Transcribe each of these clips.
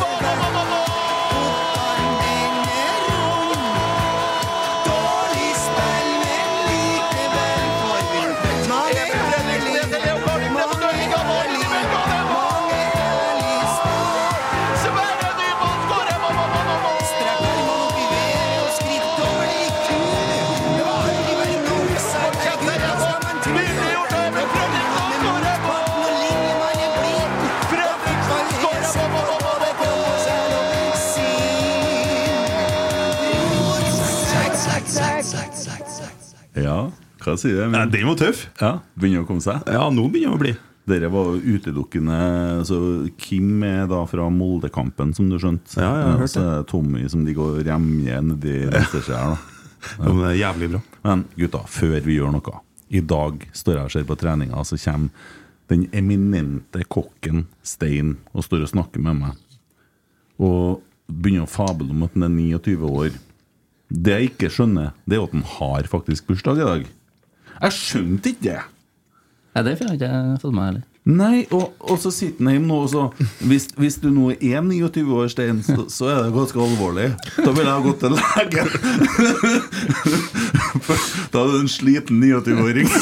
Mål, mål, mål, mål! Even Fredriksen ned til Leo Kornic ned på duellinja, mål i mellomrommet, mål! Sverre Nypan skårer, mål, mål, mål, mål, mål! Ja, hva sier du? Nei, Men, den var tøff. ja, begynner å komme seg. Ja, nå begynner det å bli. Dere var jo utelukkende altså, Kim er da fra Moldekampen, som du skjønte. Ja, jeg har hørt så er det Tommy som de går hjemme nedi Vesterskjær. Ja, men det er jævlig bra. Men gutta, før vi gjør noe I dag står jeg og ser på treninga, så kommer den eminente kokken Stein og står og snakker med meg. Og begynner å fable om at han er 29 år. Det jeg ikke skjønner, det er at han har faktisk bursdag i dag. Jeg skjønte ikke det! Nei, det har jeg ikke fått med meg heller. Nei, og, og så sitter han hjemme nå, og så hvis, hvis du nå er 29 år, Stein, så, så er det ganske alvorlig. Da ville jeg ha gått til legen. For Da er du en sliten 29-åring.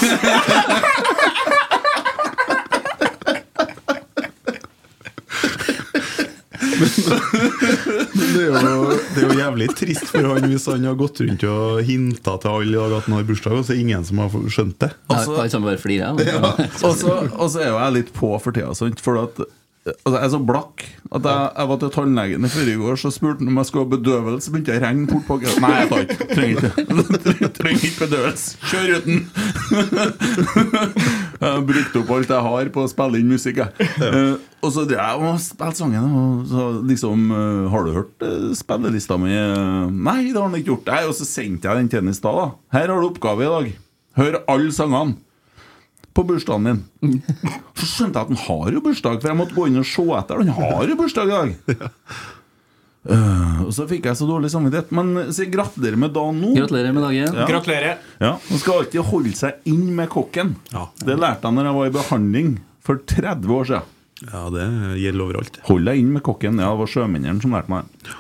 Det er, jo, det er jo jævlig trist for han hvis han har gått rundt og hinta til alle i dag at han har bursdag, og så er det ingen som har skjønt det. Altså, Alle sammen bare flirer. jeg, men- Og så og så er jo jeg litt på for tida, sant? For at altså, jeg er så blakk at jeg, jeg var til tannlegen i forrige år, så spurte han om jeg skulle ha bedøvelse, så begynte jeg å regne fort på Nei, jeg tar ikke. Trenger ikke. Trenger ikke bedøvelse. Kjør uten! jeg har brukt opp alt jeg har på å spille inn musikk, jeg. Eh, og så drev jeg og spilte sangen, og så liksom eh, Har du hørt eh, spillelista mi? Eh, Nei, det har han ikke gjort. Nei, og så sendte jeg den til han i stad, da. Her har du oppgave i dag. Hør alle sangene på bursdagen min. Så skjønte jeg at han har jo bursdag, for jeg måtte gå inn og se etter. Han har jo bursdag i dag! Øh, og så fikk jeg så dårlig samvittighet. Men så jeg gratulerer med dagen nå. Gratulerer med dagen. Ja. Ja, Man skal alltid holde seg inn med kokken. Ja. Det lærte jeg når jeg var i behandling for 30 år siden. Ja, det gjelder overalt. Hold deg inn med kokken. Ja, det var sjømennene som lærte meg det.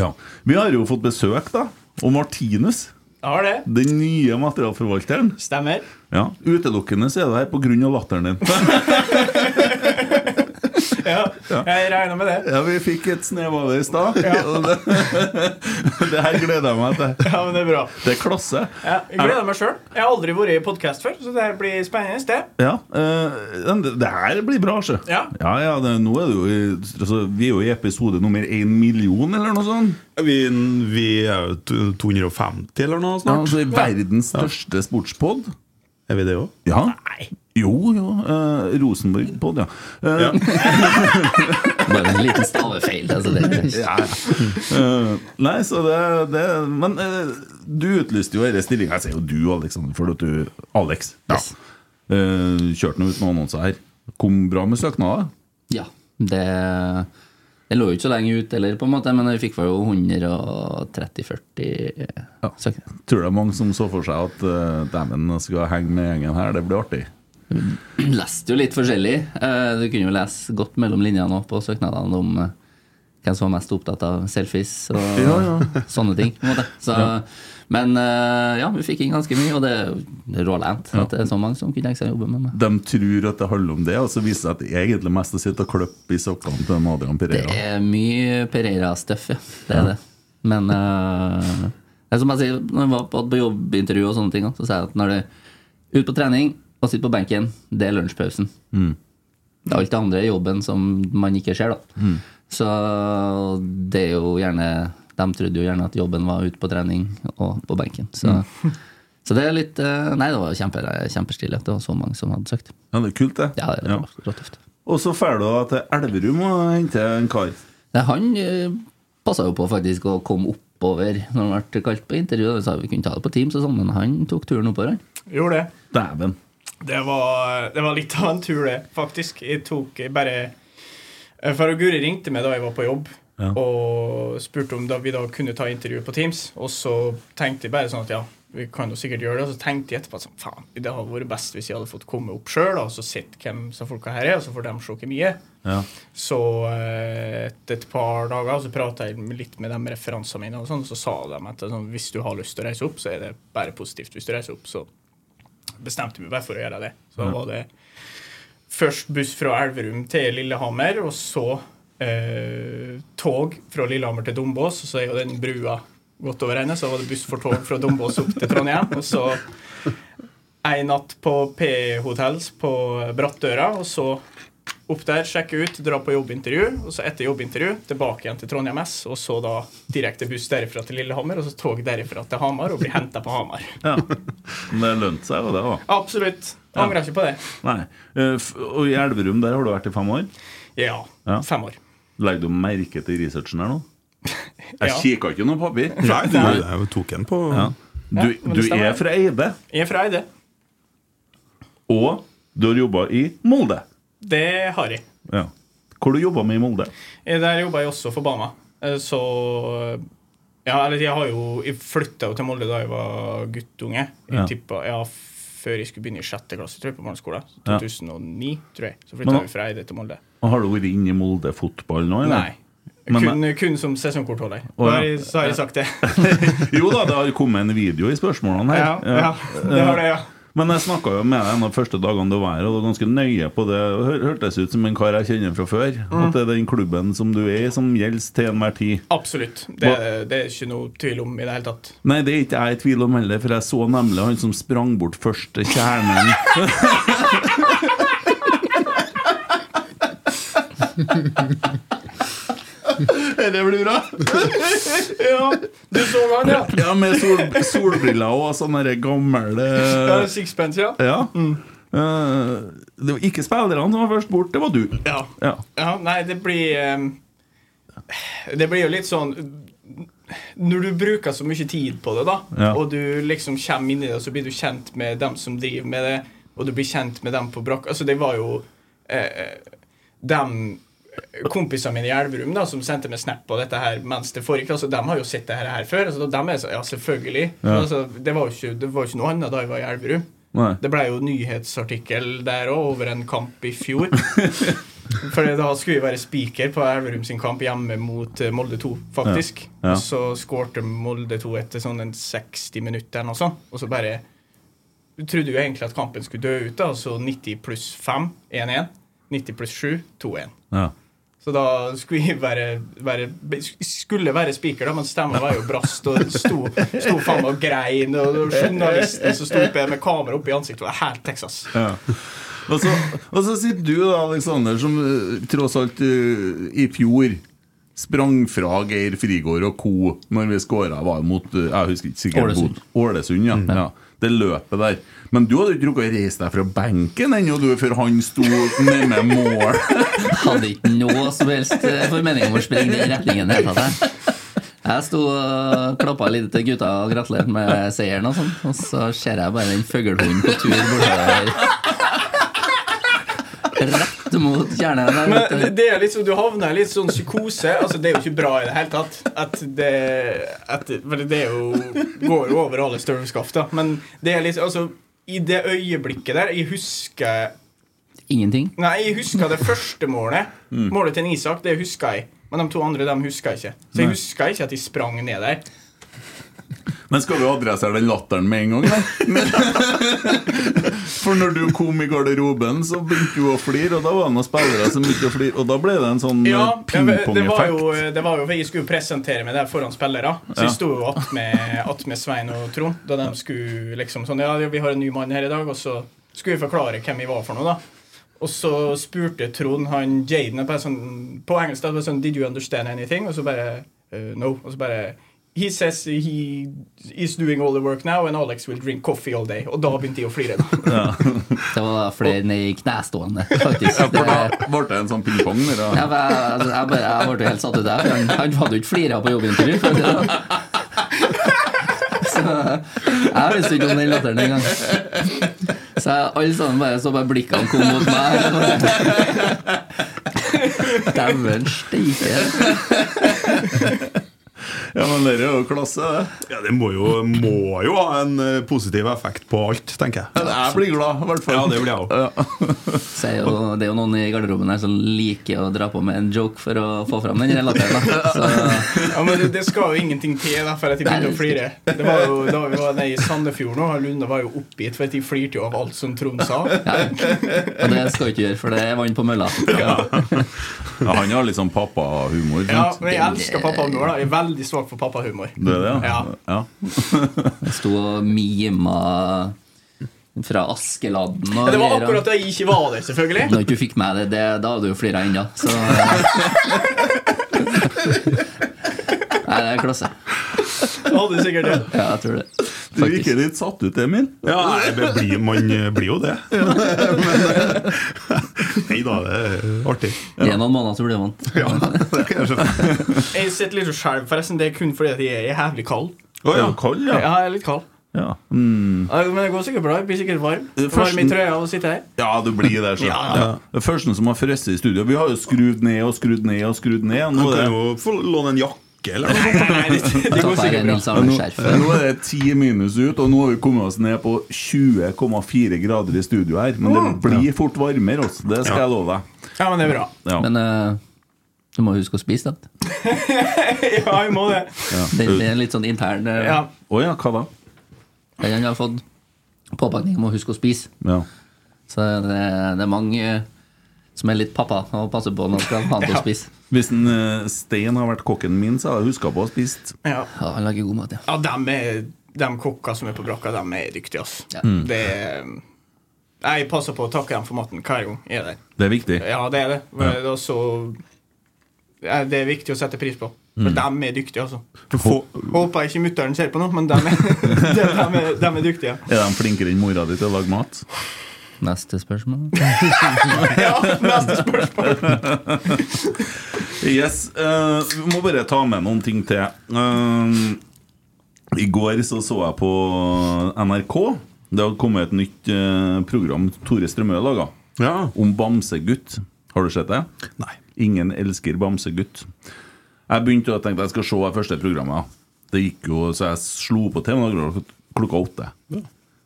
Ja. Vi har jo fått besøk, da. Og Martinus, Har det. den nye materialforvalteren. Stemmer. Ja, Utelukkende så er du her pga. latteren din. Ja, jeg regner med det. Ja, vi fikk et snev av det i stad. og Det, det her gleder jeg meg til. Ja, men Det er bra. Det er klasse. Ja, jeg gleder meg sjøl. Jeg har aldri vært i podkast før, så det her blir spennende. Det. Ja, eh, men det, det her blir bra, sjø. Ja. ja, ja, det, nå er det jo i, altså, Vi er jo i episode nummer én million, eller noe sånt. Vi, vi er jo t- 250 eller noe Ja, snart. altså, i Verdens største sportspod. Er vi det òg? Ja. Nei. Jo, jo. eh, Rosenborg-pod, ja. Eh, Bare en liten stavefeil. Altså, det er ja, ja. Eh, nei, så det, det Men eh, du utlyste jo denne stillinga. Jeg sier jo du, Alexander, for at du Alex. Ja. Eh, kjørte nå ut noen annonser her. Kom bra med søknader. Ja, det, det lå jo ikke så lenge ut heller, på en måte, men vi fikk vel jo 130-40 søkere. Tror det er mange som så for seg at uh, dæven skal henge med gjengen her. Det blir artig. Leste jo litt forskjellig. Eh, Du kunne jo lese godt mellom linjene også på søknadene om eh, hvem som var mest opptatt av selfies og Ja, ja. sånne ting. På en måte. Så, Ja. Men eh, ja, vi fikk inn ganske mye, og det er jo rålænt at det er så mange som kunne tenke seg å jobbe med meg. De tror at det handler om det, og så viser det seg at det er egentlig mest å sitte og klippe i sokkene til Adrian Det Pereira. er mye Pereira-stuff, ja. Det er Ja. det. Men eh, det er som jeg sier, når jeg var på, på jobbintervju og sånne ting, så sa jeg at når du er ute på trening og sitter på benken, det er lunsjpausen. Mm. Det er alt det andre i jobben som man ikke ser, da. Mm. Så det er jo gjerne De trodde jo gjerne at jobben var ute på trening og på benken. Så, så det er litt eh, Nei, det var kjempe, kjempestilig at det var så mange som hadde søkt. Ja, det er kult, det. Ja, det er rått, rått tøft. Og så drar du da til Elverum og henter en kar. Nei, han eh, passa jo på faktisk å komme oppover når han ble kalt på intervju. Vi sa vi kunne ta det på Teams og sånn, men han tok turen oppover, han. Gjorde det. Dæven. Det var, det var litt av en tur, det, faktisk. Jeg tok bare For Guri ringte meg da jeg var på jobb, Ja. og spurte om da vi da kunne ta intervju på Teams. Og så tenkte jeg bare sånn at ja, vi kan jo sikkert gjøre det. Og så tenkte jeg etterpå at sånn, faen, det hadde vært best hvis jeg hadde fått komme opp sjøl og så sett hvem som folka her er, og så får de se hvem jeg er. Ja. Så eh, etter et par dager så prata jeg med- litt med de referansene mine, og sånn, så sa de at sånn, hvis du har lyst til å reise opp, så er det bare positivt. Hvis du reiser opp, så bestemte jeg meg bare for å gjøre det. Så Ja. var det først buss fra Elverum til Lillehammer, og så eh, tog fra Lillehammer til Dombås, og så er jo den brua godt over ende, så var det buss for tog fra Dombås opp til Trondheim, og så en natt på P-hotels på Brattøra, og så opp der, sjekke ut, dra på jobbintervju, og så etter jobbintervju tilbake igjen til Trondheim S, og så da direkte buss derifra til Lillehammer, og så tog derifra til Hamar, og bli henta på Hamar. Ja. Men det lønte seg jo, det, da. Absolutt. Angrer ikke på det. Nei. Eh, f- Og i Elverum, der har du vært i fem år? Ja, fem år. Legger du merke til researchen her nå? Jeg Ja. kikka ikke noe papir. Nei, du- jeg tok en på ja. Du, Ja, men du det stemmer. er fra Eide, Jeg er fra Eide. og du har jobba i Molde. Det har jeg. Ja. Hvor du jobba med i Molde? Eh, Der jobba jeg også for Bama. Eh, Så Ja, eller jeg har jo Jeg flytta jo til Molde da jeg var guttunge. Jeg Ja. tippa ja, før jeg skulle begynne i sjette klasse, tror jeg, på barneskolen. Ja. 2009, tror jeg. Så Men flytta da- vi fra Eide til Molde. Og Har du vært inne i Molde fotball nå? Eller? Nei. kun, kun som sesongkortholder. Å, Da ja. har jeg- Så har jeg sagt det. jo da, det har kommet en video i spørsmålene her. Eh, Ja, ja, det har det, ja. Men jeg snakka jo med deg en av de første dagene du var her, og du var ganske nøye på det. Det hør- hørtes ut som en kar jeg kjenner fra før. Mm. At det er den klubben som du er i, som gjelder til enhver tid. Absolutt. Det, det er ikke noe tvil om i det hele tatt. Nei, det er ikke jeg i tvil om heller, for jeg så nemlig han som sprang bort første kjernen. Det blir bra. ja, du så han, ja. Ja, med sol, solbriller og sånne der gamle Ja, Sixpence, ja. Ja. Eh, det var ikke spillerne som var først bort, det var du. Ja. Ja. Ja, nei, det blir ehm, Det blir jo litt sånn Når du bruker så mye tid på det, da, Ja. og du liksom kommer inn i det, så blir du kjent med dem som driver med det, og du blir kjent med dem på brakka Altså, det var jo eh, dem kompisene mine i Elverum da, som sendte meg snap på dette her mens det foregikk, altså, de har jo sett det her, her før. Altså, dem er så, Ja, selvfølgelig. Ja. Altså, det var jo ikke, det var jo ikke noe annet da jeg var i Elverum. Nei. Det ble jo nyhetsartikkel der òg, over en kamp i fjor. For da skulle vi være spiker på Elverum sin kamp hjemme mot eh, Molde 2, faktisk. Ja. Ja. Og så skårte Molde 2 etter sånn en 60 minutter eller noe sånt. Og så bare Du trodde jo egentlig at kampen skulle dø ut, da. Og så 90 pluss 5, 1-1. 90 pluss 7, 2-1. Ja. Så da skulle jeg være, være Skulle være spiker, da, men stemmen var jo brast og sto, sto faen meg og grein. Og journalisten som sto oppe med kamera opp i ansiktet, var helt Texas. Ja. Og, så, og så sitter du da, Aleksander, som eh, tross alt eh, i fjor sprang fra Geir Frigård og co. når vi skåra var mot eh, jeg husker ikke sikkert Ålesund. mot Ålesund. Ja. ja. Det løpet der. Men du hadde jo ikke rukket å reise deg fra benken ennå, du, før han sto nærme mål. hadde ikke noe som helst eh, formening om å springe den retningen. i det hele tatt, Jeg Jeg sto og klappa litt til gutta og gratulerte med seieren, og sånn Og så ser jeg bare den fuglehunden på tur bortover. Rett mot kjernen. der, vet du. Men det er litt sånn, Du havner i litt sånn psykose. Altså Det er jo ikke bra i det hele tatt. At det, at, det- for det er jo, går jo over alle støvskaft. da Men det er litt altså, i det øyeblikket der Jeg husker Ingenting. Nei, jeg husker det første målet. Mm. Målet til en Isak, det husker jeg. Men de to andre de husker jeg ikke. Så jeg Nei. husker ikke at jeg sprang ned der. Men skal du adressere den latteren med en gang? da? For når du kom i garderoben, så begynte du å flire, og da var det noen spillere som begynte å flire, og da ble det en sånn ja, Ja, det var- det var pingpong-effekt. jo, eh, det var jo Jeg skulle jo presentere meg der foran spillere. Så Ja. jeg sto jo attmed attmed Svein og Trond da de skulle liksom sånn Ja, vi har en ny mann her i dag, og så skulle vi forklare hvem vi var for noe, da. Og så spurte Trond han Jaden på, en sånn, på engelsk da, det var sånn Did you understand anything? Og så bare «Eh, No. Og så bare He says he is doing all the work now, and Alex will drink coffee all day. Og da begynte jeg å flire. da. Det var flere ned i knestående, faktisk. Ja, for Det- da ble det en sånn pingpong der, Ja, da. men Sånn, jeg, altså, jeg, bare, jeg ble jo helt satt ut der. for Han, han hadde jo ikke flira på jobbintervju. for å si det sånn. Så jeg visste ikke om den latteren engang. Så jeg, alle sammen bare så bare blikkene kom mot meg. og bare- Dæven steike. Ja, men det er jo klasse, det. Ja, Det må jo, må jo ha en eh, positiv effekt på alt, tenker jeg. Jeg blir glad, i hvert fall. Ja, det blir jeg også. Så er jo, det er jo noen i garderoben her som liker å dra på med en joke for å få fram den der latteren. da. Så Ja, men det, det skal jo ingenting til da, for at jeg begynte å flire. Det var jo Da vi var nede i Sandefjord nå, og Lunde var jo oppgitt, for at de flirte jo av alt som Trond sa. Og det skal jeg ikke gjøre, for det er vann på mølla. Ja, han har litt sånn pappahumor. Ja, sant? men jeg elsker pappahumor. da. Jeg er veldig svak for pappahumor. Det er det, ja. Ja. ja. Jeg sto og mima fra Askeladden og Men Det var greier. akkurat da jeg ikke var der, selvfølgelig. Når du ikke fikk med deg det, da hadde du jo flira ennå. Så Nei, det er klasse. Jeg hadde sikkert det. Ja, jeg tror det. Du virker litt satt ut, Emil. Ja, nei, men blir- man eh, blir jo det. Men, eh, nei da, det er artig. I noen måneder så blir man Ja, det kan jeg skjønne. Jeg sitter litt og skjelver, forresten. Det er kun fordi at jeg er jævlig kald. Å ja, kald, Ja, ja. jeg er litt kald. Ja. Mm. Ja, Men det går sikkert bra. Jeg blir sikkert varm. Det første- Varm i trøya og sitter her. Ja, du blir der, så. Ja, ja. Det første som har frosset i studio Vi har jo skrudd ned og skrudd ned og skrudd ned. og Nå Du kan er det, jo få låne en jakke eller noe sånt. Nei, det, det går sikkert bra. Nils Arne Skjerf. nå er det ti minus ut, og nå har vi kommet oss ned på 20,4 grader i studio her. Men det blir fort varmere også, det skal jeg love deg. Ja, men det er bra. Ja. Men eh, du må huske å spise, da. Ja, jeg må det. Det det er en litt sånn intern eh, Ja. Å ja, hva da? Den har fått påpakning om å huske å spise. Ja. Så det, det er mange eh, som er litt pappa og passer på når de skal ha han til å spise. Hvis en eh, Stein har vært kokken min, så hadde jeg huska på å spise. ja. Ja, Han lager god mat, ja. Ja, dem er De kokka som er på brakka, dem er dyktige, ass. Ja. Det er Jeg passer på å takke dem for maten hver gang jeg er der. Det er viktig. Ja, det er det. Men Det er, også- Ja, det er viktig å sette pris på. For Mm. dem er dyktige, altså. Få- Håper jeg ikke mutter'n ser på nå, men dem er, dem er, dem er dyktige. Er de flinkere enn mora di til å lage mat? Neste spørsmål. Ja, neste spørsmål. Yes, eh, Vi må bare ta med noen ting til. Eh, I går så, så jeg på NRK. Det hadde kommet et nytt eh, program Tore Strømøy laga Ja. om Bamsegutt. Har du sett det? Nei. Ingen elsker Bamsegutt. Jeg begynte å tenke at jeg skal se det første programmet. Det gikk jo, Så jeg slo på TV-en klokka åtte.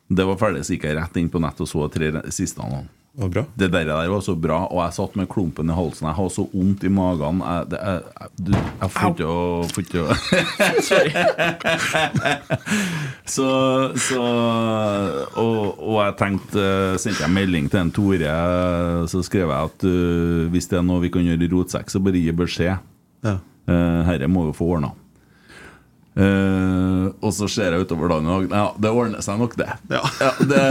Det var ferdig, så gikk jeg rett inn på nett og så tre re- siste. Annen. Det var bra. Det der, der var så bra, og jeg satt med klumpen i halsen. Jeg har så vondt i magen. Jeg, det, jeg, jeg, du- jeg får ikke å får ikke å- Så, så og, og jeg tenkte eh, sendte jeg melding til en Tore, eh, så skrev jeg at eh, hvis det er noe vi kan gjøre i Rotsekk, så bare gi beskjed. Ja. Eh, herre må jo få ordna. Eh, Og så ser jeg utover dagen og ja, det ordner seg nok, det. Ja, det,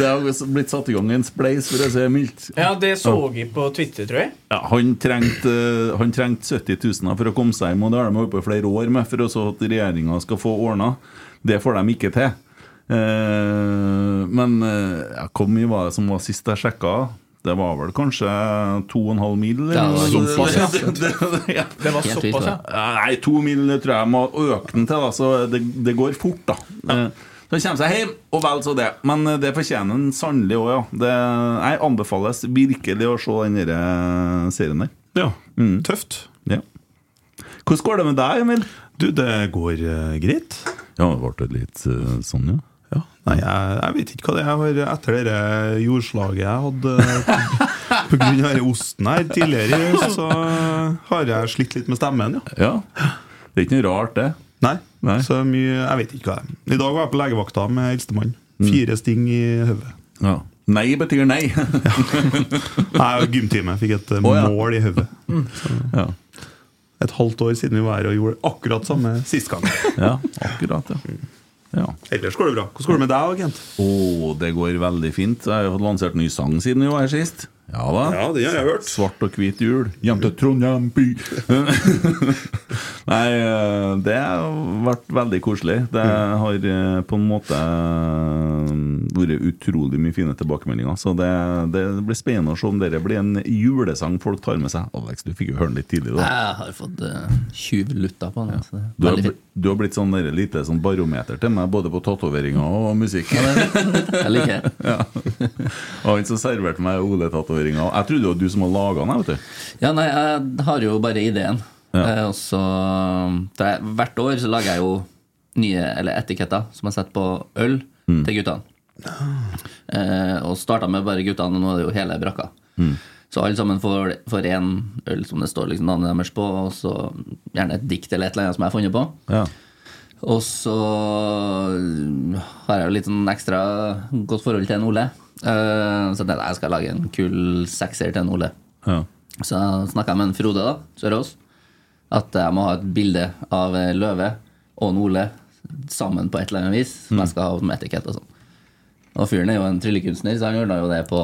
det har blitt satt i gang en spleis, for å si det mildt. Ja, det så jeg på Twitter, tror jeg. Ja, han trengte eh, han trengte 70 000 for å komme seg hjem, og det har de holdt på i flere år med for også at regjeringa skal få ordna. Det får de ikke til. Eh, men eh, ja, hvor mye var det som var sist jeg sjekka? Det var vel kanskje 2,5 mil? eller Ja, det var noe sånt. såpass, Det- det- ja. Det var Helt såpass, ja. Nei, to mil tror jeg må øke den til, da, så det, det går fort, da. Eh, Så kommer seg hjem, og vel så det. Men eh, det fortjener den sannelig òg, ja. Det jeg anbefales virkelig å se den der eh, serien der. Mm. Ja, tøft. Ja. Hvordan går det med deg, Emil? Du, det går eh, greit. Ja, det ble litt sånn, ja. Nei, jeg, jeg vet ikke hva det er. Jeg har etter det der jordslaget jeg hadde eh, på grunn av den osten her tidligere i høst, så eh, har jeg slitt litt med stemmen, ja. Det er ikke noe rart, det. Nei. Så mye Jeg vet ikke hva det er. I dag var jeg på legevakta med eldstemann. Mm. Fire sting i hodet. Ja. Nei betyr nei. Nei, gymtime. Fikk et eh, Å, ja. mål i hodet. Mm. Så- Et halvt år siden vi var her og gjorde akkurat samme sist gang. Ja, akkurat, ja. Ellers går det bra. Hvordan går det med deg, agent? Å, det går veldig fint. Jeg har jo fått lansert ny sang siden vi var her sist. Ja da. Ja, det har jeg hørt. Svart og hvit jul. Hjem til Trondheim by. Nei, eh, det har vært veldig koselig. Det har eh, på en måte eh, vært utrolig mye fine tilbakemeldinger. Så det, det blir spennende å se om dette blir en julesang folk tar med seg. Alex, du fikk jo høre den litt tidligere. da. Jeg har fått eh, tjuv lutta på den. Så det Du er har, veldig bl- fint. du har blitt sånn der lite sånn barometer til meg, både på tatoveringer og musikk. Jeg liker det. Ja. Og han som serverte meg Ole-tatoveringa. Jeg trodde det var du som hadde laga den. vet du Ja, nei, jeg har jo bare ideen. Eh, Og så um, det er- Hvert år så lager jeg jo nye eller etiketter som jeg setter på øl til guttene. Eh, og starta med bare guttene, og nå er det jo hele brakka. Så alle sammen får får én øl som det står liksom navnet deres på, og så gjerne et dikt eller et eller annet som jeg har funnet på. Ja. Og så um, har jeg jo litt sånn ekstra godt forhold til en Ole. Eh, så tenkte jeg jeg skal lage en kul sekser til en Ole. Ja. Så snakka jeg med en Frode da, Sørås at jeg må ha et bilde av en løve og en Ole sammen på et eller annet vis. Som jeg skal ha som etikett og sånn. Og fyren er jo en tryllekunstner, så han ordna jo det på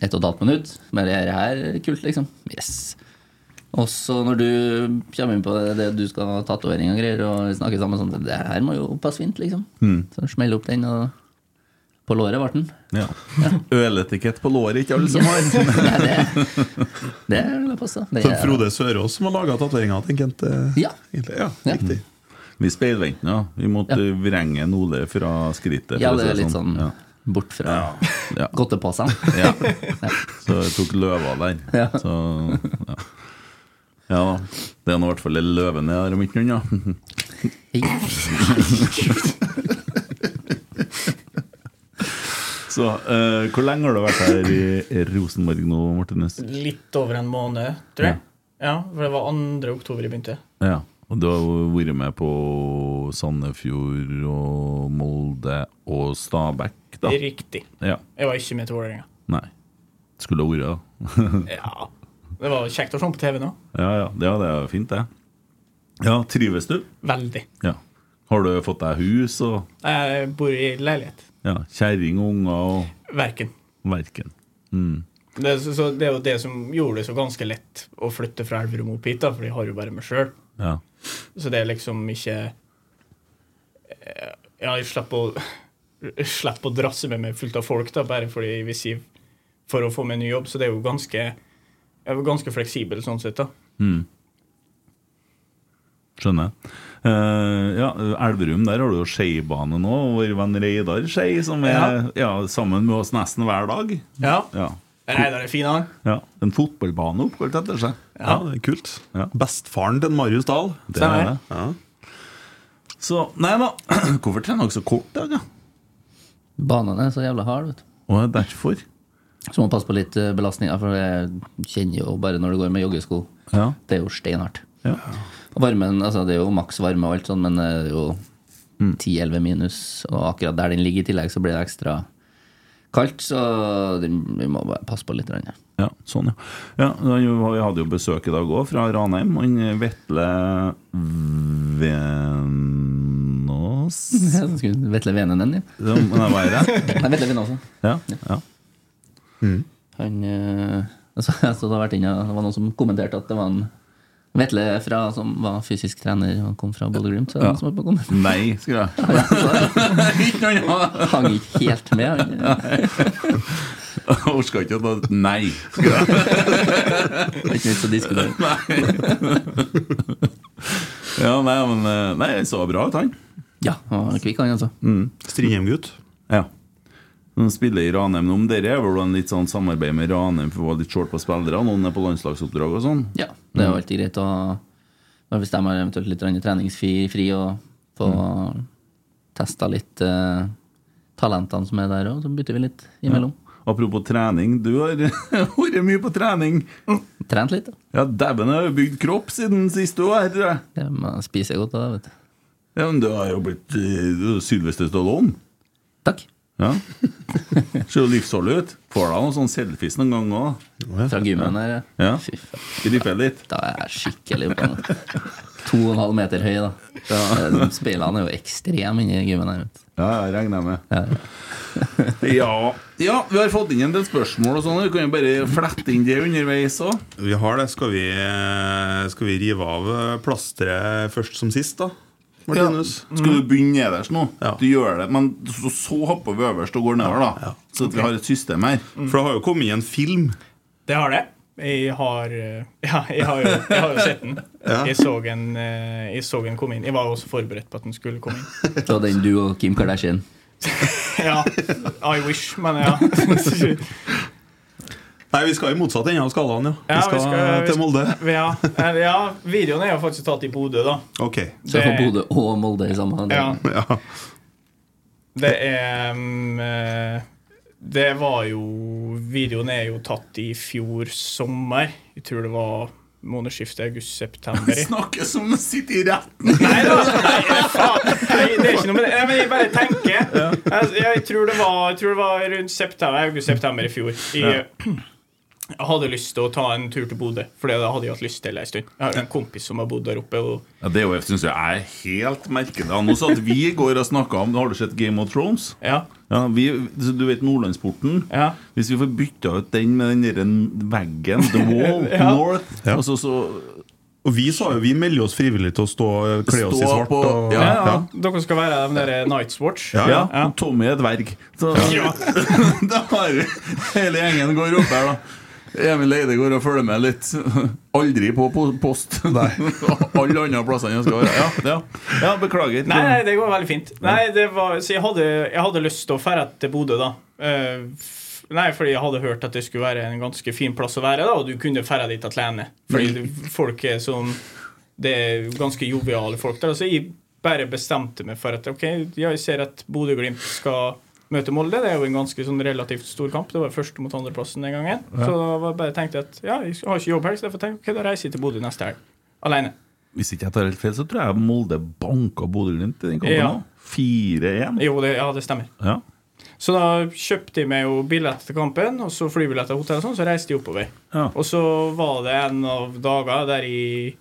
ett og et halvt minutt. Men det her er kult, liksom. Yes. Og så når du kommer inn på det, det du skal ha tatovering og greier, og vi snakker sammen sånn Det her må jo passe fint, liksom. Så smeller opp den, og på låret ble den. Ja. Øletikett på låret, ikke alle som har. Det ville passe. Det Så er- Frode Sørås som har laga tatoveringa, tenker jeg. eh, Ja. egentlig. ja, riktig. Vi speilvendte, ja. Vi måtte vrenge en Ole fra skrittet. for Ja, å si det er litt sånn Ja. bort fra Ja. godteposen. Ja. Så jeg tok løva der. Så, ja. ja da. Det er nå i hvert fall en løve nede her om ikke noe annet. Så eh, hvor lenge har du vært her i Rosenborg nå, Martinus? Litt over en måned, tror jeg. Ja, for det var 2. oktober jeg begynte. Ja, og du har jo vært med på Sandefjord og Molde og Stabæk, da. Riktig. Ja. Jeg var ikke med til Vålerenga. Nei. Skulle ha vært det. Ja. Det var kjekt å se på TV nå. ja, ja, det ja, det er jo fint, det. Ja, trives du? Veldig. Ja. Har du fått deg hus og Jeg bor i leilighet. ja, kjerring og unger og Verken. verken? Mm. Det, er så, så det er jo det som gjorde det så ganske lett å flytte fra Elverum opp hit, da, for jeg har jo bare meg sjøl. Ja. Så det er liksom ikke eh, Ja, jeg slipper å, jeg slipper å drasse med meg fullt av folk, da, bare fordi hvis jeg for å få meg en ny jobb. Så det er jo ganske jeg er jo ganske fleksibel sånn sett, da. Mm. Skjønner. Eh, ja, Elverum, der har du jo Skeibane nå. og Vår venn Reidar Skei, som er ja, sammen med oss nesten hver dag. Ja. Ja. Reidar er fin, han. Ja, En fotballbane oppkalt etter seg. Ja, det er kult. Bestefaren til Marius Dahl. Det er det. Ja. Så, nei da, hvorfor trener dere så kort dag, da? Banene er så jævla harde, vet du. Og det er derfor. Så må man passe på litt eh, belastninger, for jeg kjenner jo bare når du går med joggesko. Ja. Det er jo steinhardt. Ja. Og Varmen, altså det er jo maks varme og alt sånn, men det er jo 10-11 minus, og akkurat der den ligger i tillegg, så blir det ekstra kaldt, så den, vi må bare passe på litt. grann, ja. Ja, sånn, ja. ja da, jo, vi hadde jo besøk i dag òg, fra Ranheim. Han Vetle Venås Skulle Vetle Venenen, ja. Ja, men det var det. Nei, Vetle Venen også. Ja, ja. Han eh, altså, jeg så det, har vært inne, det var noen som kommenterte at det var en Vetle fra, som var fysisk trener og kom fra Bodø-Glimt. så det er Ja. noen som har på kommet. Nei, skal jeg. Ja, altså, han Hang ikke helt med. Han. Jeg orker ikke å ta Nei. Skal jeg. Det er ikke nytt å diskutere. Nei. Ja, nei, men eh, Nei, han så bra ut, han. Ja, han var kvikk, han, altså. Mm. Strindheim-gutt. Ja. Han spiller i Ranheim nå, men dere er vel en litt sånn samarbeid med Ranheim for å være litt short på spillere? Noen er på landslagsoppdrag og sånn? Ja, det er jo alltid greit å bare bestemme eventuelt litt grann treningsfri fri og få testa litt eh, talentene som er der òg, så bytter vi litt imellom. Apropos trening, du har vært mye på trening. Trent litt, da. Ja, dæven, jeg har jo bygd kropp siden sist du var her, tror jeg. Ja, men jeg spiser godt av det, vet du. Ja, men du har jo blitt eh, du er Sylvester Stallone. Takk. Ja. Ser jo livsfarlig ut. Får deg noen sånn selfies noen gang òg? Fra gymmen her. Ja. eh, Fy faen. Ripper litt. Da er jeg skikkelig oppe nå. To og en halv meter høy, da. Eh, Speilene er jo ekstreme inni gymmen her. vet du. Ja, jeg regner med. Ja. ja, vi har fått inn en del spørsmål og sånn. Vi kan jo bare flette inn det underveis òg. Vi har det. Skal vi, eh, skal vi rive av eh, plasteret først som sist, da? Martinus? Ja. Skal du begynne nederst nå? Du gjør det, men så, så hopper vi øverst og går nedover, da. Så at vi har et system her. Mm. For det har jo kommet en film. Det har det. Jeg har, eh, ja, jeg har, jo, jeg har jo sett den. Ja. Jeg, så en, eh, jeg så en komme inn. Jeg var også forberedt på at den skulle komme inn. Så den du og Kim Kardashian. Ja, I wish, men ja. ja Nei, vi skal i motsatt ende av skalaen, ja. Vi skal, til Molde. Ja, eh, ja, videoen er jo faktisk tatt i Bodø, da. Ok. Så får Bodø og Molde i samme Ja. Ja. Det er mm, eh, Det var jo Videoen er jo tatt i fjor sommer. Jeg tror det var månedsskiftet august-september. Snakker som om sitter i retten! Nei da! Nei, faen. Nei, det er ikke noe med det. Nei, men jeg bare tenker. Jeg, jeg, tror det var, jeg tror det var rundt september, august-september i fjor. Jeg, jeg hadde lyst til å ta en tur til Bodø, for det hadde jeg hatt lyst til en stund. Jeg har en kompis som har bodd der oppe. og Ja, det er jo- synes jeg er helt merkelig. Nå satt vi i går og snakka om Har du sett Game of Thrones? Ja. vi, så du vet Nordlandsporten? Hvis vi får bytta ut den med den derre veggen, The Wall, Ja. North Ja. og så, så Og vi sa jo vi melder oss frivillig til å stå kle oss i Stå svart. på- og, Ja, ja. ja. Dere skal være de der Nights Watch. Ja, ja. og Tommy er dverg. Så Ja. da har vi- hele gjengen går opp her, da. Emil Eide går og følger med litt. Aldri på po- post. Alle andre plasser enn jeg skal være. Ja, ja. ja beklager. Nei, nei, det går veldig fint. Nei, det var, så jeg hadde, jeg hadde lyst til å dra til Bodø, da. Eh, f- nei, fordi jeg hadde hørt at det skulle være en ganske fin plass å være, da, og du kunne dra dit alene. Fordi det- folk er som Det er ganske joviale folk der. Så jeg bare bestemte meg for at ok, ja, jeg ser at Bodø-Glimt skal møte Molde. Det er jo en ganske sånn relativt stor kamp. Det var første mot andreplassen den gangen. Ja. Så da var- bare tenkte jeg at ja, jeg har ikke jobbhelg, så derfor tenkte jeg ok, da reiser jeg til Bodø neste helg. Alene. Hvis ikke jeg tar helt feil, så tror jeg Molde banka Bodø-Glimt i den kampen Ja. nå. 4-1. Jo, det, ja, det stemmer. Ja. Så da kjøpte jeg meg jo billett til kampen, og så flybillett til hotellet, og sånn, så reiste jeg oppover. Ja. Og så var det en av dagene der jeg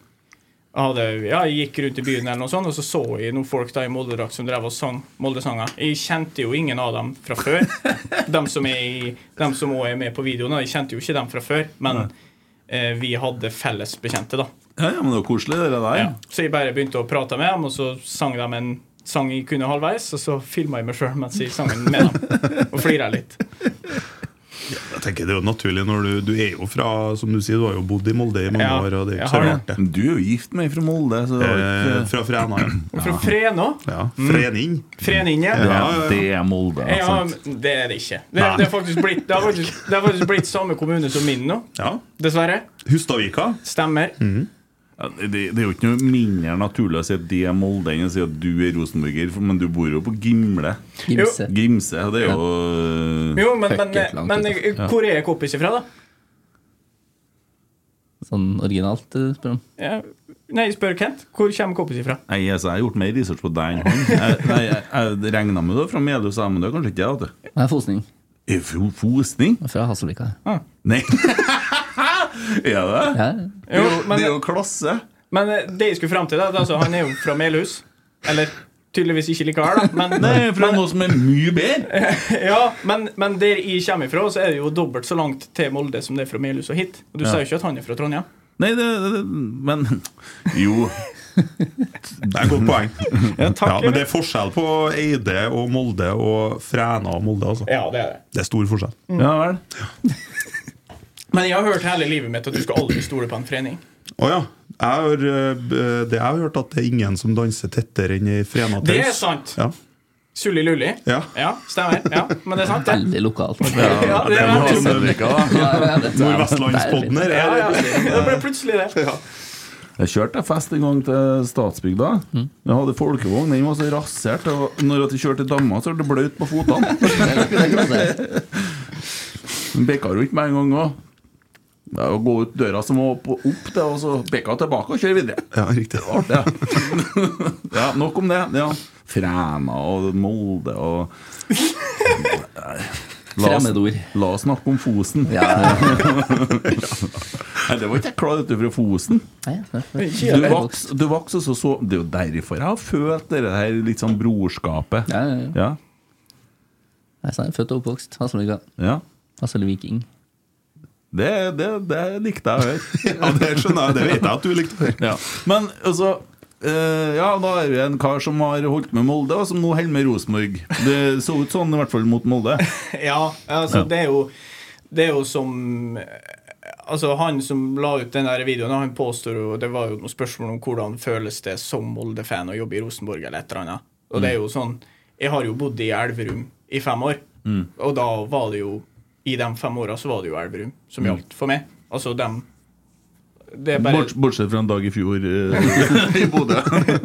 hadde, ja, jeg gikk rundt i byen, eller noe sånt, og så så jeg noen folk da i Molde-drakt som drev og sang Molde-sanger. Jeg kjente jo ingen av dem fra før. dem som er i- dem som også er med på videoen. da, Jeg kjente jo ikke dem fra før, men eh, vi hadde felles bekjente, da. Ja, ja, men det var koselig, det der. Ja. Så jeg bare begynte å prate med dem, og så sang de en sang jeg kunne halvveis, og så filma jeg meg sjøl mens jeg sang den med dem, og flira litt. Jeg tenker det er jo naturlig når du, du er jo fra Som du sier, du har jo bodd i Molde i mange Ja, år, og det er jo jeg ikke så har rart, det. Men Du er jo gift med ei fra Molde. Så det var ikke... Eh, fra Fræna, ja. Og Fra Frenå ja. Frening. Mm. Frening, ja. Det, ja, er, det er Molde. Altså. men det er det ikke. Det, Nei. det, er faktisk blitt, det, har faktisk, det har faktisk blitt samme kommune som min nå, Ja. dessverre. Hustadvika. Stemmer. Ja, Det, det er jo ikke noe mindre naturlig å si at det er Molde enn å si at du er rosenborger, for- men du bor jo på Gimle. Gimse. Gimse, og det er jo Jo, men, men, Fuck it, langt men ut, da. hvor er jeg kompis ifra, da? Sånn originalt, eh, spør han. Ja. Nei, jeg spør Kent. Hvor kommer kompis ifra? Nei, altså, jeg har gjort mer research på deg enn han. Jeg, nei, jeg, jeg regna med det var fra Melhus, men det er kanskje ikke det. vet du. Jeg er Fosning. Er Fo- Fosning? Fra Hasselvika. Ah. Nei. er det? Ja. Det er jo, Jo, men- det er jo klasse. Men eh, det jeg skulle fram til, da, det er altså, han er jo fra Melhus. Eller tydeligvis ikke liker her, da. Men, Nei, fra noe som er mye bedre. ja, men, men der jeg kommer ifra, så er det jo dobbelt så langt til Molde som det er fra Melhus og hit. Og du Ja. sier jo ikke at han er fra Trondheim. Nei, det, det Men jo. Det er et godt poeng. Ja, takk, men Emil. det er forskjell på Eide og Molde og Fræna og Molde, altså. Ja, det er det. Det er stor forskjell. Ja vel. Men jeg har hørt hele livet mitt at du skal aldri stole på en trening. Å ja. Jeg har, eh, b- det jeg har hørt, at det er ingen som danser tettere enn i Fræna Det er Taus. sant. Ja. Sulli Lulli. Ja. stemmer. Ja, men det er sant, det. Veldig lokalt. Ja, det er må veldig sant. Sandvika, da. Nordvestlandspodden her. Ja, er- ja. Det ble plutselig det. Jeg kjørte en fest en gang til Statsbygda. Mm. Jeg hadde folkevogn. Den var så rasert. Og når jeg kjørte til damma, så ble det bløt på fotene. Den bekka jo ikke med en gang òg. Det er å gå ut døra som var på- opp, det, og så bekka tilbake og kjøre videre. Ja, riktig. Ja. ja, nok om det. Ja. Fræna og Molde og La oss, Fremmedord. la oss snakke om Fosen. Ja, Nei, det var ikke jeg klar over fra Fosen. Nei, det er- Du vokste, du vokste så, så Det er jo derfor jeg har følt det her litt sånn brorskapet. Ja, ja, ja. ja. Nei, så er jeg Født og oppvokst Hasselvika. ja. Hassel Viking. Det, det, det likte jeg å høre. Ja, det skjønner jeg. Det vet jeg at du likte. Ja. Men altså eh, Ja, da er vi en kar som har holdt med Molde, og som nå holder med Rosenborg. Det så ut sånn, i hvert fall mot Molde. Ja, altså, det er jo Det er jo som Altså, han som la ut den der videoen, han påstår jo Det var jo noen spørsmål om hvordan føles det som Molde-fan å jobbe i Rosenborg eller et eller annet. Og det er jo sånn Jeg har jo bodd i Elverum i fem år, og da var det jo I de fem åra så var det jo Elverum som gjaldt for meg. Altså, dem det er bare, Bort, bortsett fra en dag i fjor eh, i Bodø.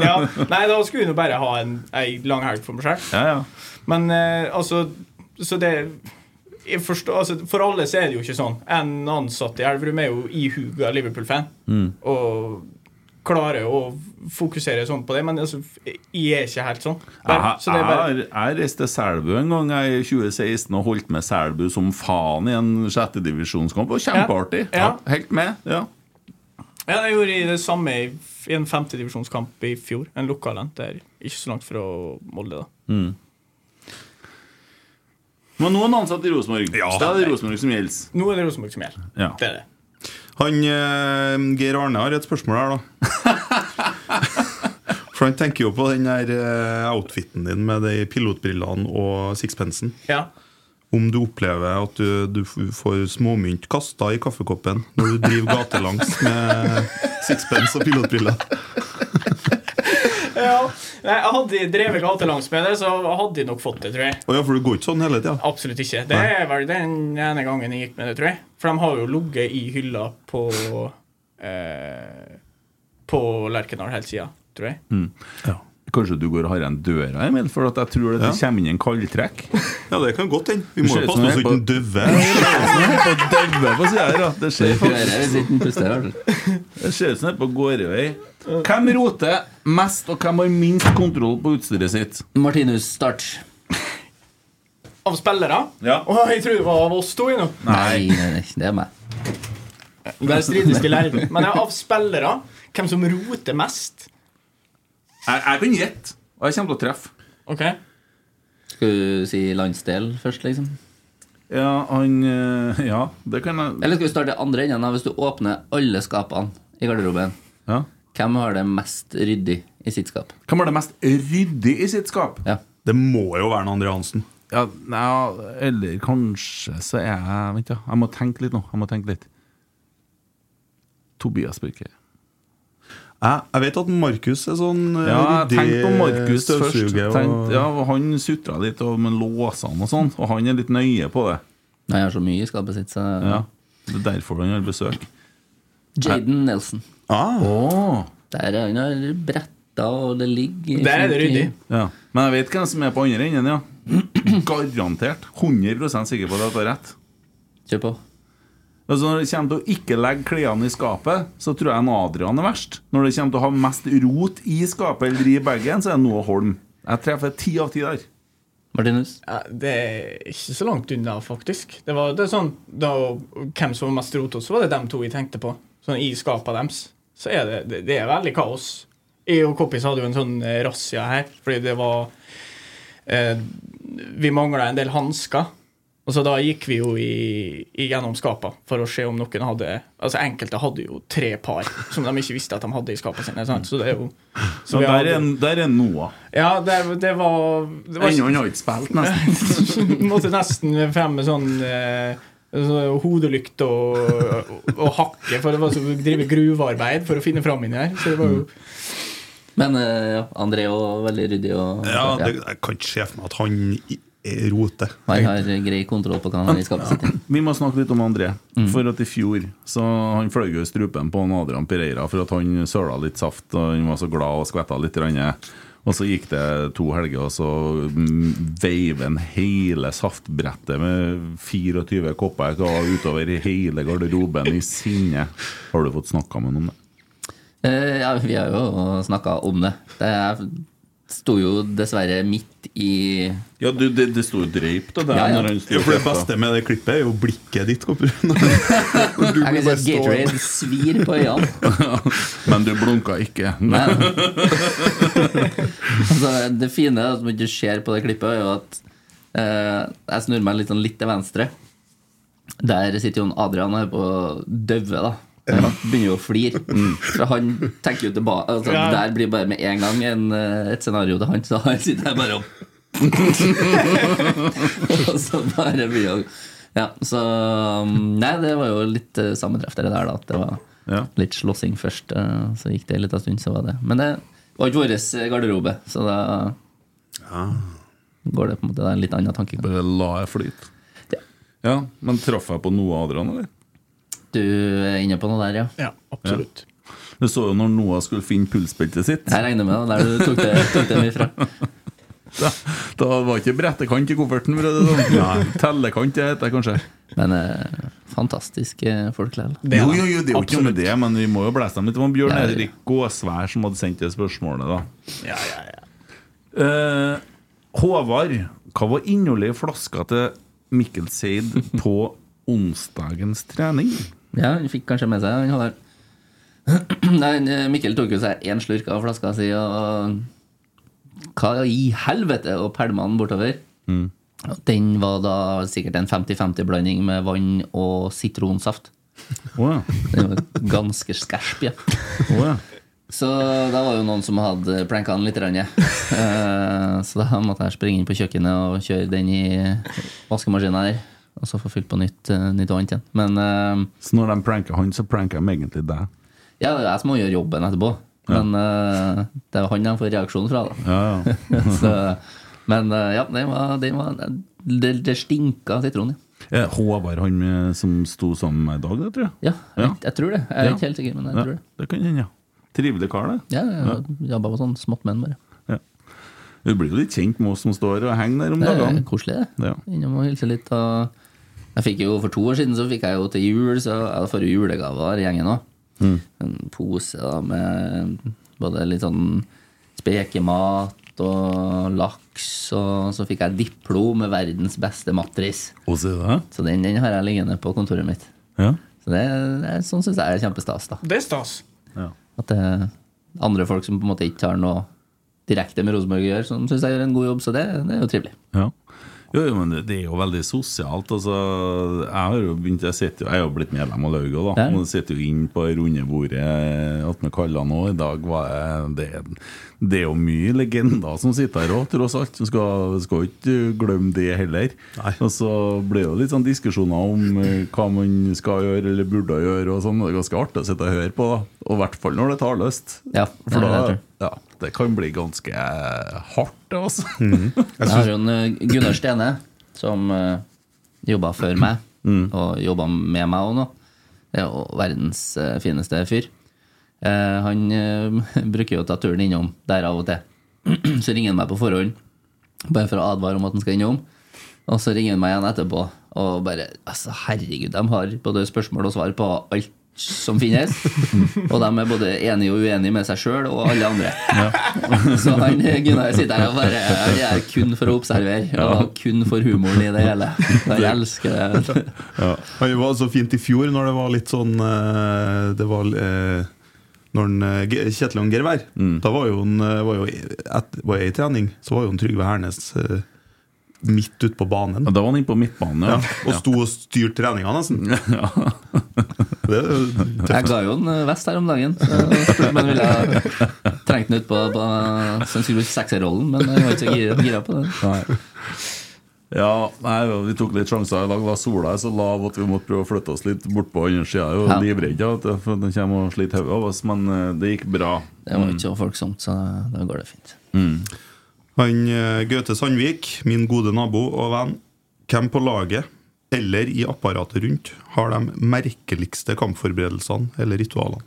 ja, Nei, da skulle vi nå bare ha en, ei lang helg for meg sjøl. Ja, ja. Men eh, altså Så det jeg forstår, altså, For alle så er det jo ikke sånn. En ansatt i Elverum er jo ihuga Liverpool-fan. Mm. Og klarer å fokusere sånn på det. Men altså, jeg er ikke helt sånn. Jeg, Bare, så det er bare, jeg, jeg reiste til Selbu en gang jeg, i 2016 og holdt med Selbu som faen i en sjettedivisjonskamp. Og kjempeartig. Ja. Helt med. Ja. ja, jeg gjorde det samme i, i en femtedivisjonskamp i fjor. En lokal en der. Ikke så langt fra Molde, da. Men nå er han ansatt i Rosenborg. Ja. Så Da er det Rosenborg som gjelder. Nå er det Rosenborg som gjelder. Ja. Det er det. Han, eh, Geir Arne har et spørsmål her, da. For han tenker jo på den der eh, outfiten din med de pilotbrillene og sixpensen. Ja. Om du opplever at du, du f- får småmynt kasta i kaffekoppen når du driver gatelangs med sixpence og pilotbriller. ja. Nei, jeg hadde jeg drevet gatelangs med det, så hadde jeg nok fått det, tror jeg. Å ja, for du går ikke sånn hele tida? Absolutt ikke. Det er vel den ene gangen jeg gikk med det, tror jeg. For de har jo ligget i hylla på eh, På Lerkendal hele sida, tror jeg. Kanskje du går og har en døra, Emil, for at jeg tror at det kommer inn en kaldtrekk. Ja, det kan godt hende. Vi må Ser jo ut passe som oss jeg så på- ikke den døver. På døve på siden her, da. Det ser Det ut som hører jeg hvis ikke den puster. vel? det ser ut som det er på Gårdøy. Hvem roter mest, og hvem har minst kontroll på utstyret sitt? Martinus, start. Av spillere? Ja. Å, jeg tror det var av oss to. jeg, nå. Nei, nei, nei, det er meg. Bare strides til læreren. Men ja, av spillere, hvem som roter mest? Jeg, jeg kan gjette, og jeg kommer til å treffe. Ok Skal du si landsdel først, liksom? Ja, han eh, Ja, det kan jeg Eller skal vi starte i andre enden? da? Hvis du åpner alle skapene i garderoben, ja. hvem har det mest ryddig i sitt skap? Hvem er det mest ryddig i sitt skap? Ja. Det må jo være en André Hansen. Ja, nei, ja, eller kanskje så er jeg Vent, ja. Jeg må tenke litt nå. Jeg må tenke litt. Tobias Birke. Jeg, jeg vet at Markus er sånn eh, Ja, jeg ryddig tenkte på Markus først. støvsuger og- Tenkte- ja, han sutra litt om låsene og sånn, og han er litt nøye på det. Nei, jeg har så mye i skapet sitt, så Ja, Det er derfor han har besøk. Jaden Nelson. Ah. Oh. Der er han har bretta, og det ligger Der er det fint i- ryddig. Ja. Men jeg vet hvem som er på andre enden, ja. Garantert. 100 sikker på at jeg har rett. Kjør på. Altså Når det kommer til å ikke legge klærne i skapet, så tror jeg en Adrian er verst. Når det kommer til å ha mest rot i skapet eller i bagen, så er det Noah Holm. Jeg treffer ti av ti der. Martinus. Ja, det er ikke så langt unna, faktisk. Det var, det er sånn, da, hvem som var mest rotete, så var det dem to jeg tenkte på. Sånn I skapet deres. Så er det, det, det er veldig kaos. Jeg og Koppis hadde jo en sånn eh, razzia her, fordi det var eh, Vi mangla en del hansker. Og så da gikk vi jo i, i gjennom skapa for å se om noen hadde Altså Enkelte hadde jo tre par som de ikke visste at de hadde i skapa sine. Sant? Så det er jo så Så vi der, hadde- er, en- der er Noah. Ja, det, det var, det var Ennå han har ikke spilt, nesten. Måtte nesten frem med sånn eh, så hodelykt og, og, og hakke, for det var så å drive gruvearbeid for å finne fram inni her. Så det var jo Men eh, ja, André er jo veldig ryddig. Og, Ja, det, jeg kan ikke se for meg at han i- er roter. Han har grei kontroll på hva han har i skapet sitt. Vi må snakke litt om André. Mm. For at i fjor så han fløy jo i strupen på han Adrian Pereira for at han søla litt saft, og han var så glad og skvetta litt. grann. Og så gikk det to helger, og så mm, veiv han hele saftbrettet med 24 kopper hva, utover i hele garderoben i sinne. Har du fått snakka med noen om det? Eh, Ja, vi har jo snakka om det. Det er- sto jo dessverre midt i Ja, det, sto jo drøyt der Ja, ja. når han sto Jo, for det og beste med det klippet er jo blikket ditt. Kopper. Jeg kan si bare at stå- Gatorade svir på øynene. Men du blunka ikke. Nei. altså, det fine er at man ikke ser på det klippet, er jo at eh, jeg snur meg litt, sånn litt til venstre. Der sitter jo en Adrian her på døve, da. Han begynner jo å flire. For han tenker jo tilbake altså, Ja. Det der blir bare med en gang en, eh, et scenario til han, så han sitter her bare og Og så bare begynner å Ja, så um, Nei, det var jo litt eh, sammentreff, det der, da. At det var litt slåssing først. eh, Så gikk det en liten stund, så var det Men det var ikke vår eh, garderobe, så da går det på en måte Det er en litt annen tankegang. Bare la jeg flyte. Ja. Men traff jeg på noe Adrian, eller? Du er inne på noe der, ja. absolutt. Du så jo når Noah skulle finne pulsbeltet sitt. Jeg regner med det, der du tok det, tok det mye fra. Da, da var ikke brettekant i kofferten, for å si det sånn. Tellekant, det heter det kanskje. Men eh, fantastiske folk likevel. Jo, jo, jo, det er jo ikke noe med det, men vi må jo blæse dem litt. Det var Bjørn Ja, ja. Erik Gåsvær som hadde sendt det spørsmålet, da. Ja, ja, ja. Eh, Håvard, hva var innholdet i flaska til Mikkel Seid på onsdagens trening? Ja, han fikk kanskje med seg han hadde... Nei, eh, Mikkel tok jo seg én slurk av flaska si og Hva i helvete? Og pælma den bortover. Og Den var da sikkert en 50-50-blanding med vann og sitronsaft. Wow. Den var ganske skærsp, ja. Så da var jo noen som hadde pranka den litt. grann, ja. Eh, Så da måtte jeg springe inn på kjøkkenet og kjøre den i vaskemaskinen her. Og så få fylt på nytt, eh, nytt vann igjen. Men eh, Så når de pranker han, så pranker de egentlig deg. ja, det er jeg som må gjøre jobben etterpå. Men eh, det er jo han de får reaksjonen fra, da. Ja, så, men eh, ja, det var, det, var, det, det stinka sitron. Ja. ja. Eh, Håvard, han eh, som sto sammen med meg i dag, det tror jeg. Ja, jeg, jeg tror det. Jeg er ikke helt sikker, men jeg Ja, tror det. Det kan hende, ja. Trivelig kar, det. Ja, jeg jobba på sånn smått menn, bare. Du blir jo litt kjent med oss som står og henger der om Det er dagene. koselig, det. Ja. Innom og hilse litt. Og jeg fikk jo For to år siden så fikk jeg jo til jul Så jeg får jo julegaver i gjengen òg. En pose da med både litt sånn spekemat og laks. Og så fikk jeg Diplo med verdens beste matris. Og se det. Så den, den har jeg liggende på kontoret mitt. Ja. Så det, det er- Sånn syns jeg er kjempestas. da Det er stas. At det er andre folk som på en måte ikke har noe direkte med Rosenborg å gjøre, som syns jeg gjør en god jobb. Så det, det er jo trivelig. Ja. Jo, jo, men det- det er jo veldig sosialt. Altså, jeg har jo begynt, jeg sitter jo, jeg er jo blitt medlem av lauget, da. Ja. Og sitter jo inn på rundebordet attmed Kalland òg. I dag var jeg det, det er jo mye legender som sitter her òg, tross alt. Du skal, skal jo ikke glemme det heller. Og så blir det jo litt sånn diskusjoner om eh, hva man skal gjøre eller burde gjøre og sånn. Det er ganske artig å sitte og høre på, da. Og i hvert fall når det tar løst. Ja, For det er det jeg da, tror. ja, det kan bli ganske hardt, det, altså. Jeg har jo en eh, Gunnar Stene som uh, jobba før meg, og jobba med meg òg nå. Det er jo verdens eh, fineste fyr. Eh, han eh, bruker jo å ta turen innom der av og til. så ringer han meg på forhånd, bare for å advare om at han skal innom. Og så ringer han meg igjen etterpå og bare altså Herregud, de har både spørsmål og svar på alt som finnes. og de er både enige og uenige med seg sjøl og alle andre. Så han Gunnar sitter her og bare Jeg er kun for å observere, og kun for humoren i det hele. Jeg elsker det. Ja. Han var så fint i fjor når det var litt sånn eh, Det var eh, når han, eh, Ge- Kjetil og Geir var her. Da var jo han eh, var jo, i- et, var jeg i trening, så var jo han Trygve Hernes eh, midt ute på banen. da var han inne på midtbanen, ja. og sto og styrte treninga, nesten. Det er jo tøft. Jeg ga jo en eh, vest her om dagen. så Spurte om han ville ha- trengte den ut på, på så han skulle bruke sekserrollen, men jeg var ikke så gira- gira på den. Nei. Ja, nei, vi tok litt sjanser i dag. Da sola er så lav at vi måtte prøve å flytte oss litt bort på andre sida. Jeg er jo Ja. livredd ja, at for den kommer og sliter hodet av oss, men eh, det gikk bra. Det var ikke så folksomt, så da går det fint. Han eh, Gaute Sandvik, min gode nabo og venn. Hvem på laget eller i apparatet rundt har de merkeligste kampforberedelsene eller ritualene?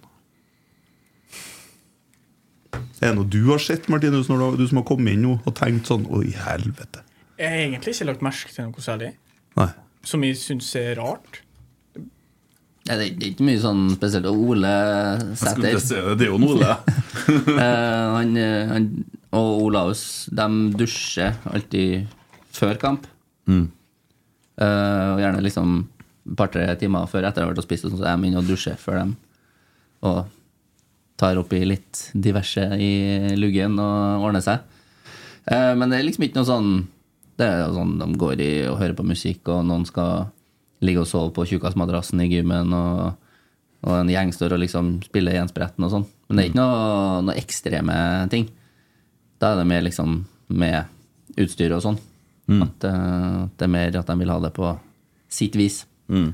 Er det noe du har sett, Martinus, når du, har- du som har kommet inn nå og tenkt sånn Oi, helvete. Jeg har egentlig ikke lagt merke til noe særlig Nei. som jeg syns er rart. Nei, det det er ikke mye sånn spesielt. Og Ole skulle Sæter ikke si det, det er jo en Ole. Eh, han, eh, han og Olaus de dusjer alltid før kamp. Mm. Eh, og gjerne liksom et par-tre timer før etter å ha vært og spist, og sånn, så er de inne og dusjer før dem. Og tar oppi litt diverse i luggen og ordner seg. Eh, men det er liksom ikke noe sånn Det er jo sånn De går i og hører på musikk, og noen skal ligge og sove på tjukkasmadrassen i gymmen, og, og en gjeng står og liksom spiller gjenspretten og sånn. Men det er ikke noe, noe ekstreme ting. Da er det mer liksom med utstyr og sånn. Mm. At eh, det er mer at de vil ha det på sitt vis. Mm.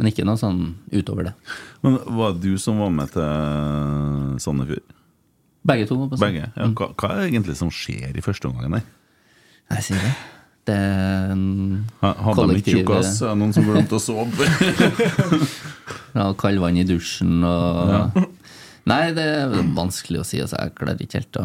Men ikke noe sånn utover det. Men var det du som var med til Sandefjord? Begge to. på sånn. Begge? Ja, hva, hva er det egentlig som skjer i første omgangen der? Jeg sier det. Det er en Ha- Hadde de ikke kollektiv- eh, tjukkas? Er det Noen som glemte å sove? Ja, kaldvann i dusjen og Nei, det er vanskelig å si. Altså, jeg klarer ikke helt å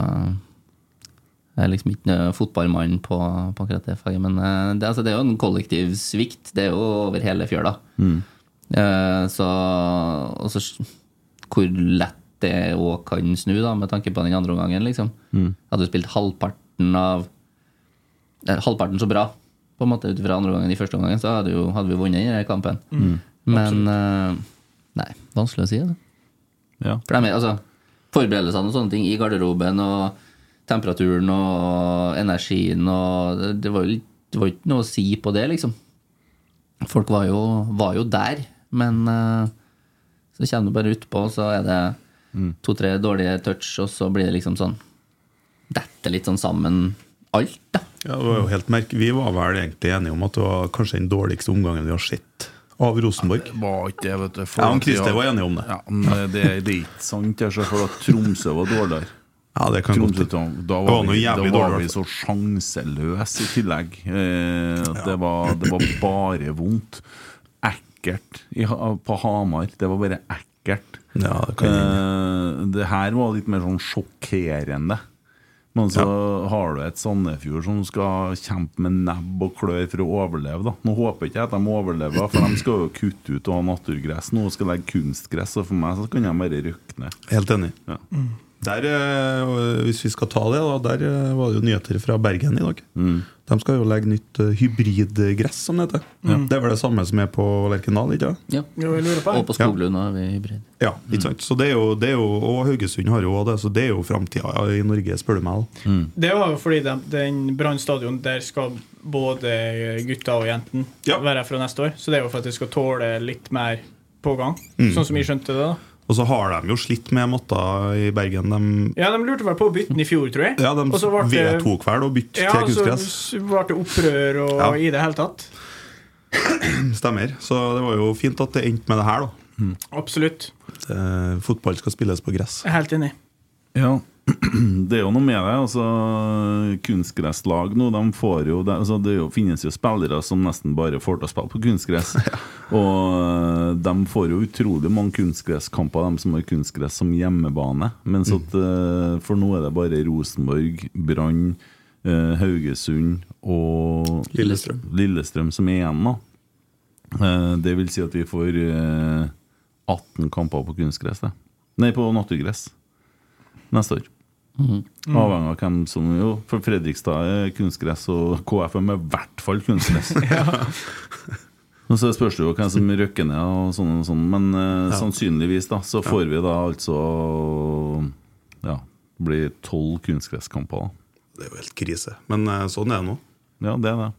Jeg er liksom ikke noe fotballmann på, på akkurat det faget. Men eh, det, altså, det er jo en kollektiv svikt. Det er jo over hele fjøla. Eh, så og så s- hvor lett det òg kan snu, da, med tanke på den andre omgangen, liksom. Hadde du spilt halvparten av eh, Halvparten så bra, på en måte, ut ifra andre omgangen i første omgangen, så hadde, jo, hadde vi vunnet denne kampen. Men eh, Nei, Mm. vanskelig å si. det. Ja. For det er mer, altså, Forberedelsene og sånne ting i garderoben og temperaturen og energien og Det, det var jo litt- det var jo ikke noe å si på det, liksom. Folk var jo, var jo der, men eh, så kommer du bare utpå, og så er det to-tre dårlige touch, og så blir det liksom sånn Detter litt sånn sammen alt, da. Ja, det var jo helt merke. Vi var vel egentlig enige om at det var kanskje den dårligste omgangen vi har sett av Rosenborg. Var ikke det, vet du. Ja, han Christer var enig om det. Ja, men det, det er ikke sant. Jeg ser for at Tromsø var dårligere. Ja, det kan Tromsø, godt da, da Det var var noe vi, da jævlig var dårlig, altså. vi så sjanseløse i tillegg. Eh, at det, var, det var bare vondt. Ekkelt i, Ha- på Hamar. Det var bare ekkelt. Ja, det kan hende. Eh, det her var litt mer sånn sjokkerende. Men så har du et Sandefjord som skal kjempe med nebb og klør for å overleve. da Nå håper ikke jeg at de overlever, for de skal jo kutte ut og ha naturgress nå og skal legge kunstgress. Og for meg så kan de bare røkne. Helt enig. Ja. Der, eh, hvis vi skal ta det, da, der eh, var det jo nyheter fra Bergen i dag. De skal jo legge nytt eh, hybridgress, som det heter. Det er vel det samme som er på Lerkendal? ikke det? Ja. Jo, jeg lurer på Og på Skoglund og vi hybrid. Ja, ikke sant? Så det er jo, det er jo, og Haugesund har jo også det, så det er jo framtida i Norge, spør du meg. da. Det var jo fordi den, den Brann stadion, der skal både gutta og jentene Ja. være fra neste år. Så det er jo for at det skal tåle litt mer pågang, sånn som jeg skjønte det. da Mm. Og så har de jo slitt med matta i Bergen. De, Ja, De lurte vel på å bytte den i fjor, tror jeg. ja, de Og så ble det- vedtok vel å bytte ja, til altså, og så kunstgress. s- ble det opprør og Ja. i det hele tatt. Stemmer. Så det var jo fint at det endte med det her, da. Mm. Absolutt. At, eh, fotball skal spilles på gress. Jeg er helt enig. Ja, det er jo noe med det. Altså, kunstgresslag nå, de får jo det, altså, det er jo, finnes jo spillere som nesten bare får til å spille på kunstgress. Og eh, de får jo utrolig mange kunstgresskamper, de som har kunstgress som hjemmebane. Mens at eh, for nå er det bare Rosenborg, Brann, eh, Haugesund og Lillestrøm. Lillestrøm som er igjen, da. Eh, Det vil si at vi får eh, 18 kamper på kunstgress. det. Nei, på naturgress neste år. Mm. Avhengig av hvem som jo For Fredrikstad er kunstgress, og KFM er i hvert fall kunstgress. Og så spørs det jo hvem som røkker ned, og sånn og sånn, men eh, Ja. sannsynligvis da så får vi da altså Ja, det blir tolv kunstgresskamper. Det er jo helt krise. Men eh, sånn er det nå. Ja, det er det.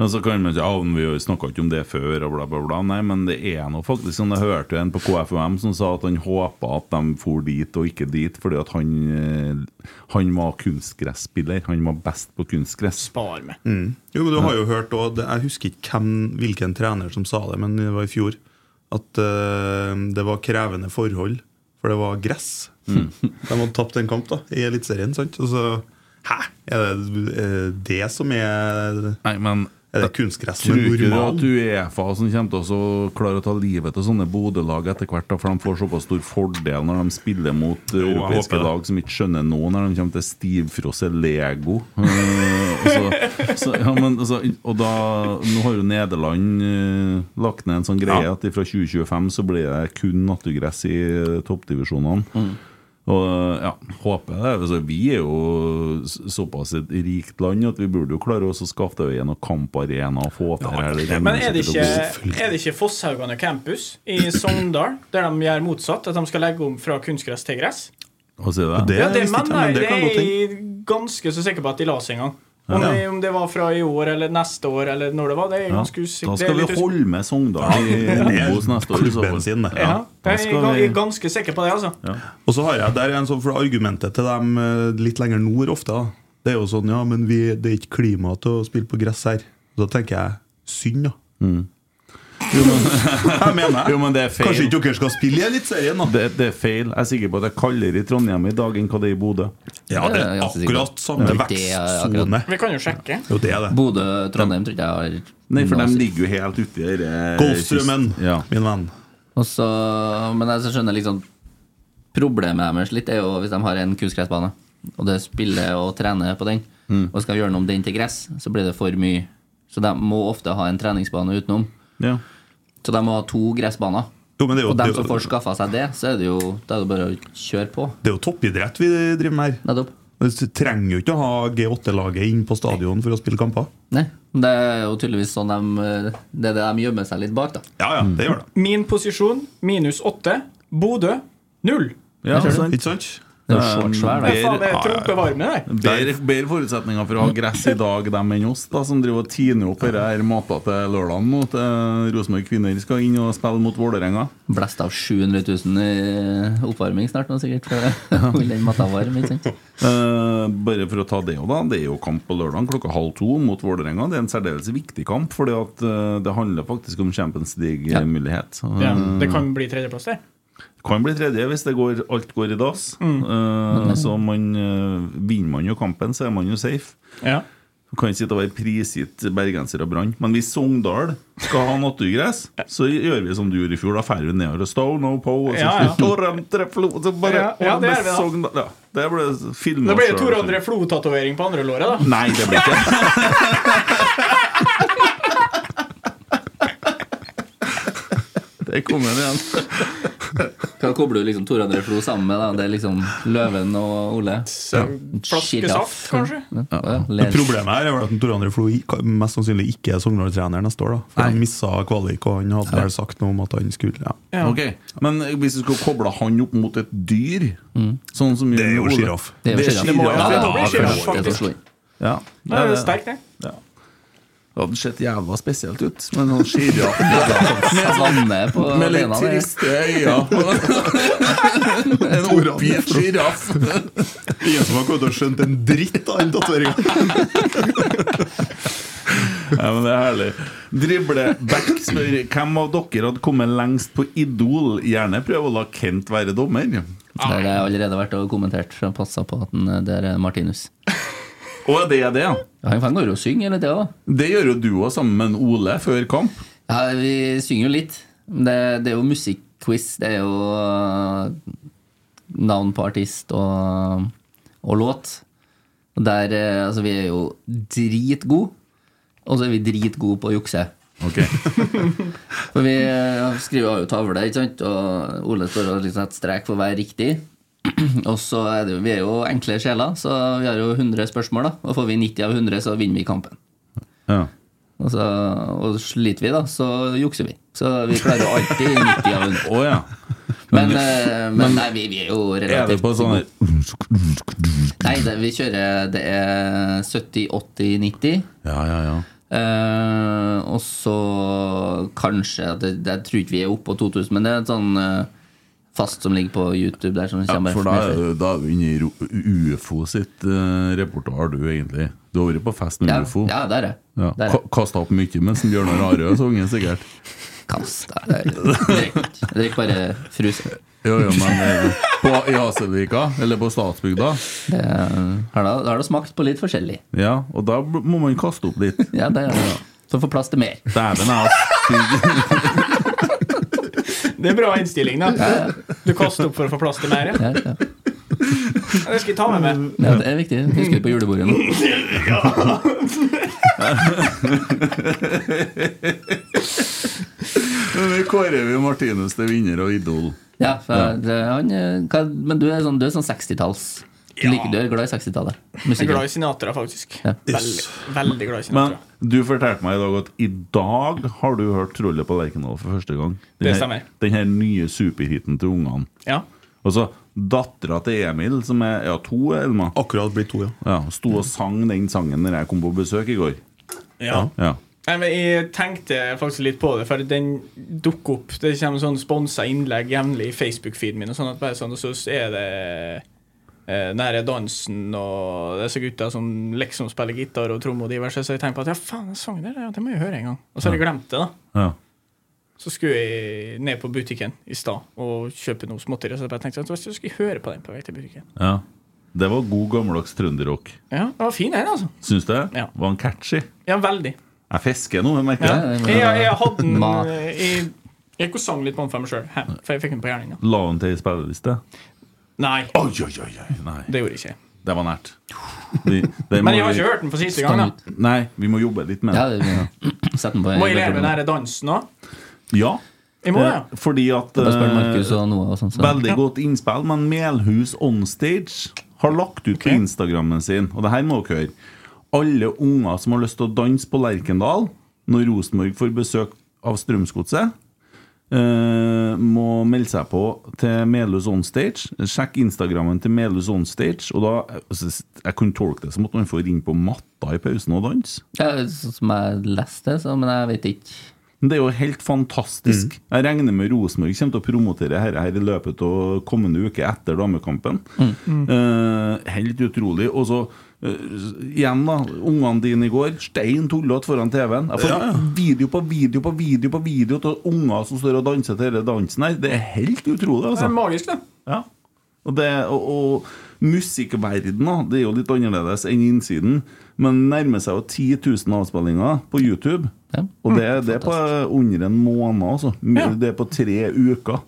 Men så kan man si, ja, men vi snakka ikke om det før, og bla, bla, bla. Nei, men det er nå faktisk sånn. Jeg hørte jo en på KFUM som sa at han håpa at de for dit og ikke dit, fordi at han, eh, han var kunstgresspiller. Han var best på kunstgress. Spar med. Jo, men du har jo hørt også, det- Jeg husker ikke hvem, hvilken trener som sa det, men det var i fjor. At eh, det var krevende forhold, for det var gress. Mm. De hadde tapt en kamp da, i Eliteserien. sant? Og så, Hæ! Er det eh, det som er Nei, men Er det kunstgress som Tror er ikke du at normal? Uefa som kommer til å så klare å ta livet av sånne Bodø-lag etter hvert, da, for de får såpass stor fordel når de spiller mot eh, Jo, jeg håper europeiske det. lag som ikke skjønner noe, når de kommer til stivfrosse Lego? Eh, og så, så, ja, men, altså, og da, nå har jo Nederland eh, lagt ned en sånn greie Ja. at fra 2025 så blir det kun nattegress i eh, toppdivisjonene. Mm. Og eh, ja, håper det. Altså, vi er jo s- såpass et rikt land at vi burde jo klare oss å skaffe til en kamparena og få til her. Det kommer Men er det sikkert til å gå. ikke, er det ikke Fosshaugane campus i Sogndal der de gjør motsatt, at de skal legge om fra kunstgress til gress? Hva sier du? ja, visste ikke det jeg, mener men det jeg. Det kan godt er jeg ganske så sikker på at de la seg en gang. Om, Ja. det, om det var fra i år eller neste år eller når det var, det er jeg Ja, ganske usikker. Da det er skal litt vi usikker- holde med Sogndal i Obos neste år. i så fall. Klubben sin, det. Ja, da jeg, skal er ga- vi- jeg er ganske sikker på det, altså. Og så har jeg der er en sånn, for argumentet til dem eh, litt lenger nord ofte da. Det er jo sånn, ja, men vi, det er ikke klima til å spille på gress her Og Da tenker jeg, synd da Mm. Jeg mener jeg. Jo, men det er feil. Kanskje ikke dere skal spille i Eliteserien da Det, det er feil. Jeg er sikker på at det er kaldere i Trondheim i dag enn hva det er i Bodø. Ja, det Det er er jeg ganske sikker på. akkurat samme Ja, det er akkurat- vekstzone Vi kan jo sjekke. Jo, det er det Bodø-Trondheim tror ikke jeg har Nei, for noe å de si. ligger jo helt uti der. eh, Golfstrømmen, kyst- Ja. min venn Og så, men jeg så skjønner liksom Problemet deres litt er jo hvis de har en kunstgressbane, og det spiller og trener på den, Mm. og skal gjøre noe om den til gress, så blir det for mye. Så de må ofte ha en treningsbane utenom. Ja. Så de må ha to gressbaner. Jo, men det er jo, Og det, dem er som får jo- skaffa seg det, så er det jo da er det bare å kjøre på. det er jo toppidrett vi driver med her Nettopp. Du trenger jo ikke å ha G8-laget inn på stadion for å spille kamper Nei, men Det er jo tydeligvis sånn de, det er det de gjemmer seg litt bak, da. Ja, ja, det gjør det Min posisjon minus åtte. Bodø null. Ja, sant. Ikke sant? Det er jo svart svær, Nei, da. faen, det er trompevarme, det. Bedre, bedre forutsetninger for å ha gress i dag dem enn oss, da, som driver og tiner opp dette her mata til lørdagen nå. til Rosenborg kvinner skal inn og spille mot Vålerenga. Blest av 700 000 i oppvarming snart nå, sikkert. For å holde den matta varm, ikke sant. Eh, bare for å ta det òg, da. Det er jo kamp på lørdag klokka halv to mot Vålerenga. Det er en særdeles viktig kamp, fordi at eh, det handler faktisk om Champions League-mulighet. Ja, det kan bli tredjeplass, det. Kan bli tredje hvis det går, alt går i dass. Mm. Eh, så man, eh, vinner man jo kampen, så er man jo safe. Ja. Du kan ikke sitte og være prisgitt bergenser og brann. Men hvis Sogndal skal ha naturgress, så gjør vi som du gjorde i fjor. Da drar vi nedover og Stone og Po. Og så Ja, ja. Torren, Treflo, og så bare Ja, ja, det gjør vi da. Sogndal. Ja, det ble filmet Da blir det selv. Tor André Flo-tatovering på andre låret, da. Nei, det blir ikke Det kommer igjen. Hva kobler du liksom Tor André Flo sammen med? da? Det er liksom Løven og Ole? Shit, ja. Flaskesaft, kanskje. Ja, ja. Men Ler. Problemet her er vel at Tor André Flo ikke- mest sannsynlig ikke er Sogndal-trener neste år. da For Han missa kvalik, og han hadde vel sagt noe om at han skulle ja. Ok, Men eh, hvis du skulle koble han opp mot et dyr Mm. Sånn som Det er jo Ole- sjiraff. Det er jo Det er sjiraff. sjiraff. Ja, Det må bli ja, sjiraff, det er til å faktisk. slå inn. Ja, Da er det sterkt, det. Ja. Det hadde sett jævla spesielt ut med noen sjiraff Svanne på med litt bena der. triste øyne. En oppgitt sjiraff. Ingen som har kommet og skjønt en dritt av den tatoveringa! Ja, men det er herlig. Dribleback spør hvem av dere hadde kommet lengst på Idol. Gjerne prøv å la Kent være dommer. Der har jeg allerede vært og kommentert og passa på at den, eh, der er Martinus. Og det er det, ja. Ja, han går jo og synger hele tida, da. Det gjør jo du òg sammen med en Ole før kamp. Ja, vi synger jo litt. Men Det, det er jo musikkquiz. Det er jo øh, navn på artist og, og låt. Og der, øh, altså, vi er jo dritgode. Og så er vi dritgode på å jukse. Ok For vi øh, skriver har jo tavle, ikke sant? og Ole står og liksom setter strek for hver riktig. Og så er det jo, Vi er jo enkle sjeler, så vi har jo 100 spørsmål. da Og Får vi 90 av 100, så vinner vi kampen. Ja. Og, så, og sliter vi, da, så jukser vi. Så vi klarer jo alltid 90 av 100. Men, eh, men nei, vi, vi er jo Er det relativt på sånn her Nei, det, vi kjører Det er 70, 80, 90. Ja, ja, ja. Eh, og så kanskje at det, Jeg tror ikke vi er oppe på 2000, men det er et sånn eh, fast som ligger på YouTube. der som Ja, kommer for da med- er du- da er du inne i ro- UFO sitt eh, repertoar, du egentlig. Du har vært på fest med Ja, UFO. ja, der er jeg. Ja. Der er jeg. Ka- Kasta opp mye mens Bjørnar Arøe sang, sikkert. Kasta Jeg drikker bare fruse. Jo, jo, men eh, på, I Hasevika, eller på Statsbygda. Det har da, da har det smakt på litt forskjellig. Ja, og da b- må man kaste opp litt. Ja, det er det. Så får plass til mer. Dæven, jeg Det er bra innstilling, da. Du kaster opp for å få plass til mer. Ja, ja. Det skal jeg ta med meg. Ja, det er viktig. Husker du på julebordet nå? Men vi kårer vi Martinus til vinner og idol. Ja, for det, han, eh, hva, men du er sånn, du er sånn 60-talls. Du, liker- du er glad i 60-tallet. Jeg er Musikken. glad i Sinatra, faktisk. Ja. Veldig, veldig glad i Men Sinatra. du fortalte meg i dag at i dag har du hørt Trollet på Lerkendal for første gang. Den Det her- stemmer. Den her nye superhiten til ungene. Ja. Og så Dattera til Emil, som er ja, to, Elma, Akkurat blitt to, ja. ja, sto og sang den sangen når jeg kom på besøk i går. Ja. Ja. Nei, men Jeg tenkte faktisk litt på det, for den dukker opp. Det kommer sånn sponsa innlegg jevnlig i Facebook-feeden min, og sånn at bare sånn, og så er det eh, nære dansen og disse gutta som liksom spiller gitar og tromme og diverse, så jeg tenker på at ja, faen, den sangen der, ja, det må jeg høre en gang. Og så har jeg glemt det, da. Ja. Så skulle jeg ned på butikken i stad og kjøpe noe småtteri, så jeg bare tenkte at jeg skulle høre på den på vei til butikken. ja. Det var god gammeldags trønderrock. Ja, det var fin den, altså. Syns du det? Ja. Var han catchy? Ja, veldig. Jeg fisker nå, jeg merker Ja. det. Jeg, jeg, jeg hadde den Ma- eh, Jeg, jeg gikk og sang litt på den for meg sjøl, for jeg fikk den på gjerninga. La han til ei spilleliste? Nei, Oi, oi, oi, oi. Nei, det gjorde jeg ikke. det var nært. Vi- det må Men jeg har vi- ikke hørt den for siste gang. da Nei, vi må jobbe litt med Ja, det. det, Sett den på Må jeg leve nære dansen òg? Ja. Jeg må eh, det. Fordi at Bare spør Markus eh, og Noah og sånn. Så. Veldig godt innspill, men Melhus Onstage har lagt ut på Instagrammen sin, og det her må dere høre Alle unger som har lyst til å danse på Lerkendal når Rosenborg får besøk av Strømsgodset, eh, må melde seg på til Melhus Onstage. Sjekk Instagrammen til Melhus Onstage, og da altså, Jeg kunne tolke det som at man får ringe på matta i pausen og danse. Ja, sånn som jeg leste det, så, men jeg vet ikke. Men Det er jo helt fantastisk. Jeg regner med Rosenborg kommer til å promotere dette her i løpet av kommende uke etter damekampen. Eh, helt utrolig. Og så eh, igjen, da. Ungene dine i går. Stein tullete foran TV-en. Jeg får video på video på video på video av unger som står og danser til denne dansen her. Det er helt utrolig, Det er altså. magisk, det. Ja. Og, det, og, og musikkverdenen, da, det er jo litt annerledes enn innsiden, men nærmer seg jo 10 000 avspillinger på YouTube. Ja. Og det, det er på under en måned, altså. M- Ja. Det er på tre uker.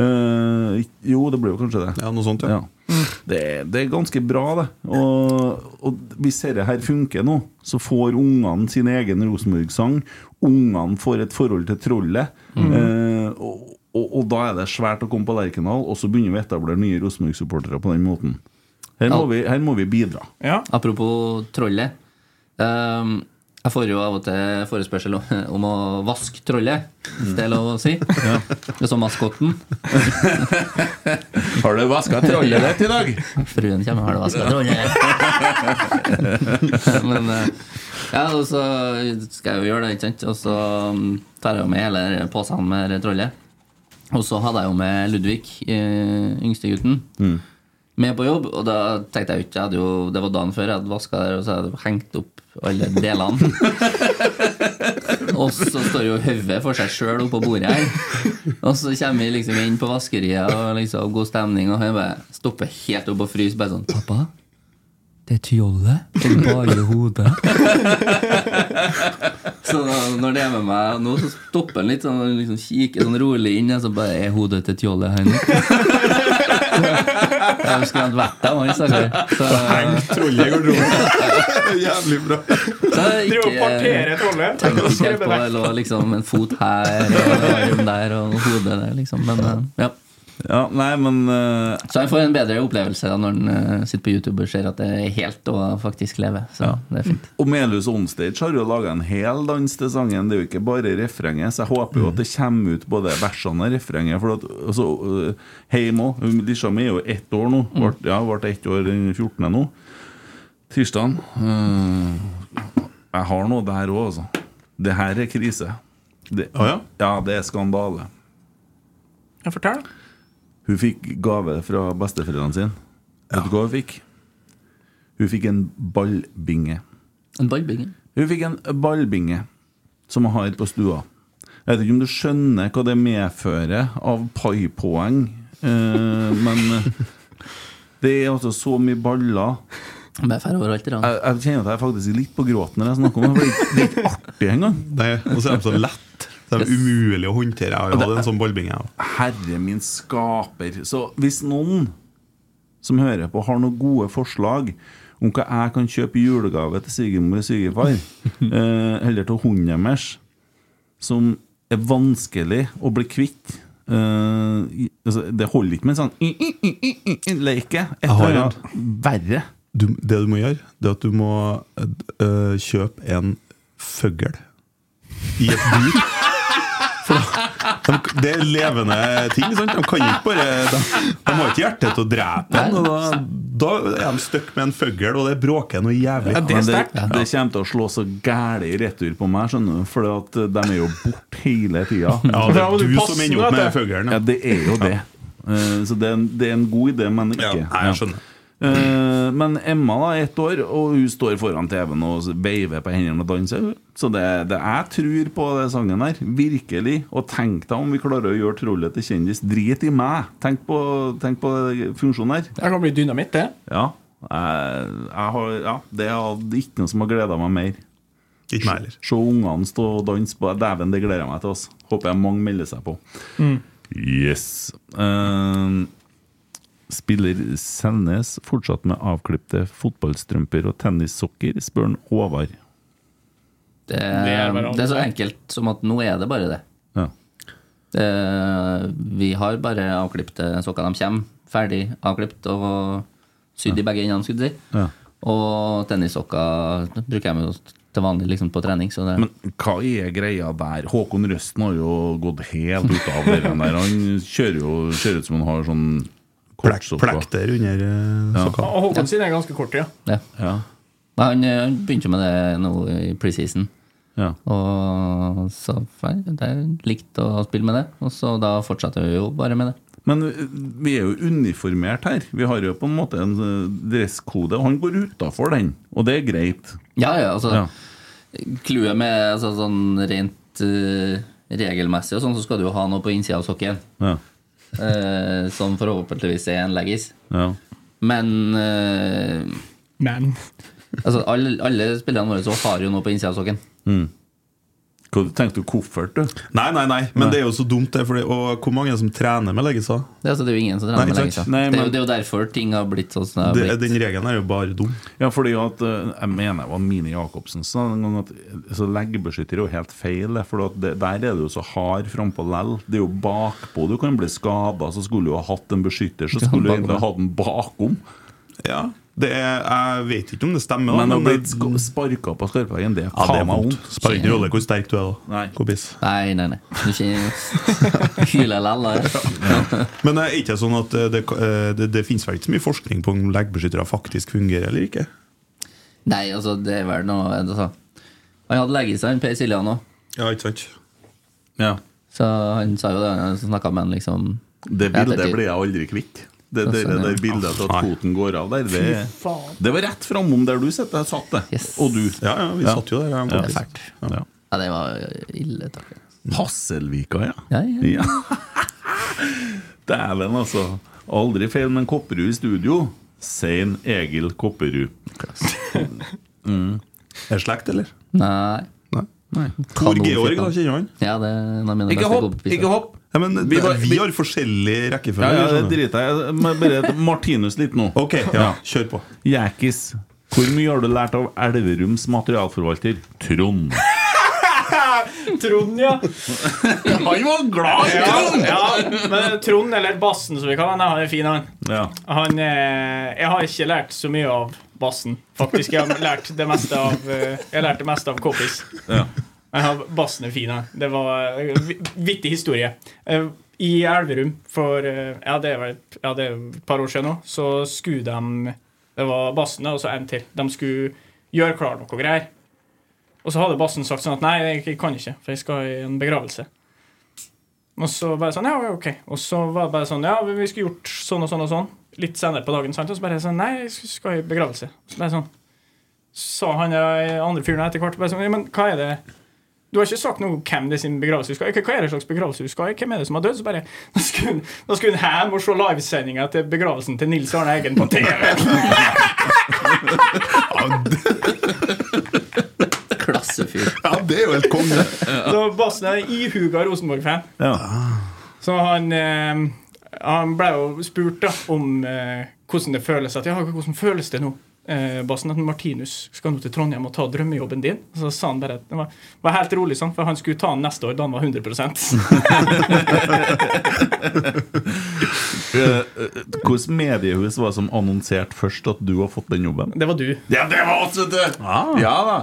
Eh, jo, det blir jo kanskje det. Ja, noe sånt, ja. Ja. Det, er- det er ganske bra, det. Og, og hvis dette her funker nå, så får ungene sin egen Rosenborg-sang. Ungene får et forhold til trollet. Eh, og, og, og da er det svært å komme på Lerkendal, og så begynner vi å etablere nye Rosenborg-supportere på den måten. Her må, vi, her må vi bidra. Ja. Apropos trollet. Ehm, jeg får jo av og til forespørsel om, om å vaske trollet, hvis det er lov å si. Det er som maskotten. Har du vaska trollet ditt i dag? Fruen kommer og har det vaska trollet. Men eh, ja, og så skal jeg jo gjøre det, ikke sant. Og så mm, tar jeg jo med hele posen med det trollet. Og så hadde jeg jo med Ludvig, eh, yngstegutten, med på jobb. Og da tenkte jeg jo ikke jeg hadde jo, Det var dagen før jeg hadde vaska der, og så hadde jeg hengt opp alle delene. Og så står jo hodet for seg sjøl oppå bordet her. Og så kommer vi liksom inn på vaskeriet og liksom god stemning, og jeg bare stopper helt opp og fryser. Bare sånn Pappa, det er tjolle. Det er bare hodet. Så da- når det er med meg nå, så stopper han litt sånn og liksom kikker sånn rolig inn. Og så bare Er hodet til tjolle her nå? Jeg skulle hatt vært der, han stakkar. Så, Trollet i garderoben. Jævlig bra. så Driver og ikke parterer trollet. tenkte ikke Skrevet helt på det. det lå liksom en fot her og en arm der og hodet der, liksom. Men eh, ja. Ja, nei, men eh, Så han får en bedre opplevelse da, når han eh, sitter på YouTube og ser at det er helt og faktisk lever. Så det er fint. Og Melhus Onstage har jo laga en hel dans til sangen. Det er jo ikke bare refrenget, så jeg håper jo at det kommer ut både versene og refrenget. For at, altså, øh, Heim òg. Lisha mi er jo ett år nå. Ble, ja, ble ett år den 14. nå. Tirsdagen. Øh, jeg har noe der òg, altså. Det her er krise. Det, ja? det er skandale. Ja, fortell. Hun fikk gave fra besteforeldrene sine. Vet du hva hun fikk? Hun fikk en ballbinge. En ballbinge? Hun fikk en ballbinge som hun har på stua. Jeg vet ikke om du skjønner hva det medfører av paipoeng, eh, men det er altså så mye baller. Jeg, jeg kjenner at jeg er faktisk litt på gråten når jeg snakker om det. for det er ikke- Det er ikke artig engang. Og så er de så lett. Det er umulig å håndtere. Jeg har jo Og det- hatt en sånn ballbinge. jeg også. Herre min skaper. Så hvis noen som hører på, har noen gode forslag om hva jeg kan kjøpe i julegave til svigermor og svigerfar, eh, eller til hunden deres, som er vanskelig å bli kvitt eh, i- altså, Det holder ikke med en sånn i, i, i, i, i, i, leke. Et Jeg har en. eller annet verre. Du, det du må gjøre, det er at du må øh, kjøpe en føggel i et bur. For de, det er levende ting. Sant? De kan ikke bare De, de har ikke hjerte til å drepe en. Og da, da er de stuck med en føggel, og det bråker noe jævlig. Ja, men det, det kommer til å slå så gæli i retur på meg, skjønner du. For at eh, de er jo borte hele tida. Ja, det er Ja, men du du som passer ender opp med det. føglene. Ja, det er jo det. Eh, Så det er, en, det er en god idé, men ikke. Ja, nei, jeg skjønner. Eh, Men Emma da, er ett år, og hun står foran TV-en og veiver på hendene og danser. Så det, det jeg tror på den sangen her, virkelig. Og tenk deg om vi klarer å gjøre trollet til kjendis. Drit i meg! Tenk på, tenk på funksjonen her. Det kan bli dynamitt, det. Ja. Jeg, jeg har, ja det er ikke noe som har gleda meg mer. Ikke meg heller. Se se ungene stå og danse på. Dæven, det gleder jeg meg til. Oss. Håper jeg mange melder seg på. Mm. Yes. Eh, spiller Selnes fortsatt med avklipte fotballstrømper og tennissokker, spør han Håvard. Det, Eh, det er så enkelt som at nå er det bare det. Ja. det vi har bare avklipte sokker. De kommer ferdig avklipt og sydd i begge endene, skulle jeg si. Ja. Og tennissokker bruker jeg meg jo til vanlig liksom, på trening. Så det, Men hva er greia der? Håkon Røsten har jo gått helt ut av det der. Han kjører jo ser ut som han har sånn kortsokker. Plekter under eh, Ja. sokkene. Og Håkon sin er ganske kort, ja. Ja. Nei, han, eh, han begynte med det nå i preseason. Og så fe- det er likt å spille med det. Og så da fortsatte vi jo bare med det. Men eh, vi er jo uniformert her. Vi har jo på en måte en eh, dresskode, og han går utafor den. Og det er greit. Ja, ja, altså Ja. Clouet med altså, sånn rent eh, regelmessig og sånn, så skal du jo ha noe på innsida av sokken. Ja. Eh, som forhåpentligvis er en leggis. Ja. Men eh, Men Altså, alle, alle spillerne våre så har jo noe på innsida av sokken. Mm. Hva tenkte du koffert, du? Nei, nei, nei, men det er jo så dumt, det. Fordi, og hvor mange er det som trener med leggelser? Det, er altså, det er jo ingen som trener Nei, med ikke leggis. sant? Det, Nei, er jo- men- det er jo derfor ting har blitt sånn som det har Det- blitt. Den regelen er jo bare dum. Ja, fordi at eh, Jeg mener det var Mine Jacobsen som sa en gang at eh, så leggbeskytter er jo helt feil. eh, For at det, der er du jo så hard frampå lell. Det er jo bakpå du kan bli skada. Så skulle du ha hatt en beskytter, så skulle du egentlig ha hatt den bakom. Ja, det er, Jeg vet ikke om det stemmer. da, Men å bli det- sk- sparka på skarpveggen, det er Ja, det faen er meg vondt. vondt. Spiller ingen rolle hvor sterk du er, da. Nei. Kompis. Nei, nei, nei. Du ikke hyler lell, da. Men det er ikke sånn at eh, det, eh, det, det finnes vel ikke så mye forskning på om leggbeskyttere faktisk fungerer eller ikke? Nei, altså, det er vel noe altså. Han hadde leggis, han Per Siljan òg. Ja, ikke sant? Så han sa jo det, han snakka med han liksom Det bildet ettertid. blir jeg aldri kvitt. Det, Sånn, det, det sånn, ja. der bildet til at Nei. foten går av der, Fy det, faen. det var rett framom der du satt. Jeg satt det. Og du. Ja, ja, vi satt jo der, jeg og Ja. kompis. Det er fælt. Ja. Ja, det var ille, takk. Hasselvika, ja. Ja, ja. Dæven, altså. Aldri feil med en Kopperud i studio. Sein Egil Kopperud. Mm. Er det slekt, eller? Nei. Tor Kanonfyr, Georg, da, da. kjenner han? Ja, det er en av mine Ikke beste hopp, kompiser. ikke hopp. Ja, men Vi vi, var- vi vi- har forskjellig Ja, rekkefølge. ja, det skjønner du. driter jeg i. Men Bare et Martinus litt nå. Ok, ja, kjør på. Jækis. Hvor mye har du lært av Elverums materialforvalter, Trond? Trond, ja. Han var glad i Trond! Ja, ja, men Trond, eller Bassen som vi kaller han, han er fin, han. Ja. han eh, jeg har ikke lært så mye av bassen. Faktisk, jeg har lært det meste av eh, Jeg har lært det meste av Coppis. Ja. Men han, bassen er fin, han. Det var eh, vi- vittig historie. Eh, I Elverum for eh, ja, det er vel et- ja, det er et par år siden nå, så skulle de Det var bassen da, og så en til. De skulle gjøre klar noe greier. Og så hadde bassen sagt sånn at nei, jeg, jeg kan ikke, for jeg skal i en begravelse. Og så bare sånn, ja, ok. Og så var det bare sånn, ja, vi skulle gjort sånn og sånn og sånn. Litt senere på dagen, sant? Og så bare sånn, nei, jeg skal i begravelse. Så bare sånn, sa han eh, andre fyren etter hvert, bare sånn, ja, men hva er det? Du har ikke sagt noe om hvem det er sin begravelse du skal i. Hva- Hva er det slags begravelse du skal i? Hvem er det som har dødd? Så bare, da skulle, hun- da skulle hun hjem og se livesendinga til begravelsen til Nils Arne Eggen på TV. Klassefyr. Ja, det er jo helt konge. Så Bassen er ihuga Rosenborg-fan. Så han, eh, han ble jo spurt da om eh, hvordan det føles at, ja, hvordan føles det nå, eh, Bassen, at Martinus skal nå til Trondheim og ta drømmejobben din. Så sa han bare at det var, var helt rolig, sånn, for han skulle ta den neste år da han var 100 Eh, eh, Hvilket mediehus var det som annonserte først at du har fått den jobben? Det var du. Ja, det var oss, vet du! Ja da.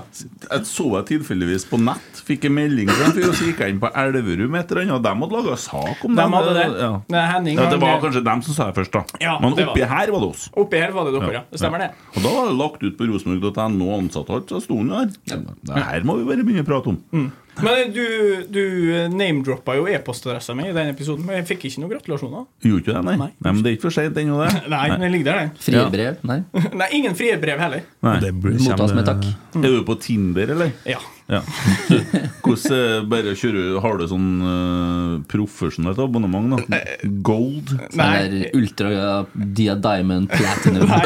Jeg så jeg tilfeldigvis på nett. Fikk en melding fra en fyr, og så gikk jeg inn på Elverum et eller annet, og de hadde laga sak om De dem. hadde det. Ja. Det er Henning, ja, det han- var kanskje dem som sa det først, da. Ja, Men det var oppi det. her var det oss. Oppi her var det dere, ja. Det stemmer det. Og da var det lagt ut på rosenborg.no og ansatt alt, så sto han jo der. Det her må vi bare begynne å prate om. Mm. Men du, du eh, name-droppa jo e-postadressa mi i den episoden, men jeg fikk ikke noen gratulasjoner. Gjorde ikke det, nei. nei. Men det er ikke for seint ennå, det. Nei, den ligger der, den. Fribrev? Nei. Nei, ingen frierbrev heller. Nei. Mm. Mottas med takk. Er du på Tinder, eller? Ja. Hvordan eh, bare kjører, Har du sånn uh, profesjonelt abonnement, da? Eh, Gold? Eller Ultra Dia Diamond Platinum. Jeg,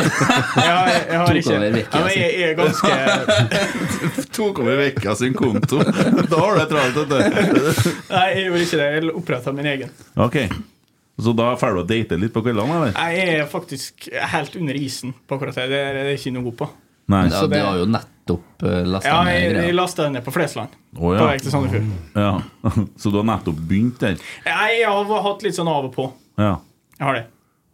jeg har Tok ikke over vekka ja, men jeg, jeg er ganske Tok over vekka sin konto. Da har du det travelt, vet du. Nei, jeg gjorde ikke det. Jeg oppretta min egen. Ok. Så da drar du og dater litt på kveldene, eller? Jeg er faktisk helt under isen på akkurat det. Det er det er jeg ikke noe god på. Nei. Ja, Så det- du har jo nettopp eh, lastet Ja, ned jeg, greier. jeg lasta den ned på Flesland. Å, ja. På vei til Sandefjord. Ja. Så du har nettopp begynt der? Nei, Jeg har hatt litt sånn av og på. Ja. Jeg har det.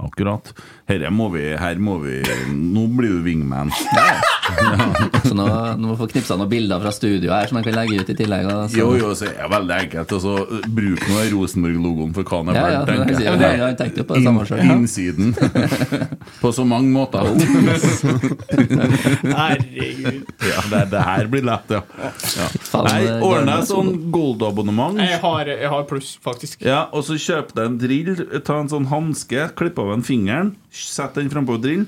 Akkurat. Herre må vi, her må vi Nå blir du wingman. Så nå, nå må vi få knipsa noen bilder fra studio her som jeg kan legge ut i tillegg. og så- Jo, jo, så er det veldig enkelt. Og så uh, bruk nå Rosenborg-logoen for hva den Ja, er ja, verdt, tenker det er- jeg. det er- jeg tenkte jo på det samme selv. In, innsiden. på så mange måter. Herregud. Ja, det, det her blir lett, ja. ja. faen, Nei, det- ordne deg sånn goldabonnement. Jeg har, jeg har pluss, faktisk. Ja, og så kjøp deg en drill, ta en sånn hanske, klipp av en fingeren, sett den frampå drillen.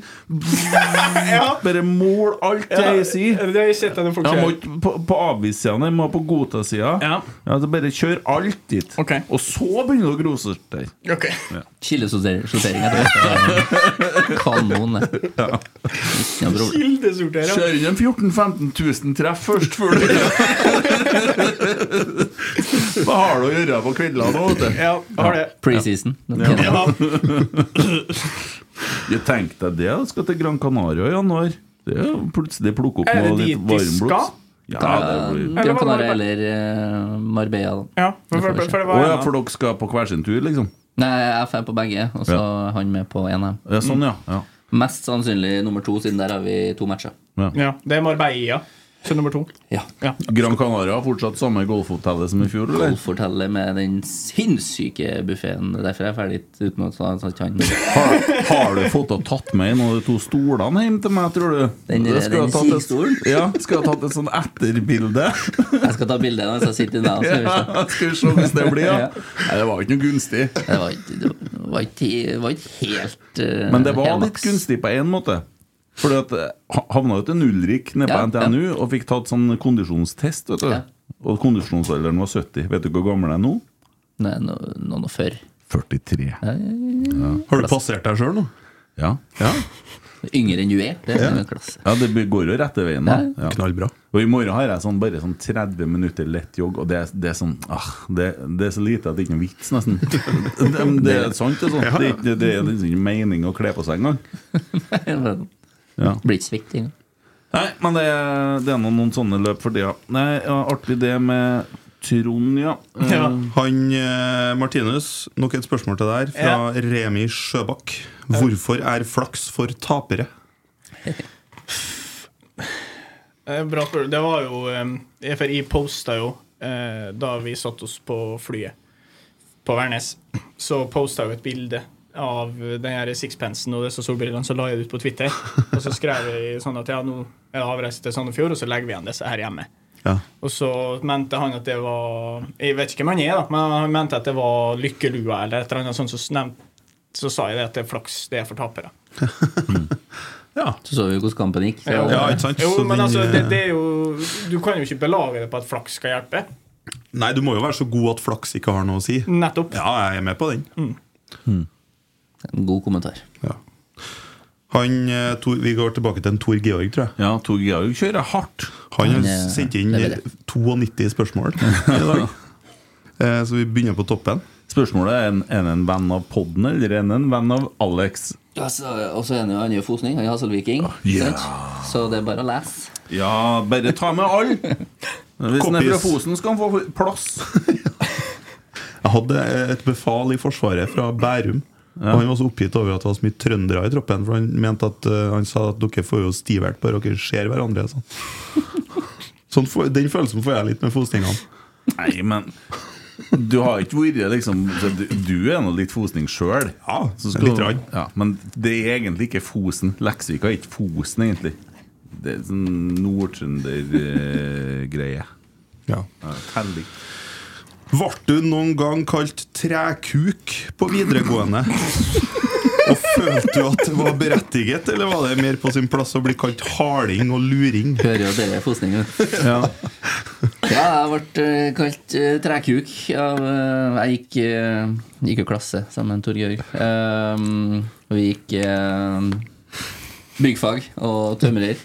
Bare mål alt det jeg sier. Det har jeg sett at folk Ja, må gjør. ikke på, på avvis-sida, må på godta-sida. Ja. så bare kjør alt dit. Og så begynner du å grovsortere. Ok. Kildesortering heter det. Kanon, det. Ja, bror. Kildesorterer. Kjør inn en 14 000-15 000 treff først, før du Hva har du å gjøre på kveldene nå, vet du? Ja, har det. Preseason. Ja. Jeg tenkte deg det, jeg skal til Gran Canaria i januar. Det er jo plutselig plukke opp Er det noe dit litt de varmblods. skal? Ja, Da- det blir Gran Canaria eller eh, Marbella, da. Ja, for, Det får for, vi for, se. det var Å ja, en av- for dere skal på hver sin tur, liksom? Nei, jeg drar på begge, og så Ja. han med på en av dem. Ja, sånn, ja. ja. Mest sannsynlig nummer to, siden der har vi to matcher. ja, Det er Marbella, så nummer to. Gran Canaria har fortsatt samme golfhotellet som i fjor, eller? Golfhotellet med den sinnssyke buffeen. Derfor er jeg ferdig uten å ta en sånn Har du fått og tatt med en av de to stolene hjem til meg, tror du? Den- Jeg skulle den ha tatt et- sigstolen? Ja, skulle ha tatt et sånn etterbilde. Jeg skal ta bilde når jeg sitter inne. så vi får se. Ja, skal vi se hvis det blir, ja. Nei, det var jo ikke noe gunstig. Det var ikke, det var ikke, det var ikke helt eh, Men det var helt litt maks. gunstig på én måte. Fordi at eh, ha- Havna jo til Ulrik nede på Ja, NTNU og fikk tatt sånn kondisjonstest. vet du Og kondisjonsalderen var 70. Vet du hvor gammel jeg er nå? Nei, no, noen og før. 43. Har du passert deg sjøl nå? Ja. ja. Yngre enn du er. Det er en klasse. Ja, det be- går jo rette veien. da Ja. ja. Knallbra. Og i morgen har jeg sånn, bare sånn 30 minutter lett jogg, og det, er- det er sånn ah, det, det er så lite at det er ikke noe vits, nesten. Det, det er sant, det er sånn. Det, er ikke- det, det er liksom ikke mening å kle på seg engang. Ja. Blir ikke svikt engang. Nei, men det, det er nå noen sånne løp for tida. Nei, ja, artig det med Trond, ja. Eh, Han eh, Martinus, nok et spørsmål til deg her, fra Remi Sjøbakk. Hvorfor er flaks for tapere? Eh, Bra spørsmål. Det var jo eh, For jeg posta jo eh, da vi satte oss på flyet på Værnes, så posta jeg jo et bilde av den her sixpensen og disse solbrillene, så la jeg det ut på Twitter. Og så skrev jeg sånn at ja, nå er det avreise til Sandefjord, og så legger vi igjen disse her hjemme. Ja. Og så mente han at det var Jeg vet ikke hvem han er, da, men han mente at det var lykkelua eller et eller annet sånt. Så, nevnt, så sa jeg det at det er flaks, det er for tapere. Så så vi jo hvordan kampen gikk. så- Ja, Jo, men altså, det, det er jo Du kan jo ikke belage det på at flaks skal hjelpe. Nei, du må jo være så god at flaks ikke har noe å si. Nettopp. Ja, jeg er med på den. Mm. En god kommentar. Ja. Han, eh, Tor, vi går tilbake til en Tor Georg, tror jeg. Ja, Tor Georg kjører hardt. Han har Han, eh, sendt inn leverer. 92 spørsmål i dag. Eh, Så vi begynner på toppen. Spørsmålet er en, er det en venn av podden eller er det en venn av Alex? Og så og så er han jo han er jo fosning, han er Hasselviking. sant? Så det er bare å lese. Ja, bare ta med all! Hvis han er fra Kompis. Fosen, skal han få plass. Jeg hadde et befal i Forsvaret fra Bærum. Og Han var så oppgitt over at det var så mye trøndere i troppen. For Han mente at eh, han sa at dere får jo stivert bare dere ser hverandre. Sånn. Sånn, får- den følelsen får jeg litt med fosningene. Nei, men du har ikke vært liksom så Du du er nå litt fosning sjøl. Ja, litt rann. ja, men det er egentlig ikke Fosen. Leksvika er ikke Fosen, egentlig. Det er sånn nordtrønder-greie. Ja. Telling. Ble du noen gang kalt trekuk på videregående? Og følte du at det var berettiget, eller var det mer på sin plass å bli kalt harding og luring? Hører jo dere fosning, Ja. Ja, jeg ble eh, kalt eh, trekuk. Av, eh, jeg gikk, eh, gikk jo klasse sammen med Tor Georg. Eh, og vi gikk eh, byggfag og tømrer.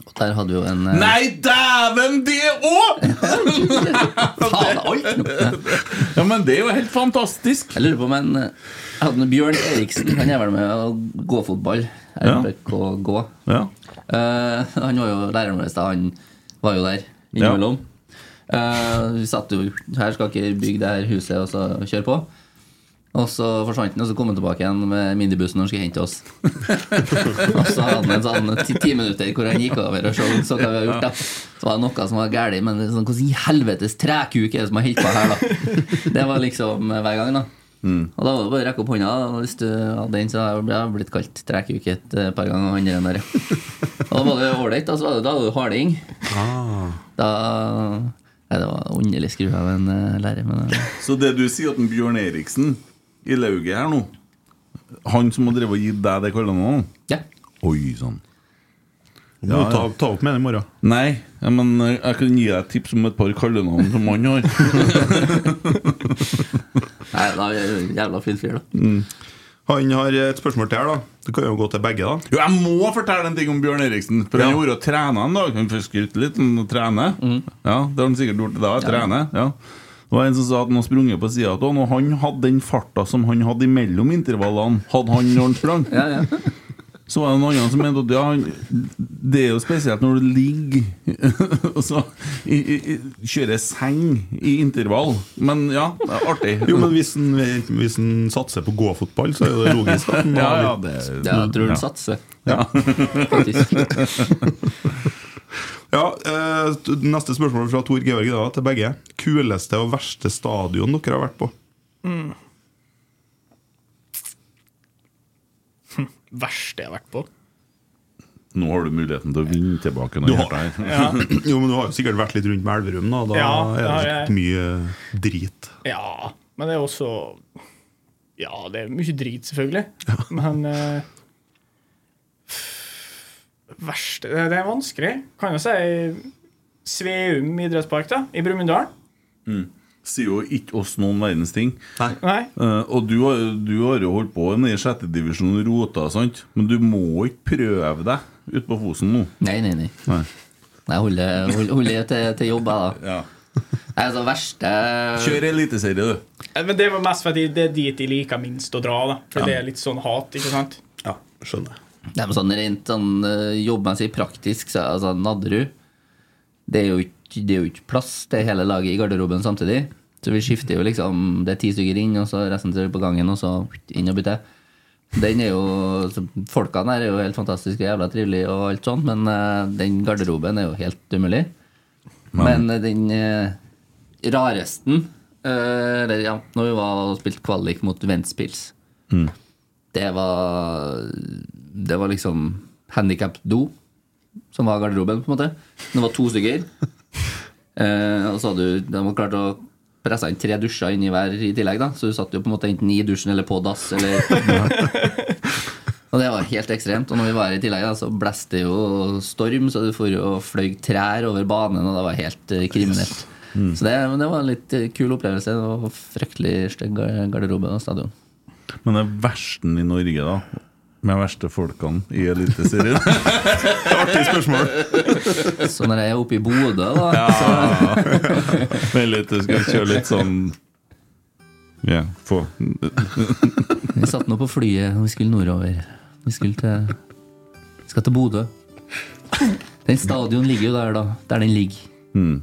Og der hadde vi jo en eh, Nei, dæven, det òg! Faen, alt nå! Ja, men det er jo helt fantastisk. Jeg lurer på om en eh, jeg hadde en Bjørn Eriksen Han er vel med å gå fotball. Ja. RBK gå. Ja. Eh, han var jo læreren vår, da. han var jo der innimellom. Eh, vi satt jo Her skal dere bygge det her huset og så kjøre på. Og så forsvant han, og så kom han tilbake igjen med minibussen og skulle hente oss. og så hadde han en sånn ti, ti minutter hvor han gikk over og så, så hva vi hadde gjort. da Så var det noe som var galt, men det er sånn, hvordan i helvetes trekuk er det som har holdt på her, da? Det var liksom hver gang, da. Og da var det bare å rekke opp hånda. Og hvis du hadde den, så har jeg blitt kalt trekuk et eh, par ganger. Og han der, der. Og da var det ålreit. Da så var det- da var det harding. Da Nei, det var underlig skru av en eh, lærer. Men, eh, Så det du sier at en Bjørn Eriksen i lauget her nå Han som har drevet og gitt deg det kallenavnet? Ja. Oi sånn. sann. Du må ta, ta opp med den i morgen. Nei, ja, men eh, jeg kan gi deg et tips om et par kallenavn som han har. nei, da er jeg jævla fin fyr, da. Han har et spørsmål til her, da. Det kan jo gå til begge, da. Jo, jeg må fortelle en ting om Bjørn Eriksen. For han gjorde og trene en dag. Han fikk skryte litt om å trene. Ja, det har han sikkert gjort da. Ja. Trene. Ja. Det var en som sa at han har sprunget på sida av han, og han hadde den farta som han hadde imellom intervallene, hadde han når han sprang. Så var det noen andre som mente at ja, han- det er jo spesielt når du ligger og så i, i, i, kjører seng i intervall. Men ja, det er artig. Jo, men hvis han, hvis han satser på gåfotball, så er jo det logisk. At han ja, ja, har det, litt- Ja, jeg tror han satser. Ja. Faktisk. ja eh, t- neste spørsmål fra Tor Georg da, til begge. Kuleste og verste stadion dere har vært på? Mm. Hm, Verste jeg har vært på. Nå har du muligheten til å vinne tilbake. Du noe har, hjertet her. jo, men du har jo sikkert vært litt rundt med Elverum, da. Da Ja, er det ja, sikkert mye drit. Ja, men det er også Ja, det er mye drit, selvfølgelig. Men eh, Verste Det det er vanskelig. Kan jo si Sveum idrettspark, da, i Brumunddal. Mm. Sier jo ikke oss noen verdens ting. Nei. Eh, og du har, du har jo holdt på nede i sjette divisjon og rota, sant? men du må ikke prøve deg ute på Fosen nå. Nei, nei, nei. Jeg holder, holder, holder til, til jobb, jeg, da. Nei, altså, verste Kjør eliteserie, du. Eh, Men det var mest fordi det er dit de liker minst å dra, da. For Ja. det er litt sånn hat, ikke sant? Ja, skjønner Nei, men sånn rent sånn, eh, jobbmessig praktisk, så, altså Nadderud det er jo ikke, det er jo ikke plass til hele laget i garderoben samtidig. Så vi skifter jo liksom Det er ti stykker inn, og så resten ser vi på gangen, og så inn og bytte. Den er jo så Folkene her er jo helt fantastiske, jævla trivelige og alt sånt, men eh, den garderoben er jo helt umulig. Men, eh, den eh, raresten eh, Eller ja, når vi var og spilte kvalik mot Ventspils Mm. det var Det var liksom handikap-do som var garderoben, på en måte. Det var to stykker. Eh, og så hadde du De var klart å presse inn tre dusjer inni hver i tillegg, da. Så du satt jo på en måte enten i dusjen eller på dass, eller Og det var helt ekstremt. Og når vi var her i tillegg, da, så blåste det jo storm, så du for jo og fløy trær over banen, og det var helt eh, kriminelt. Så det, men det var en litt eh, kul opplevelse. Det var fryktelig stygg gar- garderobe og stadion. Men det er versten i Norge, da. Med verste folkene i Eliteserien. Artig spørsmål. Så når jeg er oppe i Bodø, da så- Vent litt, jeg skal kjøre litt sånn Ja, få Vi satt nå på flyet, og vi skulle nordover. Vi skulle til vi skal til Bodø. Den stadion ligger jo der, da. Der den ligger. Mm.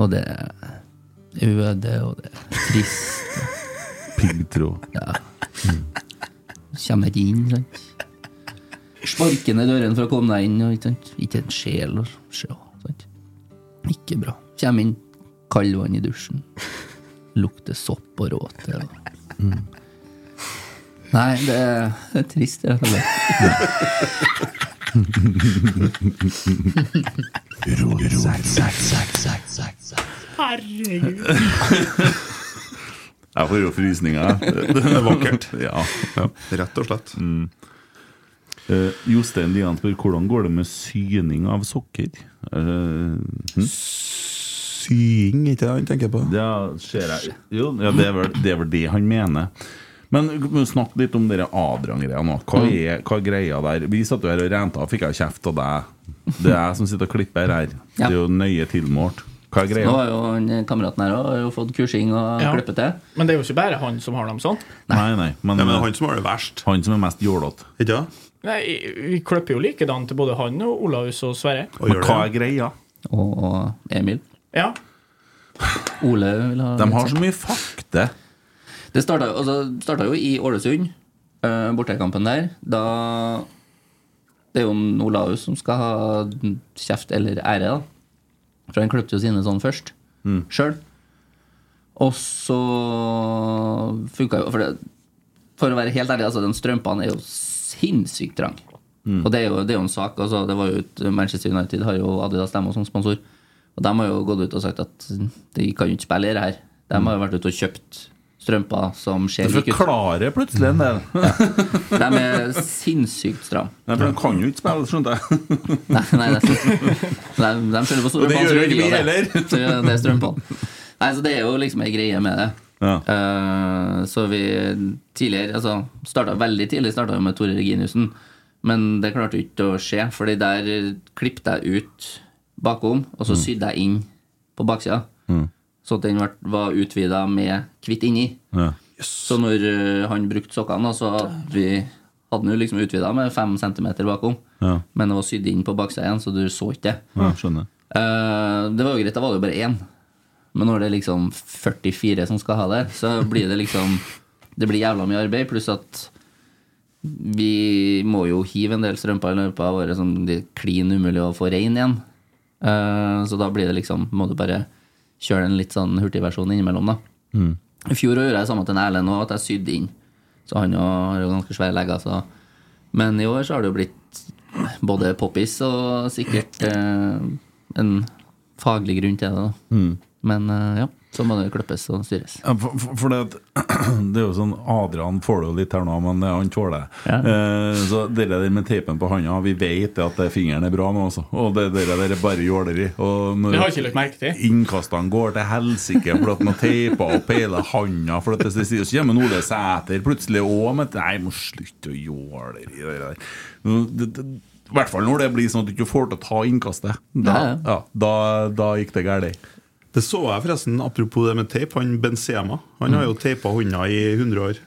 Og det er øde, og det er trist. Piggtråd. Ja. Kommer ikke inn, sant. Sparker ned dørene for å komme deg inn. og Ikke, sant? ikke en sjel å se. Sant? Ikke bra. Kommer inn, kaldvann i dusjen. Lukter sopp og råte. og- Nei, det er, det er trist, rett og slett. Herregud. Jeg får jo frysninger. jeg. Det er vakkert. Ja. Rett og slett. Mm. Eh, Jostein Lian spør hvordan går det med syning av sokker. Uh, Sying, ikke det han tenker på? Ja, ser jeg. Jo, ja, det, er vel, det er vel det han mener. Men men snakk litt om dere Adrian-greia nå. Mm. Hva er, hva er greia der? Vi satt jo her og renta, fikk jeg kjeft av deg. Det er jeg som sitter og klipper her. Det er jo nøye tilmålt. Hva er Nå greia? har jo han eh, kameraten her også, har jo fått kursing og Ja. klippet til. Men det er jo ikke bare han som har dem sånn. Nei, nei. Men, Nei, men han som har det verst. Han som er mest jålete. Ikke det? Nei, Vi klipper jo likedan til både han og Olaus og Sverre. Men hva er greia? Og Emil. Ja. Ole vil ha De litt har sånn. så mye fakte. Det starta, altså, det starta jo i Ålesund, eh, bortekampen der. Da Det er jo en Olaus som skal ha kjeft eller ære, da. For han klipte jo sine sånn først, mm. sjøl. Og så funka jo for, det, for å være helt ærlig, altså, den strømpene er jo sinnssykt trang. Mm. Og det er, jo, det er jo en sak. Altså, det var jo et, Manchester United har jo Adidas Demo som sponsor. Og de har jo gått ut og sagt at de kan jo ikke spille i det her. De har jo vært ute og kjøpt strømper som ser Det like ut. forklarer plutselig en del. De er sinnssykt stramme. Nei, for de kan jo ikke spille, skjønte jeg. Nei, nei, det er sant. de, de skylder på Og det strømpene. gjør jo ikke vi Så gjør det er strømpene. Nei, så det er jo liksom ei greie med det. Eh, så vi tidligere altså, startet, Veldig tidlig starta vi med Tore Reginiussen, men det klarte jo ikke å skje, Fordi der klippet jeg ut bakom, og Mm. så sydde jeg inn på baksida. Mm. Så at den var, var utvida med hvitt inni. Ja. Så når eh, han brukte sokkene, da, så hadde vi hadde den jo liksom utvida med fem centimeter bakom. Ja. Men det var sydd inn på baksida igjen, så du så ikke det. Ja, skjønner. Eh, det var jo greit, da var det jo bare én. Men når det er liksom 44 som skal ha det, så blir det liksom Det blir jævla mye arbeid, pluss at vi må jo hive en del strømper i løpet av året som det er klin sånn umulig å få rein igjen. Eh, så da blir det liksom Må du bare kjøre en litt sånn hurtigversjon innimellom, da. Mm. I fjor gjorde jeg det samme til en Erlend òg, at jeg sydde inn. Så han jo har jo ganske svære legger. Så. Men i år så har det jo blitt både poppis og sikkert eh, en faglig grunn til det. Da. Mm. Men eh, ja, så må det klippes og styres. Ja, for, for, for det, at, det er jo sånn Adrian får det jo litt her nå, men det- han tåler det. Eh, så det der med teipen på handa Vi vet at det fingeren er bra nå, altså. Og det der der er bare jåleri. Og når Det har jeg ikke lagt merke til. innkastene går til helsike fordi at man teiper opp hele handa For at det sier så kommer Ole Sæter plutselig òg med Nei, må slutte å jåle i det der. Det- det- I hvert fall når det blir sånn at du ikke får til å ta innkastet. Da, ja, da, da gikk det galt. Det så jeg forresten, apropos det med teip. Han Benzema Han har jo teipa hånda i 100 år.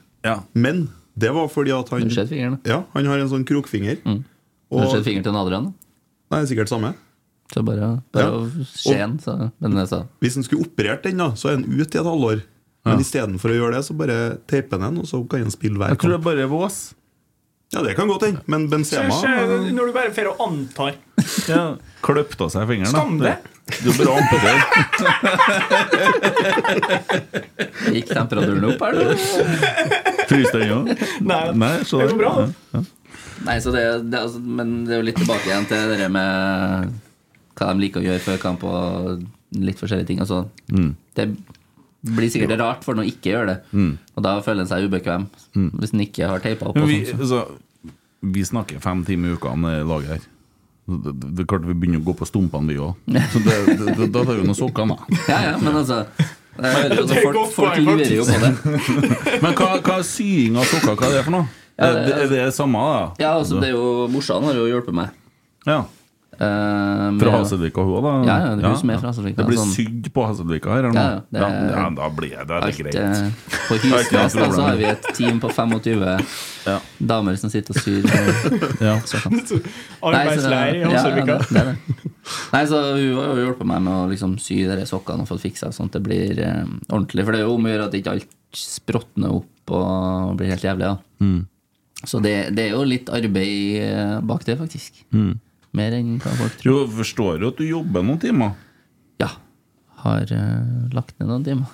Men det var fordi at han Har du sett fingeren? Ja, han har en sånn krokfinger. Har du sett fingeren til en Adrian? Nei, det er sikkert samme. Det er bare, bare Ja. å Skien, så. Men jeg sa Hvis en skulle operert den, da, så er en ute i et halvår. Men Ja. istedenfor å gjøre det, så bare teiper en den, og så kan en spille hver Jeg tror kamp. det bare er Vås. Ja, det kan godt hende. Men Benzema Kanskje Når du bare får og antar. Ja, Kløpte av seg fingeren. da. Skam deg. Du er bra amputert. Gikk temperaturen opp her, du? Fryste den òg? Nei, så det går bra, da. Ja, ja. Nei, så det, det, er altså, men det er jo litt tilbake igjen til det der med hva de liker å gjøre før kamp og litt forskjellige ting. Altså, Mm. Det blir sikkert rart for noen å ikke gjøre det, Mm. og da føler en seg ubekvem. Mm. Hvis en ikke har teipa opp. Men Og sånn. vi, sånt, så. altså, vi snakker fem timer i uka om det laget her. Det, det, det er klart vi begynner å gå på stumpene, vi òg. Så det, det, det, da tar vi noen sokker, da. Ja, ja, men altså jeg hører jo at Det er et folk, godt folk poeng, lurer jo på det. Men hva, hva er sying av sokker? Hva er det for noe? Ja, er, det, er det det samme, da? Ja, altså, det er jo, Morsan har jo hjulpet meg. Ja. Eh, Fra med- Hasselvika, hun òg, da? Ja, ja, det er hun som er fra Hasselvika, Det blir sånn. sygd på Hasselvika her, eller Ja, ja, noe? det Ja, er- ja, da blir det, det er Alt, greit. eh, På Det er ikke noe Hysnes da, så problem. har vi et team på 25 damer som sitter og syr. Ja. Arbeidsleir i Hasselvika. Ja, det, det er det. Nei, så Hun har jo hjulpet meg med å liksom sy de sokkene og fått fiksa sånn at det blir eh, ordentlig. For det er jo om å gjøre at ikke alt språtner opp og blir helt jævlig. da. Mm. Så det, det er jo litt arbeid eh, bak det, faktisk. Mm. Mer enn hva folk tror. Jo, forstår jo at du jobber noen timer. Ja. Har eh, lagt ned noen timer.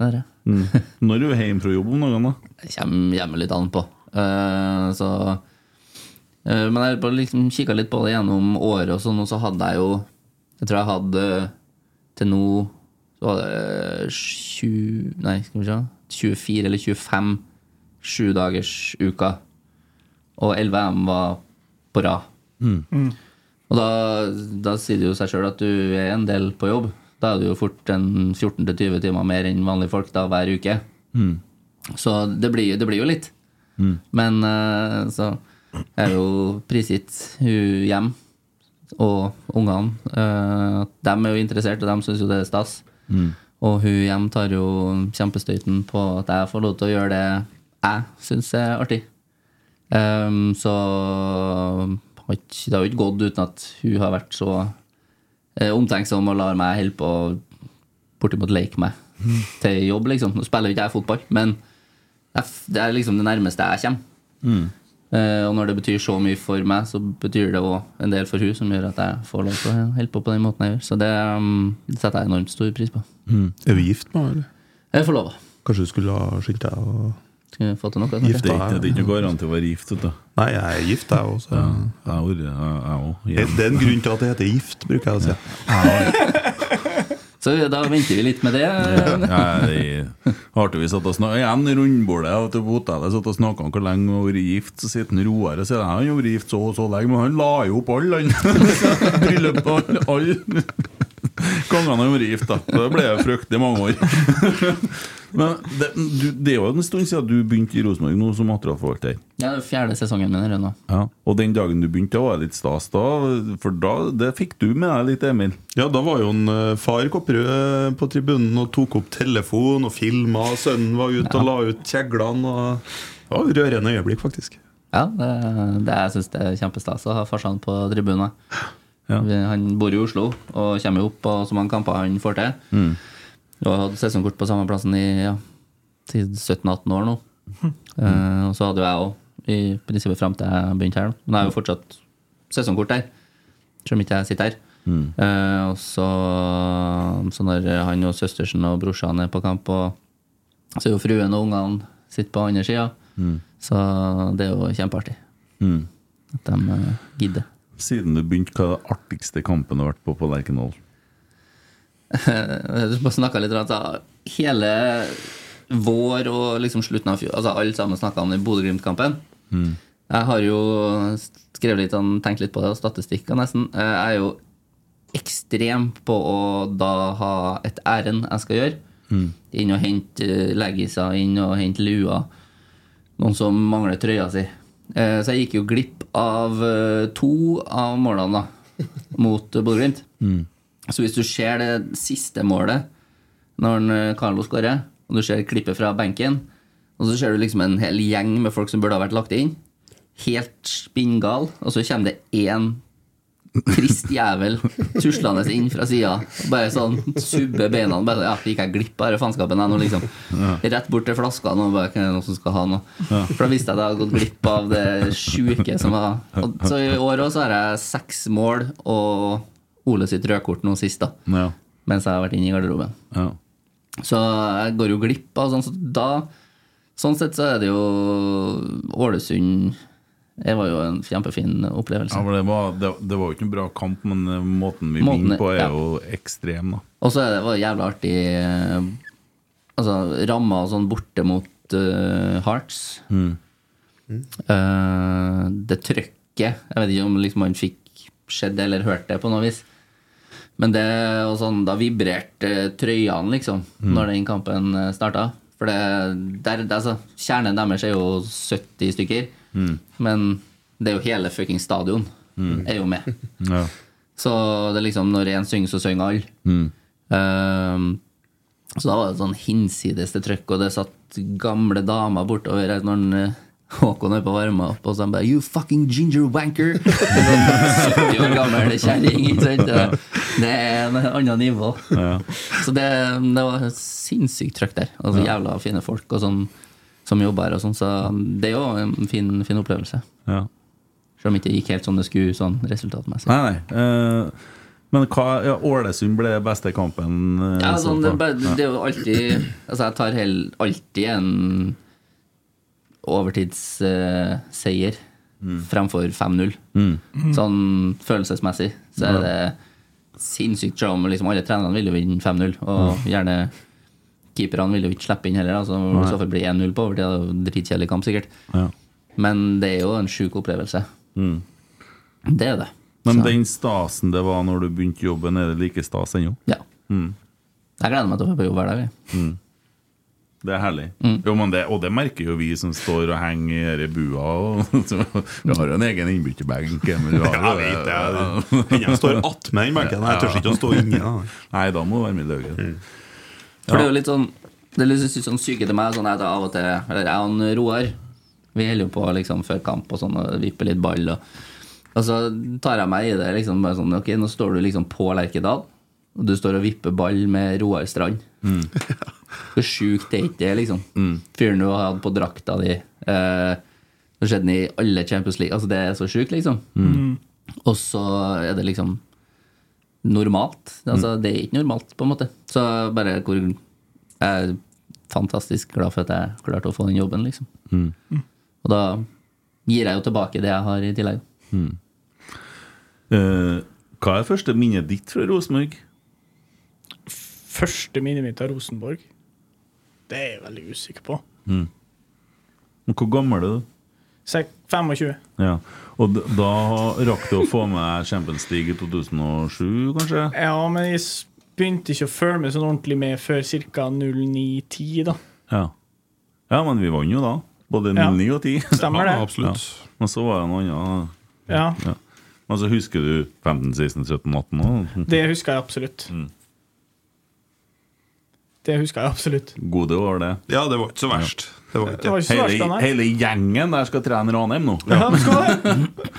Det er det. Mm. Når er du hjemme fra jobb om dagene, da? Det kommer hjemme litt an på. Eh, så, eh, men jeg har bare liksom kikka litt på det gjennom året, og sånn, og så hadde jeg jo Jeg tror jeg hadde til nå så var det 20, Nei, skal vi se 24 eller 25 sjudagersuker. Og 11 M var på rad. Mm. Mm. Og da, da sier det jo seg sjøl at du er en del på jobb. Da er du jo fort en 14-20 timer mer enn vanlige folk da hver uke. Mm. Så det blir, det blir jo litt. Mm. Men eh, så er jeg jo prisgitt hun hjem og ungene. Eh, De er jo interessert, og de syns jo det er stas. Mm. Og hun hjem tar jo kjempestøyten på at jeg får lov til å gjøre det jeg syns er artig. Ehm, så har ikke- det har jo ikke gått uten at hun har vært så eh, omtenksom og lar meg holde på å bortimot leke meg Mm. til jobb, liksom. Nå spiller jo ikke jeg fotball, men jeg f- det er liksom det nærmeste jeg kommer. Mm. Eh, og når det betyr så mye for meg, så betyr det òg en del for hun som gjør at jeg får lov til å holde på på den måten jeg gjør. Så det ehm, setter jeg enormt stor pris på. Mm. Er du gift med henne, eller? Jeg er forlova. Kanskje du skulle ha skyndt deg å Skulle fått til noe. kanskje? Gift er ikke det. er ikke noe garanti å være gift, vet du. Nei, jeg er gift, jeg også. Ja, jeg er- jeg er Det også. det er en grunn til at det heter gift, bruker jeg å si. Så da venter vi litt med det. Ja, jeg, artig vi satt og snak- Igjen rundbordet vet du, på hotellet satt og snakka om hvor lenge han har vært gift. Så sitter han Roar og sier han har vært gift så og så lenge, men han la jo opp alle, han. Bryllup og alle- alle. Kongene har vært gift, da. Det ble jo fryktelig mange år. Men det, du, det er jo en stund siden du begynte i Rosenborg nå som materialforvalter. Ja, det er fjerde sesongen min her nå. Ja. Og den dagen du begynte, da var det litt stas, da. For da det fikk du med deg litt, Emil. Ja, da var jo en eh, far Kopperud eh, på tribunen og tok opp telefon og filma. Sønnen var ute og la ut kjeglene. Og... Det var et rørende øyeblikk, faktisk. Ja, det, det, jeg syns det er kjempestas å ha farsan på tribunen. Vi- Han bor i Oslo og kommer jo opp på så mange kamper han får til. Mm. Og jeg hadde sesongkort på samme plassen i ja, til 17-18 år nå. Mhm. Eh, og så hadde jo jeg òg, i prinsippet fram til jeg begynte her. Men jeg har jo fortsatt sesongkort der, selv om ikke jeg sitter her. Mm. Eh, og så, så når han og søstersen og brorsan er på kamp, og, så er jo fruen og ungene sitter på andre sida. Mm. Så det er jo kjempeartig Mm. at de eh, gidder. Siden du begynte, hva er den artigste kampen du har vært på på Lerkendal? Jeg Eh, bare snakket litt rart. da. Hele vår og liksom slutten av fjor Altså Alle sammen snakka om den Bodø-Glimt-kampen. Mm. Jeg har jo skrevet litt og tenkt litt på det, og statistikker nesten. Eh, Jeg er jo ekstrem på å da ha et ærend jeg skal gjøre. Mm. Inn og hente eh, leggiser, inn og hente lua. Noen som mangler trøya si. Eh, Så jeg gikk jo glipp av eh, to av målene da mot eh, Bodø-Glimt. Mm. Så hvis du ser det siste målet, når han, eh, Carlo skårer, og du ser klippet fra benken, og så ser du liksom en hel gjeng med folk som burde ha vært lagt inn, helt spinngal, og så kommer det én trist jævel tuslende inn fra sida. Bare sånn subbe beina. Bare, ja, gikk jeg glipp av denne faenskapen? jeg nå, liksom. Rett bort til flaska nå, bare, «Hvem er det noen som skal ha noe. Ja. For da visste jeg at jeg hadde gått glipp av det sjuke som var og, Så i år også har jeg seks mål og Ole sitt rødkort nå sist, da. Mens jeg har vært inne i garderoben. Så jeg går jo glipp av sånn, så da Sånn sett så er det jo Ålesund Det var jo en kjempefin opplevelse. Ja, for det, var, det, det var jo ikke en bra kamp, men eh, måten vi Måten- vinner på, er ja. jo ekstrem. da Og så er det var det jævlig artig eh, Altså, ramma og sånn borte mot eh, Hearts. Mm. Eh, det trøkket Jeg vet ikke om liksom man fikk sett det eller hørt det på noe vis. Men det og sånn, da vibrerte eh, trøyene, liksom, Mm. når den kampen eh, starta. For det, der, der, altså, kjernen deres er jo 70 stykker. Mm. Men det er jo hele fucking stadion Mm. er jo med. Ja. Så det er liksom når én synger, så synger alle. Mm. Ehm, så da var det sånn hinsides til trøkk, og det satt gamle damer bortover her når han, eh, Håkon er på varma opp, og så han bare 'You fucking ginger wanker'! En sånn 70 år gammel kjerring. ikke sant? Det- Det er en annet nivå. Så det, det var sinnssykt trøkk der. Og så jævla fine folk og sånn, som jobber her og sånn, så det er jo en fin, fin opplevelse. Ja. Selv om ikke det gikk helt som det skulle sånn resultatmessig. Nei, nei. eh, men hva, ja, Ålesund ble beste kampen. eh, Ja, i så sånn, det, er fall. bare- Ja. det er jo alltid Altså, jeg tar hell, alltid en overtidsseier fremfor 5-0. Mm. Sånn følelsesmessig så er Ja. det sinnssykt drama. Liksom, alle trenerne vil jo vinne 5-0, og gjerne keeperne vil jo ikke slippe inn heller. da, Så Nei. i så fall blir det 1-0 på overtid. Det er jo en Dritkjedelig kamp, sikkert. Ja. Men det er jo en sjuk opplevelse. Mm. Det er det. Men Så- den stasen det var når du begynte jobben, er det like stas ennå? Ja. Mm. Jeg gleder meg til å være på jobb hver dag. jeg. Mm. Det er herlig. Mm. Jo, men det, og det merker jo vi som står og henger i denne bua. Og, så, vi har jo en egen innbytterbenk. men vi har eh, jo Ja, jeg vet det. Jeg står attmed den benken, jeg tør ikke å stå inni, da. Nei, da må du være med i lauget. For det er jo litt sånn Det lyses ut som syke til meg sånn at jeg av og til Eller jeg og han Roar Vi holder jo på liksom før kamp og sånn og vipper litt ball og, og så tar jeg meg i det liksom bare sånn Ok, nå står du liksom på Lerkedal Og du står og vipper ball med Roar Strand Hvor sjukt er ikke det liksom Fyren du har hatt på drakta di eh, Det skjedde den i alle Champions League Altså det er så sjukt liksom Mm. Og så er det liksom normalt. Altså, Mm. Det er ikke normalt, på en måte. Så bare hvor Jeg er fantastisk glad for at jeg klarte å få den jobben, liksom. Mm. Og da gir jeg jo tilbake det jeg har i tillegg. Mm. Eh, hva er første minnet ditt fra Rosenborg? Første minnet mitt av Rosenborg, det er jeg veldig usikker på. Mm. Men Hvor gammel er du? Så jeg er 25. Ja. Og d- da rakk du å få med Champions League i 2007, kanskje? Ja, men jeg s- begynte ikke å føle meg sånn ordentlig med før ca. 09-10, da. Ja. ja, men vi vant jo da. Både Ja. 09 og 10. Stemmer det. Ja, absolutt. Men så var det noe annet. Ja. Men så husker du 15, 16, 17, 18 også. Det husker jeg absolutt. Mm. Det husker jeg absolutt. Gode år, det. Ja, det var ikke så verst. Det var Det var ikke så verst, da, hele, nei. hele gjengen der skal trene Ranheim nå.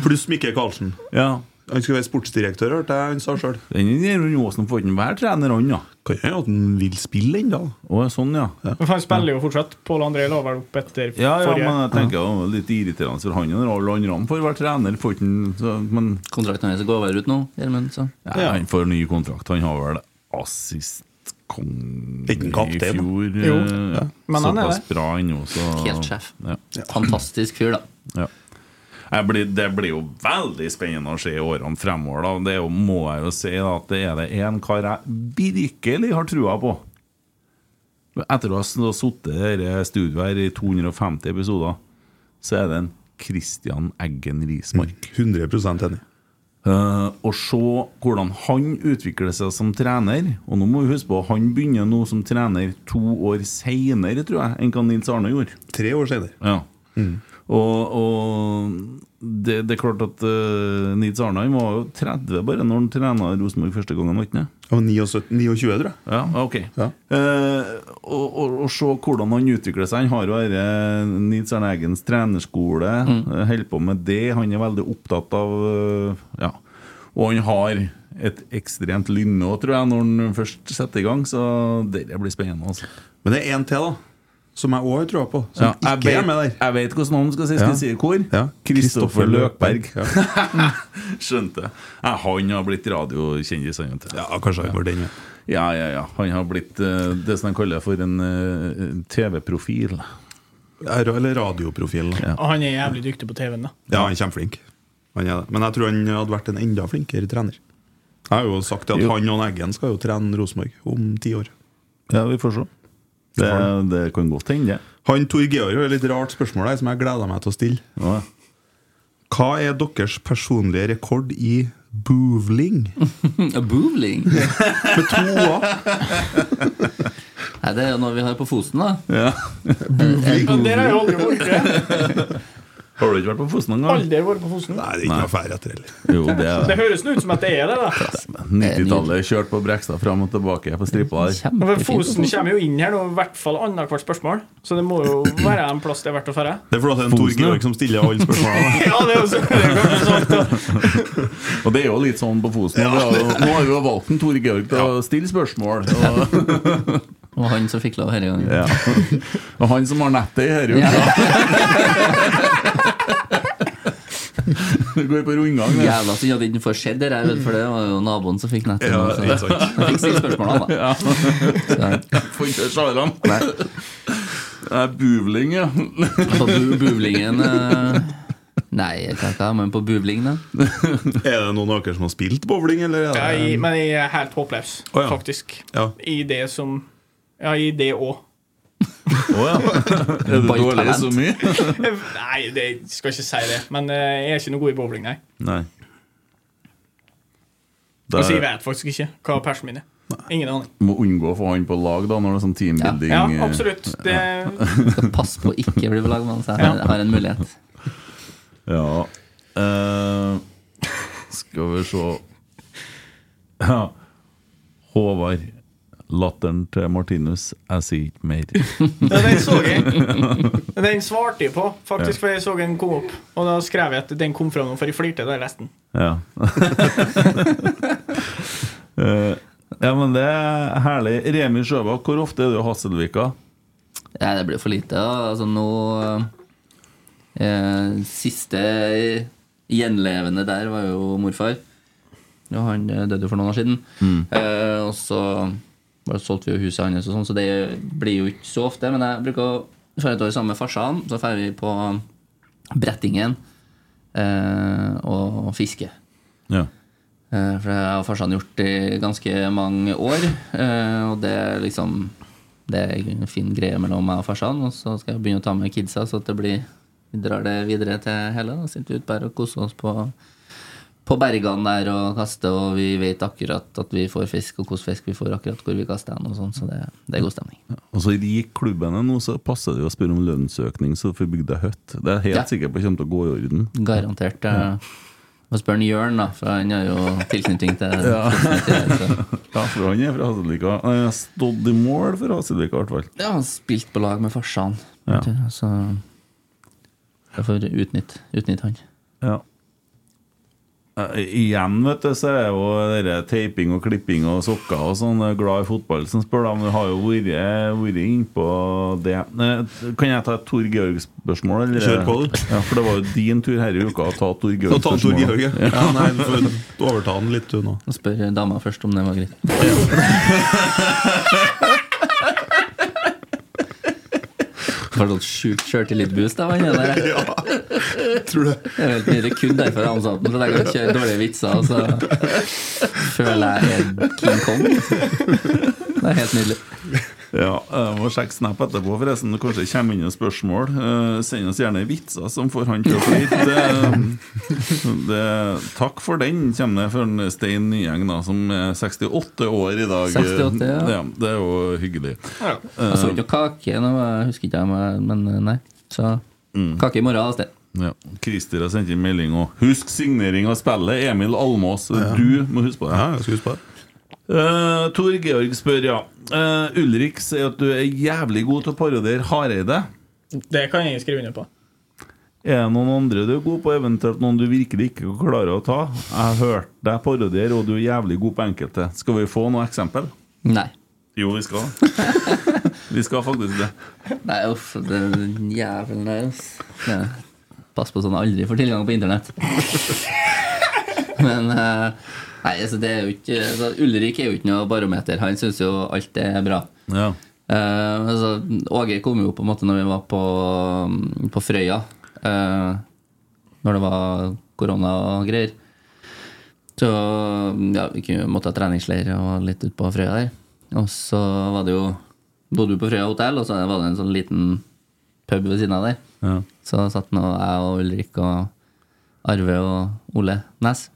Pluss Mikkel Karlsen. Ja. Han skulle være sportsdirektør, hørte jeg han sa sjøl. Den Aasen får ikke være trener, han, da. Kan hende at han vil spille ennå. Å, sånn, ja. Men for han spiller jo fortsatt. Pål André la vel opp etter Ja, ja, forrige. men jeg tenker det var litt irriterende for han og alle andre får være trener. Får ikke, han- så, men Kontrakten hans går vel ut nå, Gjermund? så. Nei, han får ny kontrakt. Han har vel assistkong i Liten kaptein. fjor. Jo. eh, Ja. Men han er Såpass det. bra ennå, så Helt sjef. Ja. Fantastisk fyr, da. Ja. Jeg blir, det blir jo veldig spennende å se i årene fremover. Da. Det er jo, må jeg jo si da, at det er det én kar jeg virkelig har trua på. Etter å ha sittet i dette studioet her i 250 episoder, så er det en Christian Eggen Rismark. 100 enig. Eh, Å se hvordan han utvikler seg som trener. Og nå må vi huske på han begynner nå som trener to år seinere, tror jeg, enn hva Nils Arne gjorde. Tre år senere. Ja. Og, og det, det er klart at eh, Nils Arne han var jo 30 bare når han trena Rosenborg første gangen. var ikke han det? Han var 79, 29, tror jeg. Ja, ok Eh, og, og, og se hvordan han utvikler seg. Han har jo dette Nils Arne Eggens trenerskole. eh, Holder på med det. Han er veldig opptatt av eh, ja, Og han har et ekstremt lynne òg, tror jeg, når han først setter i gang. Så det blir spennende. altså Men det er én til, da. Som jeg òg har troa på. Som Ja, jeg ikke vet- er med der. Jeg vet hvordan han skal si. Skal jeg si i kor? Kristoffer Løkberg. Skjønte. Ja, han har blitt radiokjendis, han. Ja, kanskje han var den, ja. Ja, ja, ja. Han har blitt eh, det som de kaller for en eh, TV-profil. Eller radioprofil. Ja. Og han er jævlig dyktig på TV-en, da. Ja, han er kjempeflink. Han er det. Men jeg tror han hadde vært en enda flinkere trener. Jeg har jo sagt at Jo. han og Eggen skal jo trene Rosenborg om ti år. Ja, vi får se. Det, det kan godt hende, det. Han Tor Georg har et litt rart spørsmål her som jeg gleder meg til å stille. Hva er deres personlige rekord i boovling? Hm, boovling? Med to a. Nei, det er jo noe vi har på Fosen, da. Boovling. Men der har jeg aldri vært. Har du ikke vært på Fosen engang? Aldri vært på Fosen. Nei, det er ikke noe affære etter heller. Jo, det er Det høres nå ut som at det er det, da. 90-tallet kjørt på Brekstad fram og tilbake på strippa der. Men Fosen kommer jo inn her nå, i hvert fall annethvert spørsmål. Så det må jo være en plass det er verdt å dra. Det er fordi det er en Tor Fosen, ja. Georg som stiller alle spørsmålene. Ja, det er jo så- det er jo kanskje sant, da. Og det er jo litt sånn på Fosen. Ja, og det er jo- det- Nå har vi jo valgt en Tore Georg til å stille spørsmål. Og, Og han som fikk lov denne gangen. ja. og han som har nettet i herre Det går på rundgang. det. Jævla synd at det ikke får skjedd det der, vet du, for det var jo naboen som fikk nettet. Ja, så ikke sant. jeg fikk stilt spørsmålene, da. Ja. Så- Får ikke sjarene. Det er buvling, ja. På bu buvlingen eh, Nei, jeg vet ikke, men på buvling, da. Er det noen av dere som har spilt bowling, eller? er det- Ja, jeg, men jeg er helt håpløs, Å, ja. faktisk. Ja. I det som Ja, i det òg. Er du dårlig i så mye? nei, det, jeg skal ikke si det. Men eh, jeg er ikke noe god i bowling, nei. Nei. Altså, jeg Det vet faktisk ikke hva persen min er. Ingen aning. må unngå å få han på lag da, når det er sånn teambuilding. Ja, eh, absolutt. Det, Skal passe på å ikke bli belagmann, så jeg har, Ja. har en mulighet. Ja Eh, Skal vi se ja. Håvard. Latteren til Martinus. Jeg sier ikke mer. ja, den så jeg. Den svarte jeg på, faktisk, for jeg så en kom opp. Og da skrev jeg at den kom fra noen, for jeg flirte da jeg leste den. Ja. Eh, ja, men det er herlig. Remi Sjøbakk, hvor ofte er du i Hasselvika? Nei, det blir for lite. Da. Altså, nå eh, Siste gjenlevende der var jo morfar. Og han eh, døde jo for noen år siden. Mm. Eh, og så bare solgte vi jo huset hans, og sånn, så det blir jo ikke så ofte. Men jeg bruker å dra et år sammen med farsan, så drar vi på Brettingen eh, og fiske. Ja. Eh, For det har farsan gjort i ganske mange år. eh, Og det er liksom Det er en fin greie mellom meg og farsan. Og så skal jeg begynne å ta med kidsa, så at det blir vi drar det videre til hele. Da sitter vi ute der og koser oss på, på bergene der og kaster, og vi vet akkurat at vi får fisk, og hvilken fisk vi får akkurat hvor vi kaster den, og sånn. Så det, det er god stemning. Og så rik klubben er nå, så passer det jo å spørre om lønnsøkning, så du får bygd deg hytte. Det er jeg helt Ja. sikker på kommer til å gå i orden. Garantert. eh, Må spørre en Jørn, da, for han har jo tilknytning til Ja. til det, så. Ja, for han er fra Hasselvika. Han har stått i mål for Hasselvika, i hvert fall. Ja, han spilte på lag med farsan. Ja. vet du, Så jeg får utnytte utnytt han. Ja. Eh, Igjen, vet du, så er jo det der teiping og klipping og sokker og sånn jeg er glad i fotball som spør, da, men du har jo vært, vært innpå det. Eh, Kan jeg ta et Tor Georg-spørsmål? eller? Kjør på, du. Ja, for det var jo din tur her i uka å ta Tor Nå tar Tor Georg-spørsmål. Georg, ja. ja nei, du får overta han litt, du nå. Jeg spør dama først om det var greit. Var det sånn sjukt sjøltillitboost av han der? Ja, tror det. Jeg vet ikke, det er kun derfor jeg ansatte ham, for jeg kan kjøre dårlige vitser, og så føler jeg er King Kong. altså. Det er helt nydelig. Ja, jeg må sjekke Snap etterpå, forresten. Det Kanskje kommer inn noen spørsmål. Eh, Send oss gjerne vitser som får han til å flire. Det- det- Takk for den, kommer det fra en Stein Nyeng, da, som er 68 år i dag. 68, ja. Det er jo hyggelig. Ja. Jeg så ikke noe kake, nå, jeg husker ikke jeg, men nei. Så kake i morgen, altså. Ja. Christer har sendt inn melding òg. Husk signering av spillet, Emil Almås. Du må huske på det. Ja, jeg skal huske på det. Eh, Tor Georg spør, ja. Eh, Ulrik sier at du er jævlig god til å parodiere Hareide. Det kan jeg skrive under på. Er det noen andre du er god på, eventuelt noen du virkelig ikke klarer å ta? Jeg hørte deg parodiere, og du er jævlig god på enkelte. Skal vi få noe eksempel? Nei. Jo, vi skal. vi skal faktisk det. Nei, uff, den jævelen der, altså. Ja. Pass på så han aldri får tilgang på internett. Men eh, Nei, altså, det er jo ikke altså, Ulrik er jo ikke noe barometer. Han syns jo alt er bra. Ja. Eh, altså, Åge kom jo på en måte når vi var på, på Frøya, eh, når det var korona og greier. Så ja, vi kunne- måtte ha treningsleir og litt ut på Frøya der. Og så var det jo bodde vi på Frøya hotell, og så var det en sånn liten pub ved siden av der. Ja. Så satt nå jeg og Ulrik og Arve og Ole Næss,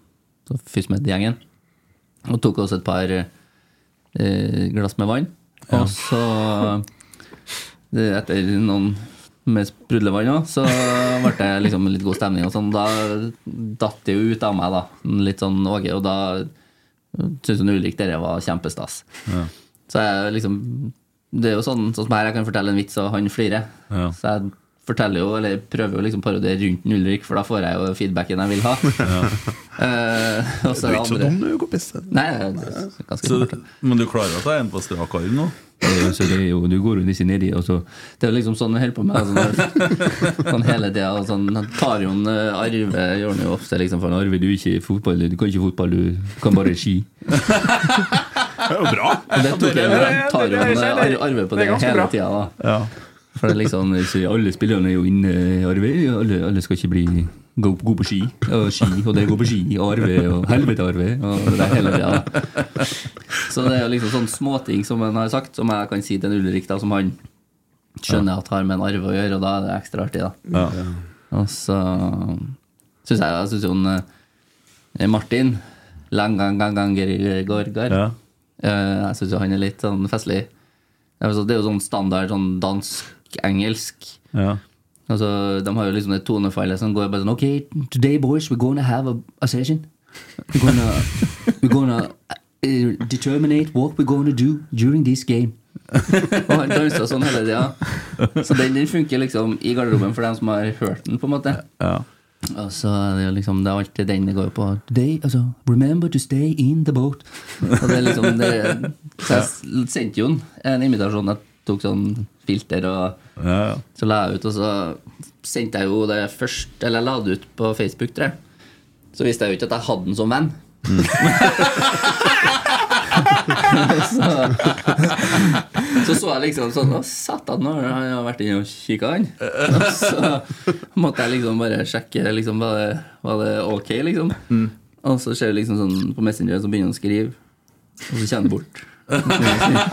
så Fysmed-gjengen, og tok oss et par eh, glass med vann. Ja. Og så, eh, etter noen med sprudlevann òg, så ble det liksom litt god stemning. Og sånn. Da datt det jo ut av meg, da. Litt sånn Åge. Og da syntes hun Ulrik dere var kjempestas. Ja. Så jeg liksom Det er jo sånn, sånn som her, jeg kan fortelle en vits, og han flirer. Ja. Så jeg forteller jo, eller prøver jo liksom parodiere rundt en Ulrik, for da får jeg jo feedbacken jeg vil ha. Eh, og Du så er det ikke så andre. dum, du, kompis. Nei, det er ganske Så, smart. men du klarer å ta en på strak arm nå? Så det er jo, du går jo disse nedi, og så Det er jo liksom sånn vi holder på med. Sånn, sånn hele tida. og Sånn, han tar jo en eh, Arve gjør han jo ofte liksom for han, Arve, du er ikke i fotball, du kan ikke fotball, du kan bare ski. Det er jo bra. Og det tok jeg, han tar jo en eh, Ar- Arve på det, hele tida, da. Ja. For det er liksom så Alle spillerne er jo inne, Arve. Alle, alle skal ikke bli gå, gå på ski. Og ski, og det går på ski. Og Arve, og helvete, Arve. Og det er hele tida. Så det er jo liksom sånn småting som han har sagt, som jeg kan si til en Ulrik, da, som han skjønner at har med en arve å gjøre, og da er det ekstra artig, da. Ja. Og så syns jeg jeg synes jo han eh, Martin Langangangangerigorgar Ja. Eh, Jeg syns jo han er litt sånn festlig. Altså, Det er jo sånn standard sånn dansk-engelsk. Ja. Altså, De har jo liksom det tonefallet som går bare sånn Ok, today boys, we're gonna have a, a session. We're gonna, we're gonna uh, determinate what we're gonna do during this game. Og han danser sånn hele tida. Så den, den funker liksom i garderoben for dem som har hørt den, på en måte. Og så er det jo liksom Det er alltid den det går på. Today, altså, remember to stay in the boat. Og det er liksom det, Så jeg s- sendte jo en- en invitasjon. Jeg tok sånn filter, og så la jeg ut, og så sendte jeg jo det først Eller jeg la det ut på Facebook, tror jeg. Så visste jeg jo ikke at jeg hadde den som venn. så, så så jeg liksom sånn Å, satan, nå har han vært inne og kikka, han. Og Så måtte jeg liksom bare sjekke liksom, var, det, var det ok, liksom. Og så ser du liksom sånn på Messenger, så begynner han å skrive, og så kommer det bort.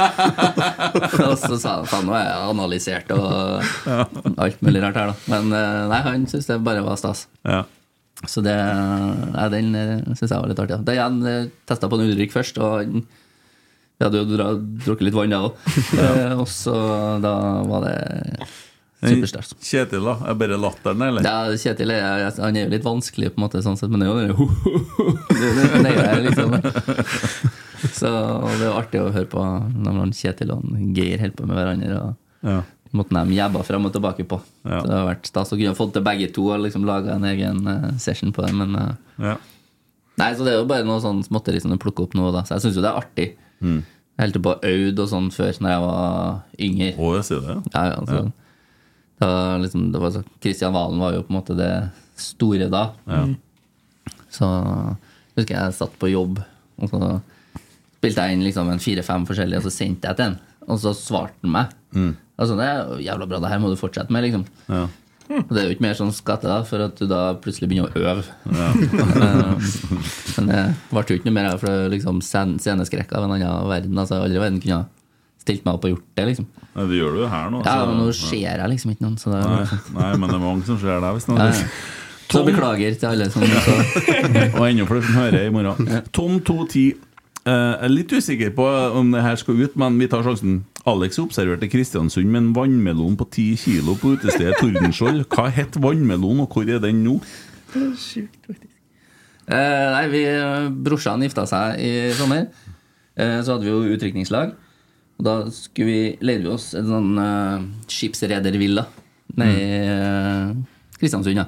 og så sa han faen, nå er jeg analysert og alt mulig rart her, da. Men eh, nei, han syntes det bare var stas. Så det, nei, den syns jeg var litt artig. Ja. Det igjen testa på en Ulrik først, og han- vi hadde jo dra, drukket litt vann da òg. Eh, og så da var det supersterkt. Kjetil, da? Er bare latteren, eller? Ja, Kjetil er, han er jo litt vanskelig, på en måte, sånn sett, men det er jo det det- det- det er jo liksom Så og det er jo artig å høre på når han Kjetil og han Geir holder på med hverandre. Og Ja. Måten de jabba frem og tilbake på. Ja. Så det har vært stas å kunne fått til begge to og liksom laga en egen eh, session på det. Men eh, Ja. Nei, så det er jo bare noe sånn småtteri som du plukker opp nå, da. Så jeg syns jo det er artig. Mm. Jeg holdt jo på Aud og sånn før, når jeg var yngre. Å, jeg sier det? Ja, ja, altså, Det var liksom, det var så, Christian Valen var jo på en måte det store da. Ja. Så husker jeg jeg satt på jobb, og så spilte jeg inn liksom en fire-fem forskjellige, og så sendte jeg til en. Og så svarte han meg. Mm. Altså, det er jo jævla bra, det her må du fortsette med, liksom. Ja. Og det er jo ikke mer sånn skatte, da, for at du da plutselig begynner å øve. Eh, Men det ble jo ikke noe mer av det, for det er jo liksom scen- sceneskrekk av en annen verden. Altså, aldri i verden kunne jeg stilt meg opp og gjort det, liksom. Nei, det gjør du jo her nå. Ja, så- men nå ser jeg liksom ikke noen, så det er jo Nei, liksom- nei, men det er mange som ser deg, hvis noe. Ja, ja. Så beklager til alle som så Og enda flere som hører i morgen. Tom 210. Eh, jeg er litt usikker på eh, om det her skal ut, men vi tar sjansen. Alex observerte Kristiansund med en vannmelon på 10 kilo på utestedet Tordenskjold. Hva het vannmelonen, og hvor er den nå? Eh, nei, vi, brorsan gifta seg i sommer. Eh, så hadde vi jo utrykningslag. Og da skulle vi, leide vi oss en sånn eh, skipsredervilla nede i eh, Kristiansund, ja.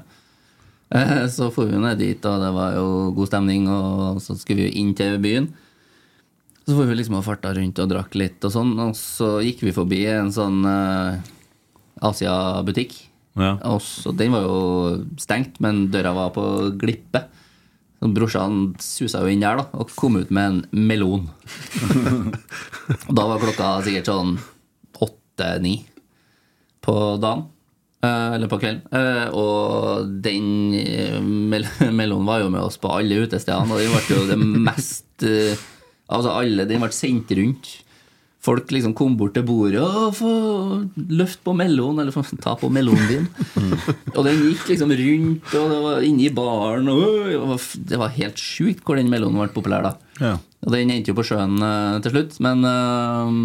Eh, Så for vi ned dit, og det var jo god stemning, og så skulle vi jo inn til byen. Så for vi liksom og farta rundt og drakk litt, og sånn, og så gikk vi forbi en sånn eh, Asia-butikk. Ja. Og så, den var jo stengt, men døra var på glippe. Så brorsan susa jo inn der da, og kom ut med en melon. og da var klokka sikkert sånn åtte-ni på dagen. eh, Eller på kvelden. Eh, Og den eh, mel melonen var jo med oss på alle utestedene, og den ble jo det mest eh, Altså alle, den ble sendt rundt. Folk liksom kom bort til bordet og få løft på melon, eller få ta på melonen din. Og den gikk liksom rundt, og det var inne i baren. Og øh, det var f- det var helt sjukt hvor den melonen ble populær, da. Ja. Og den endte jo på sjøen eh, til slutt, men eh,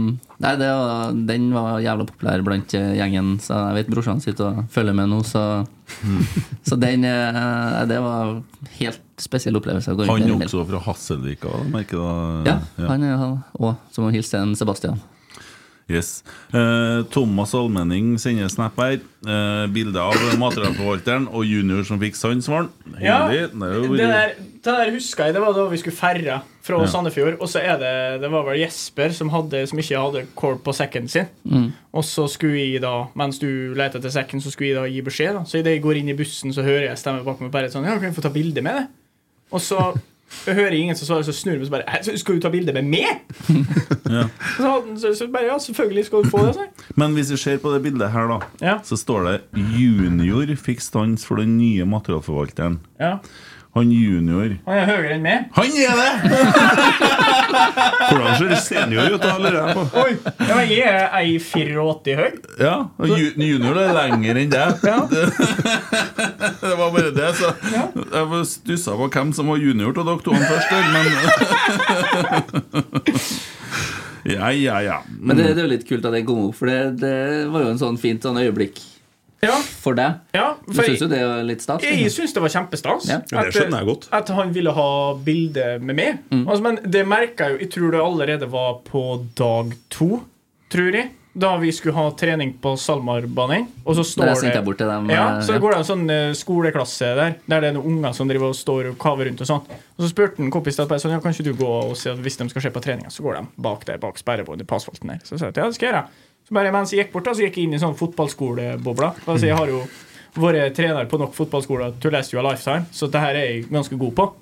nei, det var, den var jævla populær blant eh, gjengen. Så jeg vet brorsan sitter og følger med nå, så, så den eh, Det var helt spesiell opplevelse. å gå rundt Han med er en melon. også fra Hasselvika, merker jeg. Ja, han er han òg, som å hilse en Sebastian. Yes. Eh, Thomas Almenning sender snap her. Eh, bilde av materialforvalteren og junior som fikk sans for den. Ja, Hyggelig. det Det er jo- der, det der husker jeg. Det var da vi skulle ferra fra Ja. Sandefjord. Og så er det Det var vel Jesper som, hadde, som ikke hadde kål på sekken sin. Mm. Og så skulle jeg da, mens du leter etter sekken, så skulle jeg da gi beskjed. da Så idet jeg går inn i bussen, så hører jeg stemme bak meg bare sånn Ja, kan jeg få ta bilde med det? Og så hører jeg ingen som svarer, så snur jeg meg og så bare «Hæ, så Skal du ta bilde med meg? Ja. Og Så, hadde han- så, så bare Ja, selvfølgelig skal du få det. Så. Men hvis vi ser på det bildet her, da, Ja. så står det 'Junior fikk stans for den nye materialforvalteren'. Ja. Han junior Han er høyere enn meg. Han er det! Hvordan ser senior ut, da? lurer jeg på? Oi, ja, men jeg er 1,84 høy. Ja, og ju- junior er lenger enn deg. Det, det var bare det. Så jeg var stussa på hvem som var junior til dere to først, der, men Ja, ja, ja. Men det, det er jo litt kult at den kom opp, for det, det var jo en sånn fint sånn øyeblikk for deg. for du jeg- syns jo det er litt stas? liksom. Jeg syns det var kjempestas. Ja. Ja, det skjønner jeg godt. At han ville ha bilde med meg. Altså, men det merka jeg jo Jeg tror det allerede var på dag to, tror jeg. Da vi skulle ha trening på Salmarbanen. Og så Der står jeg sendte jeg bort til dem, ja, eh, så ja. går det en sånn eh, skoleklasse der, der det er noen unger som driver og står og kaver rundt og sånn. Og så spurte han kompisen bare sånn, ja, kan ikke du gå og se at hvis de skal se på treninga, så går de bak der, bak sperrebåndet på asfalten der. Så sa jeg at ja, det skal jeg gjøre. Så bare mens jeg gikk bort, da, så gikk jeg inn i sånn fotballskolebobla. Altså, jeg har jo vært trener på nok fotballskoler to last you a lifetime, så det her er jeg ganske god på.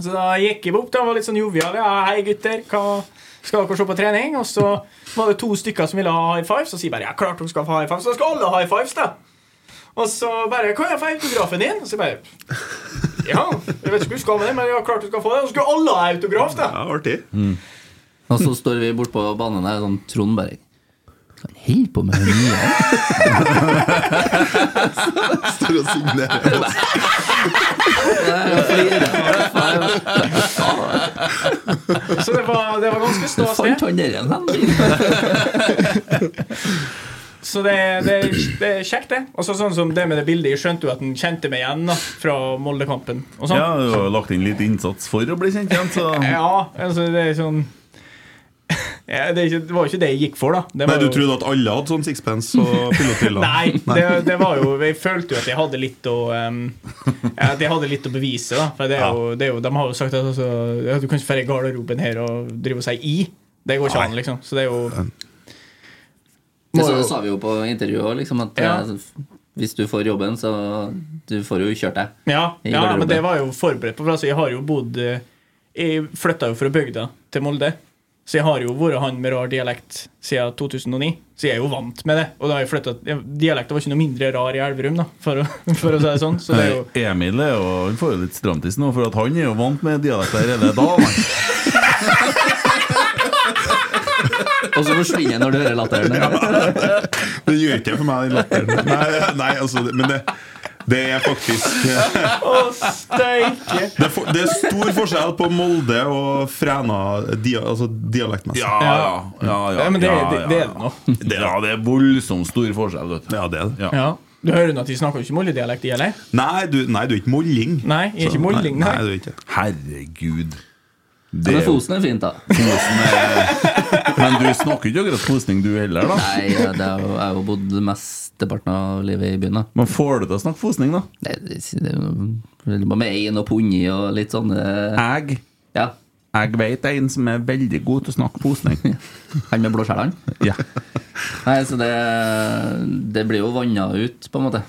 Så da gikk jeg opp da, var litt sånn jovial. Ja, hei, gutter. Hva skal dere se på trening? Og så var det to stykker som ville ha high fives. Og sier bare ja, klart dere skal få high fives. Så da skal alle ha high fives, da. Og så bare Kan jeg få autografen din? Og så bare Ja, jeg vet ikke hva du skal med det, men ja, klart du skal få det. Og så skulle alle ha autograf, da. Ja, artig. Mm. Og så står vi bortpå banen der, sånn Trond bare Hva holder på med det nye? Står og signerer. Så det var, det var ganske stas, det. Fant han der igjen, Så det, det, det er kjekt, det. Og så sånn som det med det bildet. Jeg skjønte jo at han kjente meg igjen da, fra Molde-kampen. og sånn. Ja, du har lagt inn litt innsats for å bli kjent igjen, så Ja, altså det er sånn ja, det, er ikke, det var jo ikke det jeg gikk for, da. Det Nei, var Du jo- trodde at alle hadde sånn sixpence og pilotbriller? Nei, det, det var jo Jeg følte jo at jeg hadde litt å ehm, ja, At jeg hadde litt å bevise, da. For det er jo, det er jo, de har jo sagt at altså, ja, du kan ikke dra i garderoben her og drive og si i. Det går ikke an, liksom. Så det er jo Det Må sa, jo- sa vi jo på intervjuet òg, liksom, at Ja. eh, hvis du får jobben, så du får jo kjørt deg. Ja, I ja men garderoben. det var jeg jo forberedt på. For altså, jeg har jo bodd eh, Jeg flytta jo fra bygda til Molde. Så jeg har jo vært han med rar dialekt siden 2009. Så jeg er jo vant med det. Og da har jeg flyttet, Dialekten var ikke noe mindre rar i Elverum, da, for å, for å si det sånn. Så det er jo Nei, Emil er jo, han får jo litt stramtiss nå, for at han er jo vant med dialekter hele dagen. Og så forsvinner jeg når du hører latteren. Den gjør ikke det for meg, den latteren. Nei, nei altså, det- men det, det er faktisk eh, Å, steike! det er, for, det er stor forskjell på Molde og Fræna dia, altså dialektmessig. Ja, ja, ja, ja, Ja, men det- ja, det- ja. det er det nå. Det, ja, det er voldsomt stor forskjell. Vet du. Ja, det er det. Ja. Du hører nå at de snakker jo ikke molledialekt, de heller? Nei, du, nei, du er ikke molling. Nei, jeg er Så, ikke molling, nei, nei. nei, du er ikke. Herregud. Ja, men Fosen er fint, da. Men du snakker ikke akkurat kosning, du heller, da? Nei, ja, det er jo, jeg har jo bodd mest mesteparten av livet i byen. da Man får det til å snakke fosning, da? Nei, det, det, det, bare med ein og punni og litt sånne Egg. Ja. Jeg vet en som er veldig god til å snakke posning. Han med blåskjellene? Ja. Nei, så det, det blir jo vanna ut, på en måte.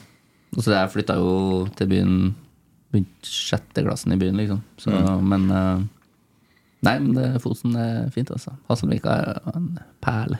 Og så jeg flytta jo til byen begynte sjette klassen i byen, liksom. Så, Mm. Men eh, Nei, men det, Fosen er fint, altså. Hasselvika er en perle.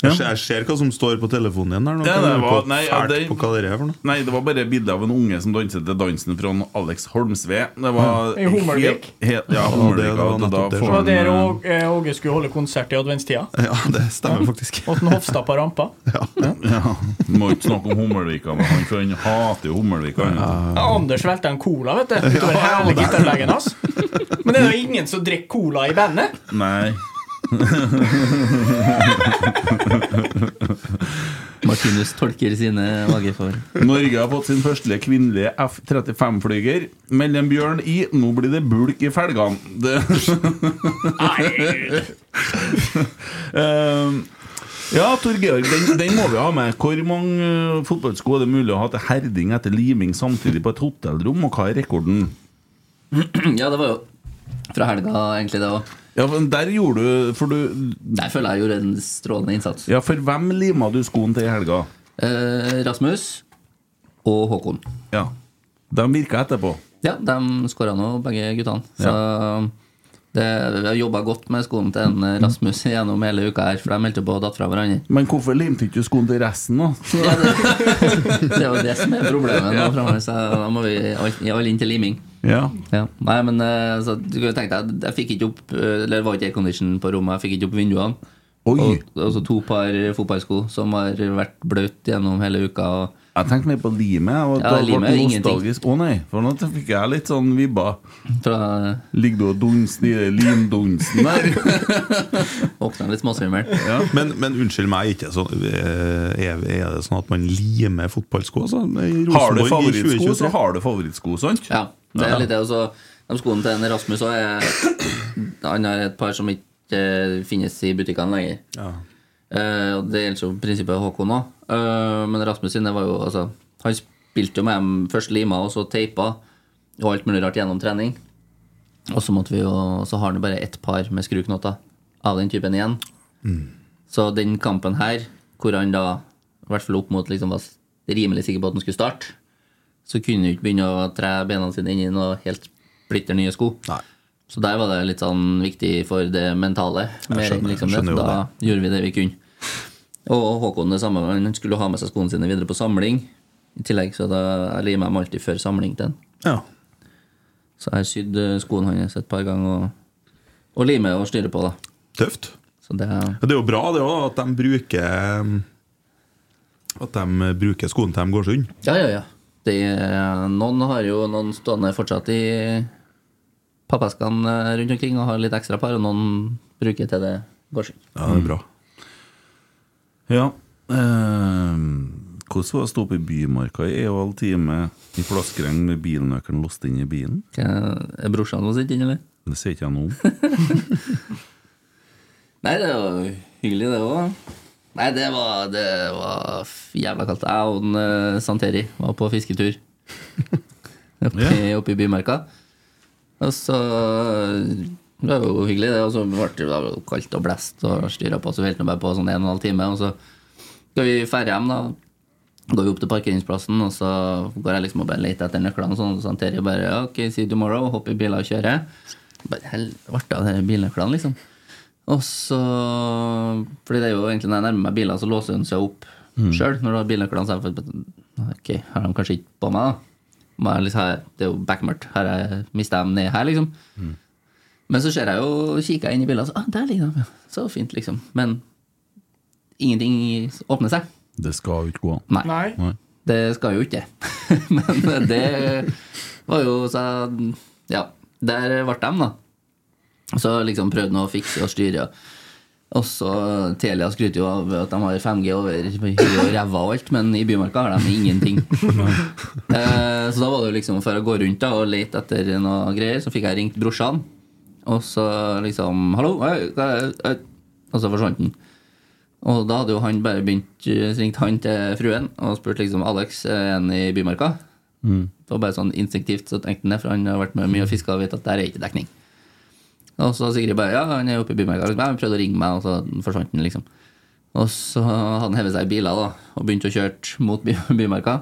Jeg, ser, jeg ser hva som står på telefonen din der. Nå Ja, kan det du var- på nei, ja, fælt det- på hva det er for noe. Nei, det var bare bilde av en unge som danset til dansen fra en Alex Holmsve. Det var I Hummelvik. helt- helt- Ja, Ja, det- Hummelvik. det var og da nettopp det får Det var der han, eh, Åge eh, Åge skulle holde konsert i adventstida. Ja, det stemmer faktisk. Åt en Hofstad på rampa. Ja, Må ikke snakke om Hummelvika, men han, for han hater jo Hummelvika. han. altså. Ja, Anders velta en cola, vet du. Utover hele gitarleggen hans. Men det er jo ingen som drikker cola i bandet. Nei. Martinus tolker sine vagefor. Norge har fått sin første kvinnelige F-35-flyger. Meld en bjørn i, nå blir det bulk i felgene. Det Eh, ja, Tor Georg, den, den må vi ha med. Hvor mange eh, fotballsko er det mulig å ha til herding etter liming samtidig på et hotellrom, og hva er rekorden? ja, det var jo fra helga, egentlig, det òg. Ja, men Der gjorde du For du Der føler jeg gjorde en strålende innsats. Ja, for hvem lima du skoen til i helga? Eh, Rasmus og Håkon. Ja. De virka etterpå. Ja, de skåra nå, begge guttene. Så det, vi har jobba godt med skoene til en eh, Rasmus gjennom hele uka her, for de meldte på og datt fra hverandre. Men hvorfor limte ikke du skoen til resten, da? Det er jo det som er problemet nå framover, så da må vi all- i all inn til liming. Ja. Ja. Nei, men eh, så, du kan jo tenke deg, jeg fikk ikke opp eh, Eller det var ikke aircondition på rommet, jeg fikk ikke opp vinduene. Og, og så to par fotballsko som har vært bløt gjennom hele uka. Og, Jeg tenkte mer på limet. jeg, Og Ja, da ble limet er det ingenting. nostalgisk. Å nei, for nå fikk jeg litt sånn vibba. Fra... Ligger du og dunser i den limdunsen der? Våkna litt småsvimmel. Men, men unnskyld meg, ikke sånn, eh, er, er det sånn at man limer fotballsko? Altså? I Har Rosenborg du i favorittsko, så 2023? har du favorittsko, sant? Ja, det Ja. er litt det. Og så de skoene til en Rasmus også er Han har et par som ikke eh, finnes i butikkene lenger. Eh, og det gjelder jo i prinsippet Håkon òg. men Rasmus sine var jo altså, Han spilte jo med dem først lima, og så teipa, og alt mulig rart gjennom trening. Og så måtte vi jo Så har han jo bare ett par med skruknotter av den typen igjen. Så den kampen her, hvor han da i hvert fall opp mot liksom var rimelig sikker på at han skulle starte, så kunne han jo ikke begynne å tre bena sine inn i noe helt splitter nye sko. Så der var det litt sånn viktig for det mentale. Jeg Mer enn skjønner- liksom det. skjønner jo Da gjorde vi det vi kunne. Og Håkon det samme, han skulle ha med seg skoene sine videre på samling. I tillegg så da jeg limer jeg dem alltid før samling til han. Ja. Så jeg har sydd eh, skoene hans et par ganger og, og limer og styrer på, da. Tøft. Så det Ja, Det er jo bra det også, at de bruker eh, At de bruker skoene til de går sund. Ja, ja, ja. Det, er- noen har jo noen stående fortsatt i pappeskene eh, rundt omkring og har litt ekstra par, og noen bruker til det går seg. Ja, det er bra. Ja. eh, hvordan var det å stå oppe i Bymarka i en og en halv time i flaskeregn med bilnøkkelen låst inn i bilen? Er brorsan vår sitt inn, eller? Det sier ikke jeg noe om. Nei, det var hyggelig, det òg. Nei, det var, det var f- jævla kaldt. Jeg og den, eh, Santeri var på fisketur oppe, i- oppe i Bymarka. Og så eh, Det var jo hyggelig, det. Og så ble det var jo kaldt og blest og styra på, så vi holdt nå bare på sånn en og en halv time. Og så skal vi ferde hjem, da. Går vi opp til parkeringsplassen, og så går jeg liksom og bare leter etter nøklene. Og sånn, og Santeri bare ja, OK, see you tomorrow. Hopper i biler og kjører. Bare helvete av de bilnøklene, liksom. Og så Fordi det er jo egentlig når jeg nærmer meg biler, så låser hun seg opp Mm. selv sjøl. Når du har bilnøklene, så er jeg for- Ok, har de kanskje ikke på meg, da? Men jeg liksom, her- det er jo bekmørkt. Har jeg mista dem ned her, liksom? Mm. Men så ser jeg jo, kikker jeg inn i bilen, og så ah, der ligger de, ja. Så fint, liksom. Men ingenting åpner seg. Det skal jo ikke gå an. Nei. Nei. Det skal jo ikke det. Men det var jo så jeg- Ja, der ble de, da. Så liksom prøvde han å fikse og styre. Og så Telia skryter jo av at de har 5G over huet og ræva og alt, men i Bymarka har de ingenting. Eh, så da var det jo liksom for å gå rundt da og lete etter noe greier, så fikk jeg ringt brorsan. Og så liksom 'Hallo, hei, hva er- hei?» Og så forsvant han. Og da hadde jo han bare begynt eh, ringt han til fruen og spurt liksom 'Alex, er han i Bymarka?' Mm. Det var bare sånn instinktivt så tenkte han det, for han har vært med mye og fiska og vet at der er ikke dekning. Og så Sigrid bare ja, han er oppe i Bymarka. Liksom, «Ja, Han prøvde å ringe meg, og så forsvant han, liksom. Og så hadde han hevet seg i biler da, og begynt å kjøre mot by Bymarka.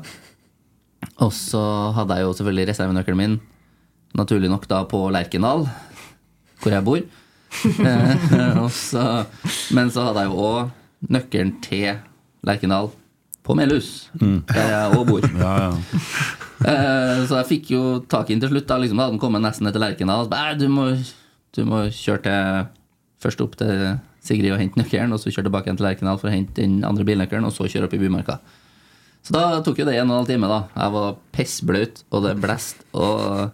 Og så hadde jeg jo selvfølgelig reservenøkkelen min, naturlig nok da på Lerkendal, hvor jeg bor. Eh, og så, men så hadde jeg jo òg nøkkelen til Lerkendal på Melhus, Mm. der jeg òg bor. Eh, Så jeg fikk jo tak i den til slutt. Da liksom, da hadde den kommet nesten ned til Lerkendal. og så bare, «Nei, Du, må- du må kjøre til først opp til Sigrid og hente nøkkelen, og så kjøre tilbake igjen til Lerkendal for å hente den andre bilnøkkelen, og så kjøre opp i Bymarka. Så da tok jo det en og en halv time. da Jeg var pissblaut, og det blest. Og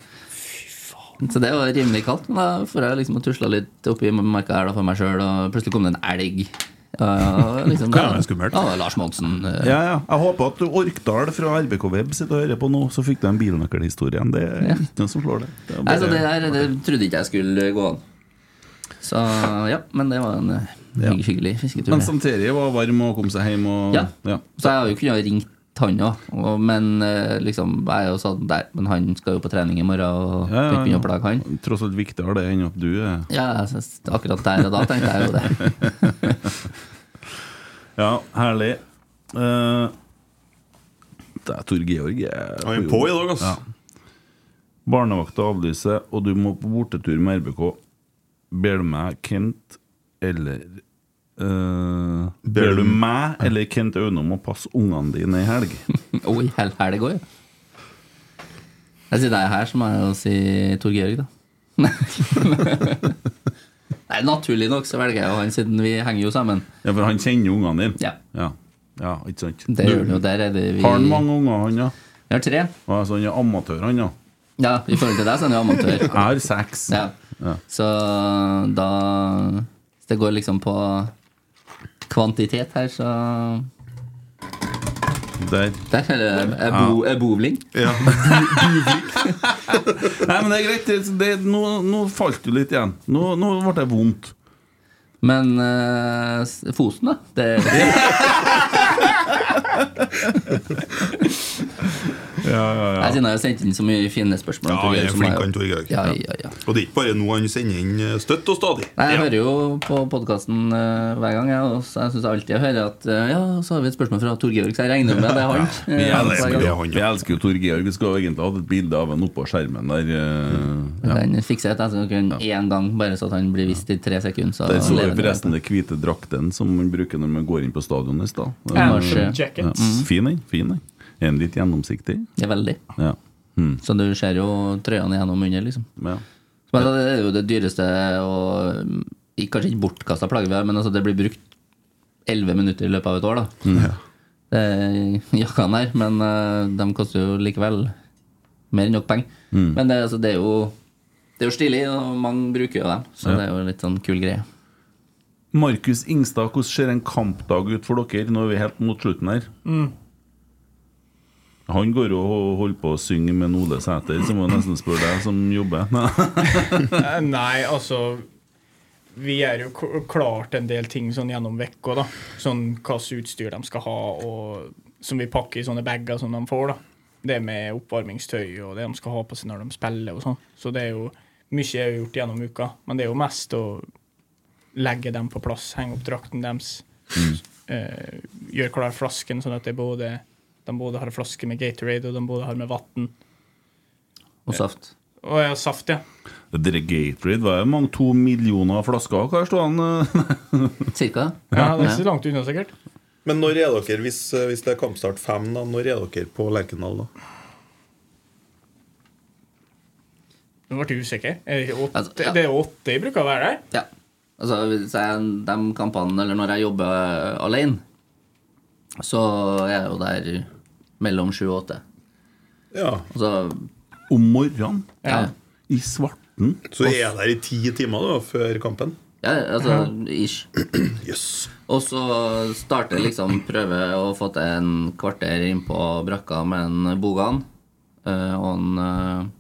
så det var rimelig kaldt. Men da får jeg liksom og tusla litt oppi marka her da for meg sjøl, og plutselig kom det en elg. Ja, ja, liksom, Ja, det er skummelt. Ja, Lars Monsen. eh, Ja, ja. Jeg håper at du Orkdal fra RBK Web sitter og hører på nå, så fikk du en bilnøkkelhistorien. Det er Ja. ikke noe som slår det. Det er Nei, så bare- det der det trodde ikke jeg skulle gå an. Så ja, men det var en eh, Ja. hygg- hyggelig fisketur. Men det. samtidig var varm og kom seg hjem og Ja. Så jeg har jo kunnet ringt han òg, men eh, liksom, jeg er jo sånn der, men han skal jo på trening i morgen og Ja, ja, kan ikke ja. begynne å plage han. Tross alt viktigere det enn at du er Ja, jeg synes, akkurat der og da tenkte jeg jo det. Ja, herlig. Eh, det er Tor Georg. Jeg Han er på i dag, ass. Barnevakta avlyser, og du må på bortetur med RBK. Ber du meg Kent eller eh, Ber du meg eller Kent Aune om å passe ungene dine ei helg? Og i hel helg òg, ja. Jeg sier det er her, så må jeg jo si Tor Georg, da. Nei, naturlig nok så velger jeg jo han, siden vi henger jo sammen. Ja, For han kjenner jo ungene dine? Ja. ja. Ja, ikke sant? Det gjør han jo, der er det vi Har han mange unger, han, da? Jeg har tre. Ja, så han er amatør, han, da? Ja, i forhold til deg så er han jo amatør. Jeg har seks. Ja. Så da Hvis det går liksom på kvantitet her, så Der. Der er det er bo, er bovling. Nei, men det er greit. Det, det, nå, nå falt du litt igjen. Nå, nå ble det vondt. Men eh, s- Fosen, da? Det Jeg siden jeg har sendt inn så mye fine spørsmål. om Ja, Torgeir, jeg er så må flink, jo- han Torgeir. Ja, ja, ja. Og det er ikke bare nå han sender inn eh, støtt og stadig. Nei, Jeg hører jo på podkasten hver gang, jeg, og så jeg syns alltid jeg hører at eh, Ja, så har vi et spørsmål fra Tor Georg, så jeg regner med det er han. Ja, vi, eh, hver elsker, gang. jo- vi elsker jo Tor Georg. Vi skulle jo egentlig hatt et bilde av ham oppå skjermen der. Mm. eh, Ja. Den fikser jeg etter kun én gang, bare så at han blir vist i tre sekunder. Så Der så vi lever det. forresten den hvite drakten som man bruker når man går inn på stadion i stad. Ja, kanskje. Ja. Jacket. Mm. Fin den. fin den. Er den litt gjennomsiktig? Det er veldig. Ja. Mm. Så du ser jo trøyene gjennom under, liksom. Ja. Så altså, det er jo det dyreste og mm, ikke- kanskje ikke bortkasta plagget vi har, men altså, det blir brukt elleve minutter i løpet av et år, da. Det er jakkene her, men eh, de koster jo likevel mer enn nok penger. Mm. Men det, er altså, det er jo det Det er jo stilig, og mange bruker jo dem, så Ja. det er jo litt sånn kul greie. Markus Ingstad, hvordan ser en kampdag ut for dere? Nå er vi helt mot slutten her. Mm. Han går jo og holder på å synge med Ole Sæter, så må jeg nesten spørre deg som jobber. Eh, Nei, altså Vi er jo k- klart en del ting sånn gjennom vekka, da. Sånn hva slags utstyr de skal ha, og som vi pakker i sånne bager som de får, da. Det med oppvarmingstøy og det de skal ha på seg når de spiller og sånn. Så det er jo mye er jo gjort gjennom uka, men det er jo mest å legge dem på plass, henge opp drakten deres, eh, gjøre klar flasken, sånn at det er både, de både har en flaske med Gatorade og de både har med vann. Og saft. Og ja, saft, ja. Dere Gatorade var jo mange to millioner flasker. Hva står han Cirka. Ja, det er ikke så langt unna, sikkert. Men når er dere, hvis, eh, hvis det er kampstart fem, da, når er dere på Lerkendal da? Nå ble jeg usikker. Er det, ikke åtte? Altså, det er åtte jeg bruker å være der. Ja. Altså, hvis jeg, de kampene, eller når jeg jobber eh, alene, så er jeg jo der mellom sju og åtte. Ja. Altså, Om morgenen? Ja. I svarten? Så er jeg der i ti timer da, før kampen? Ja, altså ish. Og så starte liksom prøve å få til en kvarter innpå brakka med en Bogan eh, og en eh,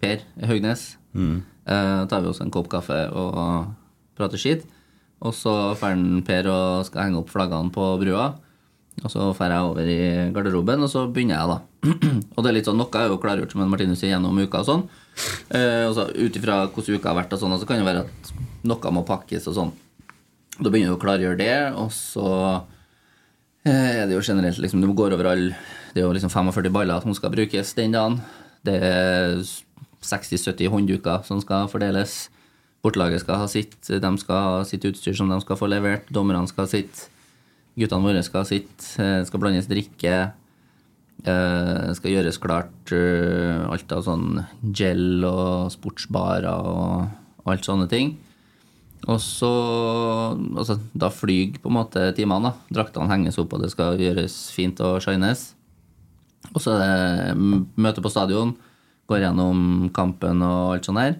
Per Høgnes. Mm. Eh, tar vi oss en kopp kaffe og prater skit. Og så drar Per og skal henge opp flaggene på brua. Og så drar jeg over i garderoben, og så begynner jeg, da. og det er litt sånn, noe er jo klargjort, som en Martinus sier, gjennom uka og sånn. Eh, og så Ut ifra hvordan uka har vært, og sånn, og så kan det være at noe må pakkes og sånn. Da begynner du å klargjøre det, og så eh, er det jo generelt liksom, Du går over alle Det er jo liksom 45 baller som skal brukes den dagen. Det er 60-70 håndduker som skal fordeles. Bortelaget skal ha sitt, de skal ha sitt utstyr som de skal få levert. Dommerne skal ha sitt. Guttene våre skal ha sitt. eh, Det skal blandes drikke. Eh, skal gjøres klart eh, alt av sånn gel og sportsbarer og alt sånne ting. Og så altså, Da flyr på en måte timene. da. Draktene henges opp, og det skal gjøres fint og shines. Og så er det m- møte på stadion. Går gjennom kampen og alt sånt her.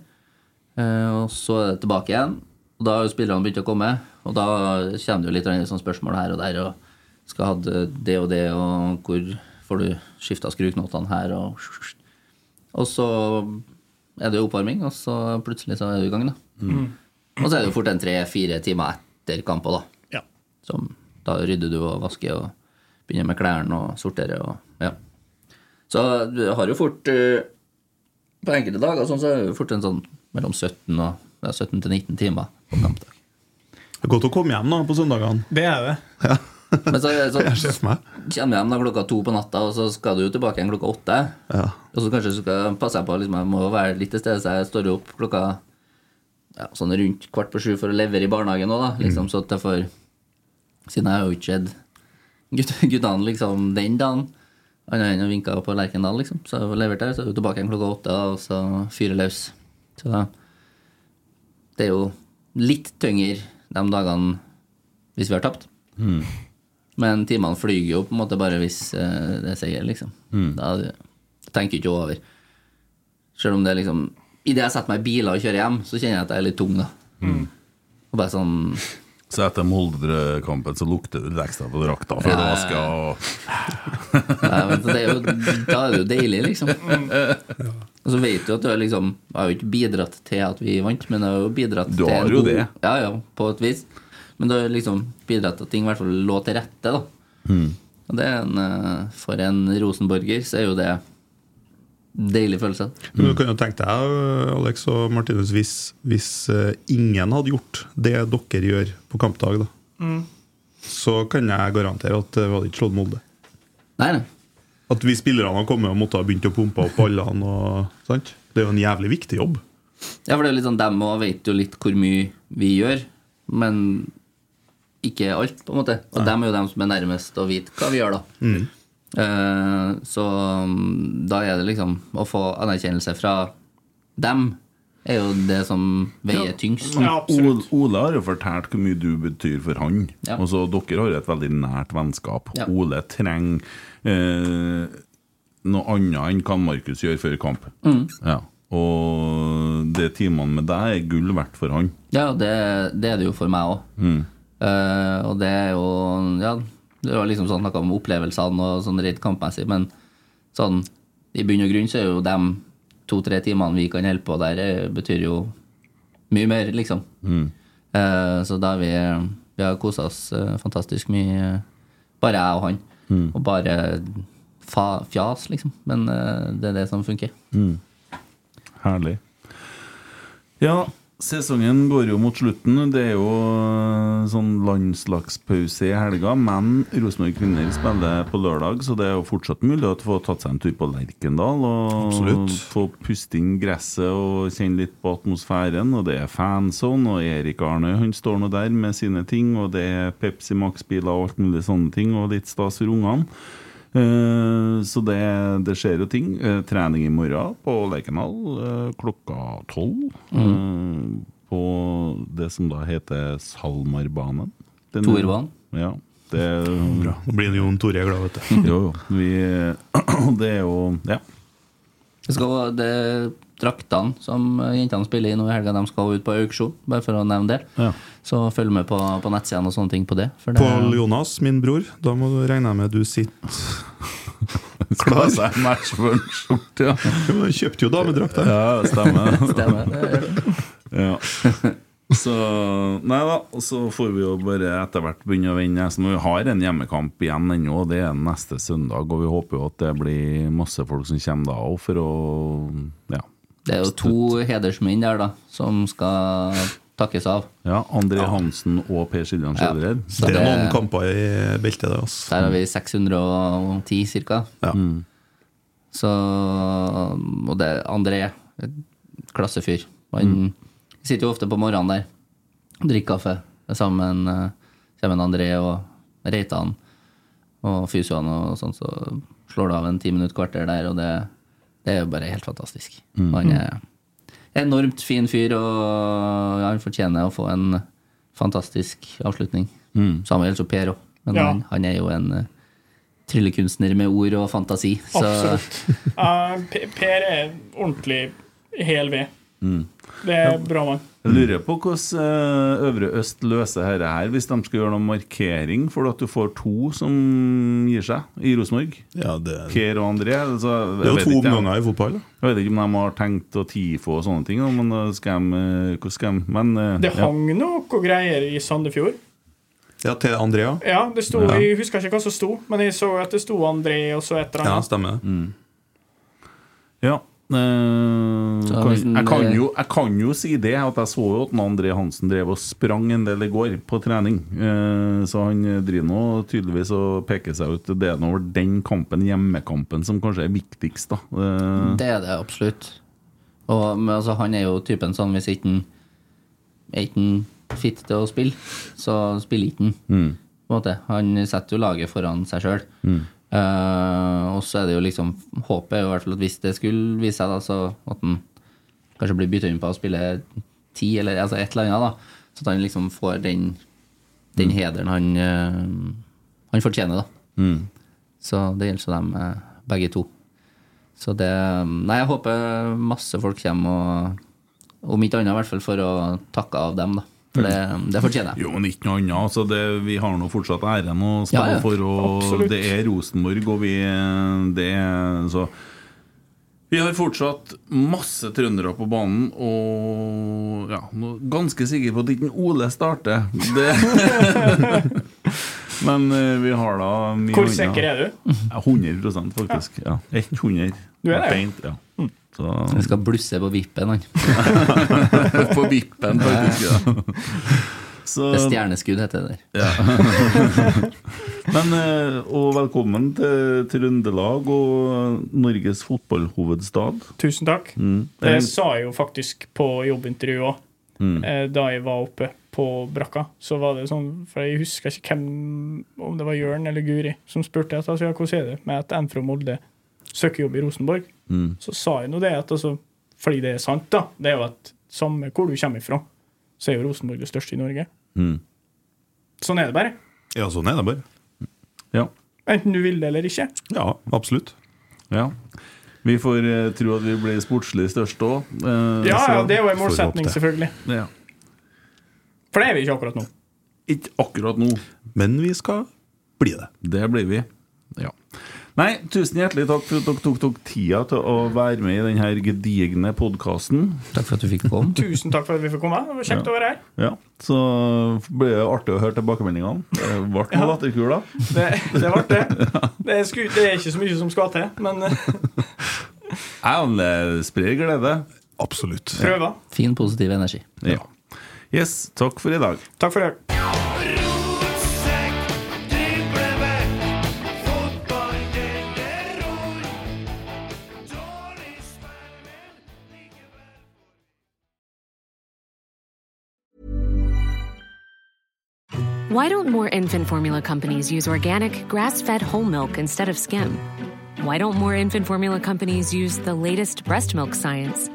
Eh, Og så er det tilbake igjen. Og da har jo spillerne begynt å komme. Og da kommer det jo litt sånn spørsmål her og der. Og skal ha det og det, og hvor får du skifta skruknotene her, og Og så er det jo oppvarming, og så plutselig så er du i gang, da. Mm. Og så er det jo fort en tre-fire timer etter kamp også, da. Ja. Som, da rydder du og vasker og begynner med klærne og sorterer og ja. Så du har jo fort eh, På enkelte dager sånn, så er det jo fort en sånn mellom 17 og ja, 17 til 19 timer. Det er godt å komme hjem da, på søndagene. Det er det. Men så, sånn- så Jeg ser for meg. kommer hjem da klokka to på natta, og så skal du jo tilbake igjen klokka åtte. Og så kanskje skal jeg passe på liksom, Jeg må være litt til stede, så jeg står jo opp klokka ja, sånn rundt kvart på sju for å levere i barnehagen òg, da. Liksom, Så at jeg får Siden jeg har jo ikke sett gutt- guttene liksom den dagen, annet enn å vinke på Lerkendal, liksom. Så jeg får levert der, så er jeg jo tilbake igjen klokka åtte, og så fyre løs. Så da, det er jo litt tyngre de dagene hvis vi har tapt. Mm. Men timene flyger jo på en måte bare hvis eh, det er seier, liksom. Da tenker jeg ikke over. Selv om det er liksom Idet jeg setter meg i biler og kjører hjem, så kjenner jeg at jeg er litt tung, da. Og bare sånn Så etter Molde-kampen så lukter det litt ekstra på drakta før du Ja. vasker og Nei, men det er jo, Da er det jo deilig, liksom. Og så vet du at du har liksom Jeg har jo ikke bidratt til at vi vant, men jeg har jo bidratt Du til har en jo god- det. Ja, ja, på et vis. Men du har jo liksom bidratt til at ting i hvert fall lå til rette, da. Mm. Og det er en, eh, for en rosenborger så er jo det deilig følelse. Men du kan jo tenke deg, eh, Alex og Martinus, hvis, hvis eh, ingen hadde gjort det dere gjør på kampdag, da, Mm. så kan jeg garantere at vi hadde ikke slått Molde. Nei, At vi spillerne har kommet og måtte ha begynt å pumpe opp ballene. Og, sant? Det er jo en jævlig viktig jobb. Ja, for det er jo litt sånn dem òg vet jo litt hvor mye vi gjør, men ikke alt, på en måte. Og dem er jo dem som er nærmest å vite hva vi gjør, da. Mm. Eh, Så mm, da er det liksom å få anerkjennelse fra dem er jo det som veier tyngst. Ole, Ole har jo fortalt hvor mye du betyr for han. Ja. Og så Dere har jo et veldig nært vennskap. Ja. Ole trenger eh, noe annet enn hva Markus gjør før kamp. Mm. Ja. Og de timene med deg er gull verdt for han. Ja, det, det er det jo for meg òg. Mm. og det er jo Ja, det var liksom sånn noe om opplevelsene og sånn rent kampmessig, men sånn i bunn og grunn så er jo de to-tre timene vi kan holde på der, eh, betyr jo mye mer, liksom. Mm. Eh, så da har vi Vi har kosa oss eh, fantastisk mye, eh, bare jeg og han. Mm. Og bare fa, fjas, liksom. Men eh, det er det som funker. Mm. Herlig. Ja, sesongen går jo mot slutten. Det er jo øh, sånn landslagspause i helga. Men Rosenborg kvinner spiller på lørdag, så det er jo fortsatt mulig å få tatt seg en tur på Lerkendal. Og Absolutt. få puste inn gresset og kjenne litt på atmosfæren. Og det er fanzone, og Erik Arne han står nå der med sine ting. Og det er Pepsi Max-biler og alt mulig sånne ting, og litt stas for ungene. Eh, Så det, det skjer jo ting. Eh, Trening i morgen på Lerkendal eh, klokka tolv. Mm. eh, På det som da heter SalMar-banen. Den- Torbanen. Ja. Det Bra. Nå blir Jon Tore glad, vet du. Jo, jo. Vi, det er jo Ja. Det skal, det, draktene som eh, jentene spiller i nå i helga, de skal ut på auksjon, bare for å nevne det. Ja. Så følg med på, på nettsidene og sånne ting på det. For det Pål Jonas, min bror, da må du regne med du sitter klar. seg match for en skjorte, ja. Du kjøpte jo damedrakt her. Ja, det stemmer. Stemmer, Ja. Så Nei da, og så får vi jo bare etter hvert begynne å vinne. Så vi har en hjemmekamp igjen ennå, og det er neste søndag. Og vi håper jo at det blir masse folk som kommer da òg, for å Ja. Det er jo to hedersmenn der, da, som skal takkes av. ja André Hansen og Per Siljan Ja. Skjellered. Så Det er det- noen kamper i beltet, altså. det. Ass. Der har vi 610 ca. Ja. Så Og det er André, et klassefyr. Han Mm. sitter jo ofte på morgenen der og drikker kaffe. Det er Sammen eh, kommer en André og Reitan og fysioene og sånn, så slår du av en ti minutt kvarter der, og det, det er jo bare helt fantastisk. Mm. Han er enormt fin fyr, og han fortjener å få en fantastisk avslutning. Mm. Samme gjelder jo Per òg, men Ja. han, han er jo en eh, tryllekunstner med ord og fantasi. Så Absolutt. Eh, P- per er ordentlig hel ved. Mm. Det er bra mann. Jeg Mm. lurer på hvordan eh, Øvre Øst løser dette her, hvis de skal gjøre noen markering. For at du får to som gir seg i Rosenborg. Ja, det- Per og André. Altså, jeg Det er jo vet to ikke, jeg- omganger i fotball. da. Jeg vet ikke om de har tenkt å TIFO og sånne ting, da, men eh, skal de, eh, hvordan skal de Men eh, Det ja. hang noe greier i Sandefjord. Ja, til Andrea. Ja, det sto, Ja. Jeg husker ikke hva som sto, men jeg så at det sto André og så et eller Ja, annet. stemmer. ja. eh, Så kan, hvis den- jeg, kan jo, jeg kan jo si det, at jeg så jo at den André Hansen drev og sprang en del i går på trening. Eh, så han eh, driver nå tydeligvis og peker seg ut. Det er nå vel den kampen, hjemmekampen, som kanskje er viktigst, da. Eh, Det er det absolutt. Og, men altså, han er jo typen sånn hvis ikke han er ikke han fit til å spille, så spiller ikke han. Mm. På en måte. Han setter jo laget foran seg sjøl. Mm. og så er det jo liksom Håpet er jo i hvert fall at hvis det skulle vise seg, da, så at han kanskje blir bytta inn på å spille ti, eller altså et eller annet, da. Så at han liksom får den, den hederen han, eh, han fortjener, da. mm. Så det gjelder så dem eh, begge to. Så det eh, Nei, jeg håper masse folk kommer og Om ikke annet, i hvert fall for å takke av dem, da. For det, det fortjener jeg. Jo, men ikke noe annet. Altså, det, vi har nå fortsatt æren å spille Ja, ja. for, og Absolutt. det er Rosenborg, og vi det, er- så, Vi har fortsatt masse trøndere på banen, og ja, nå, ganske sikker på at ikke Ole starter. Det. men eh, vi har da mye Hvor annet. sikker er du? Ja, 100 faktisk. Ja. 100 Du er det, Mm. ja. Beint, ja. Så, Jeg skal blusse på vippen, han. på vippen, faktisk. Ja. Så, Det er stjerneskudd, heter det der. Men, eh, og velkommen til Trøndelag og Norges fotballhovedstad. Tusen takk. Det sa jeg jo faktisk på jobbintervjuet òg, Mm. da jeg var oppe på brakka. Så var det sånn, for jeg husker ikke hvem, om det var Jørn eller Guri, som spurte at, altså, ja, hvordan er det med at en fra Molde søker jobb i Rosenborg. Mm. Så sa jeg nå det, at altså, fordi det er sant, da, det er jo at samme hvor du kommer ifra, så er jo Rosenborg det største i Norge. Mm. Sånn er det bare. Ja, sånn er det bare. Ja. Enten du vil det eller ikke. Ja, absolutt. ja. Vi får eh, tro at vi blir sportslig størst òg. Ja, ja, det er jo en målsetning, selvfølgelig. Ja. For det er vi ikke akkurat nå. Ikke akkurat nå. Men vi skal bli det. Det blir vi. Ja. Nei, tusen hjertelig takk for at dere tok dere tida til å være med i denne gedigne podkasten. Takk for at du fikk komme. Tusen takk for at vi fikk komme. Det var kjekt å være her. Ja, Så blir det artig å høre tilbakemeldingene. Det ble noe latterkul, da. Det, det ble det. Det, er sku, det er ikke så mye som skal til, men eh, Jeg sprer glede. Absolutt. Prøver. Fin, positiv energi. Ja. Yes, takk for i dag. takk for i dag. Why don't more infant formula companies use organic, grass fed whole milk instead of skim? Why don't more infant formula companies use the latest breast milk science?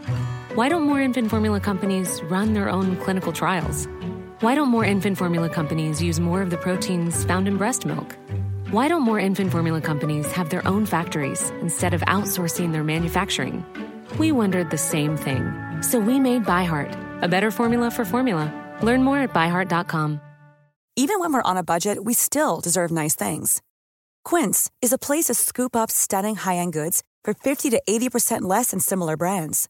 Why don't more infant formula companies run their own clinical trials? Why don't more infant formula companies use more of the proteins found in breast milk? Why don't more infant formula companies have their own factories instead of outsourcing their manufacturing? We wondered the same thing. So we made ByHeart, a better formula for formula. Learn more at byheart.com. Even when we're on a budget, we still deserve nice things. Quince is a place to scoop up stunning high-end goods for 50 to 80% less than similar brands.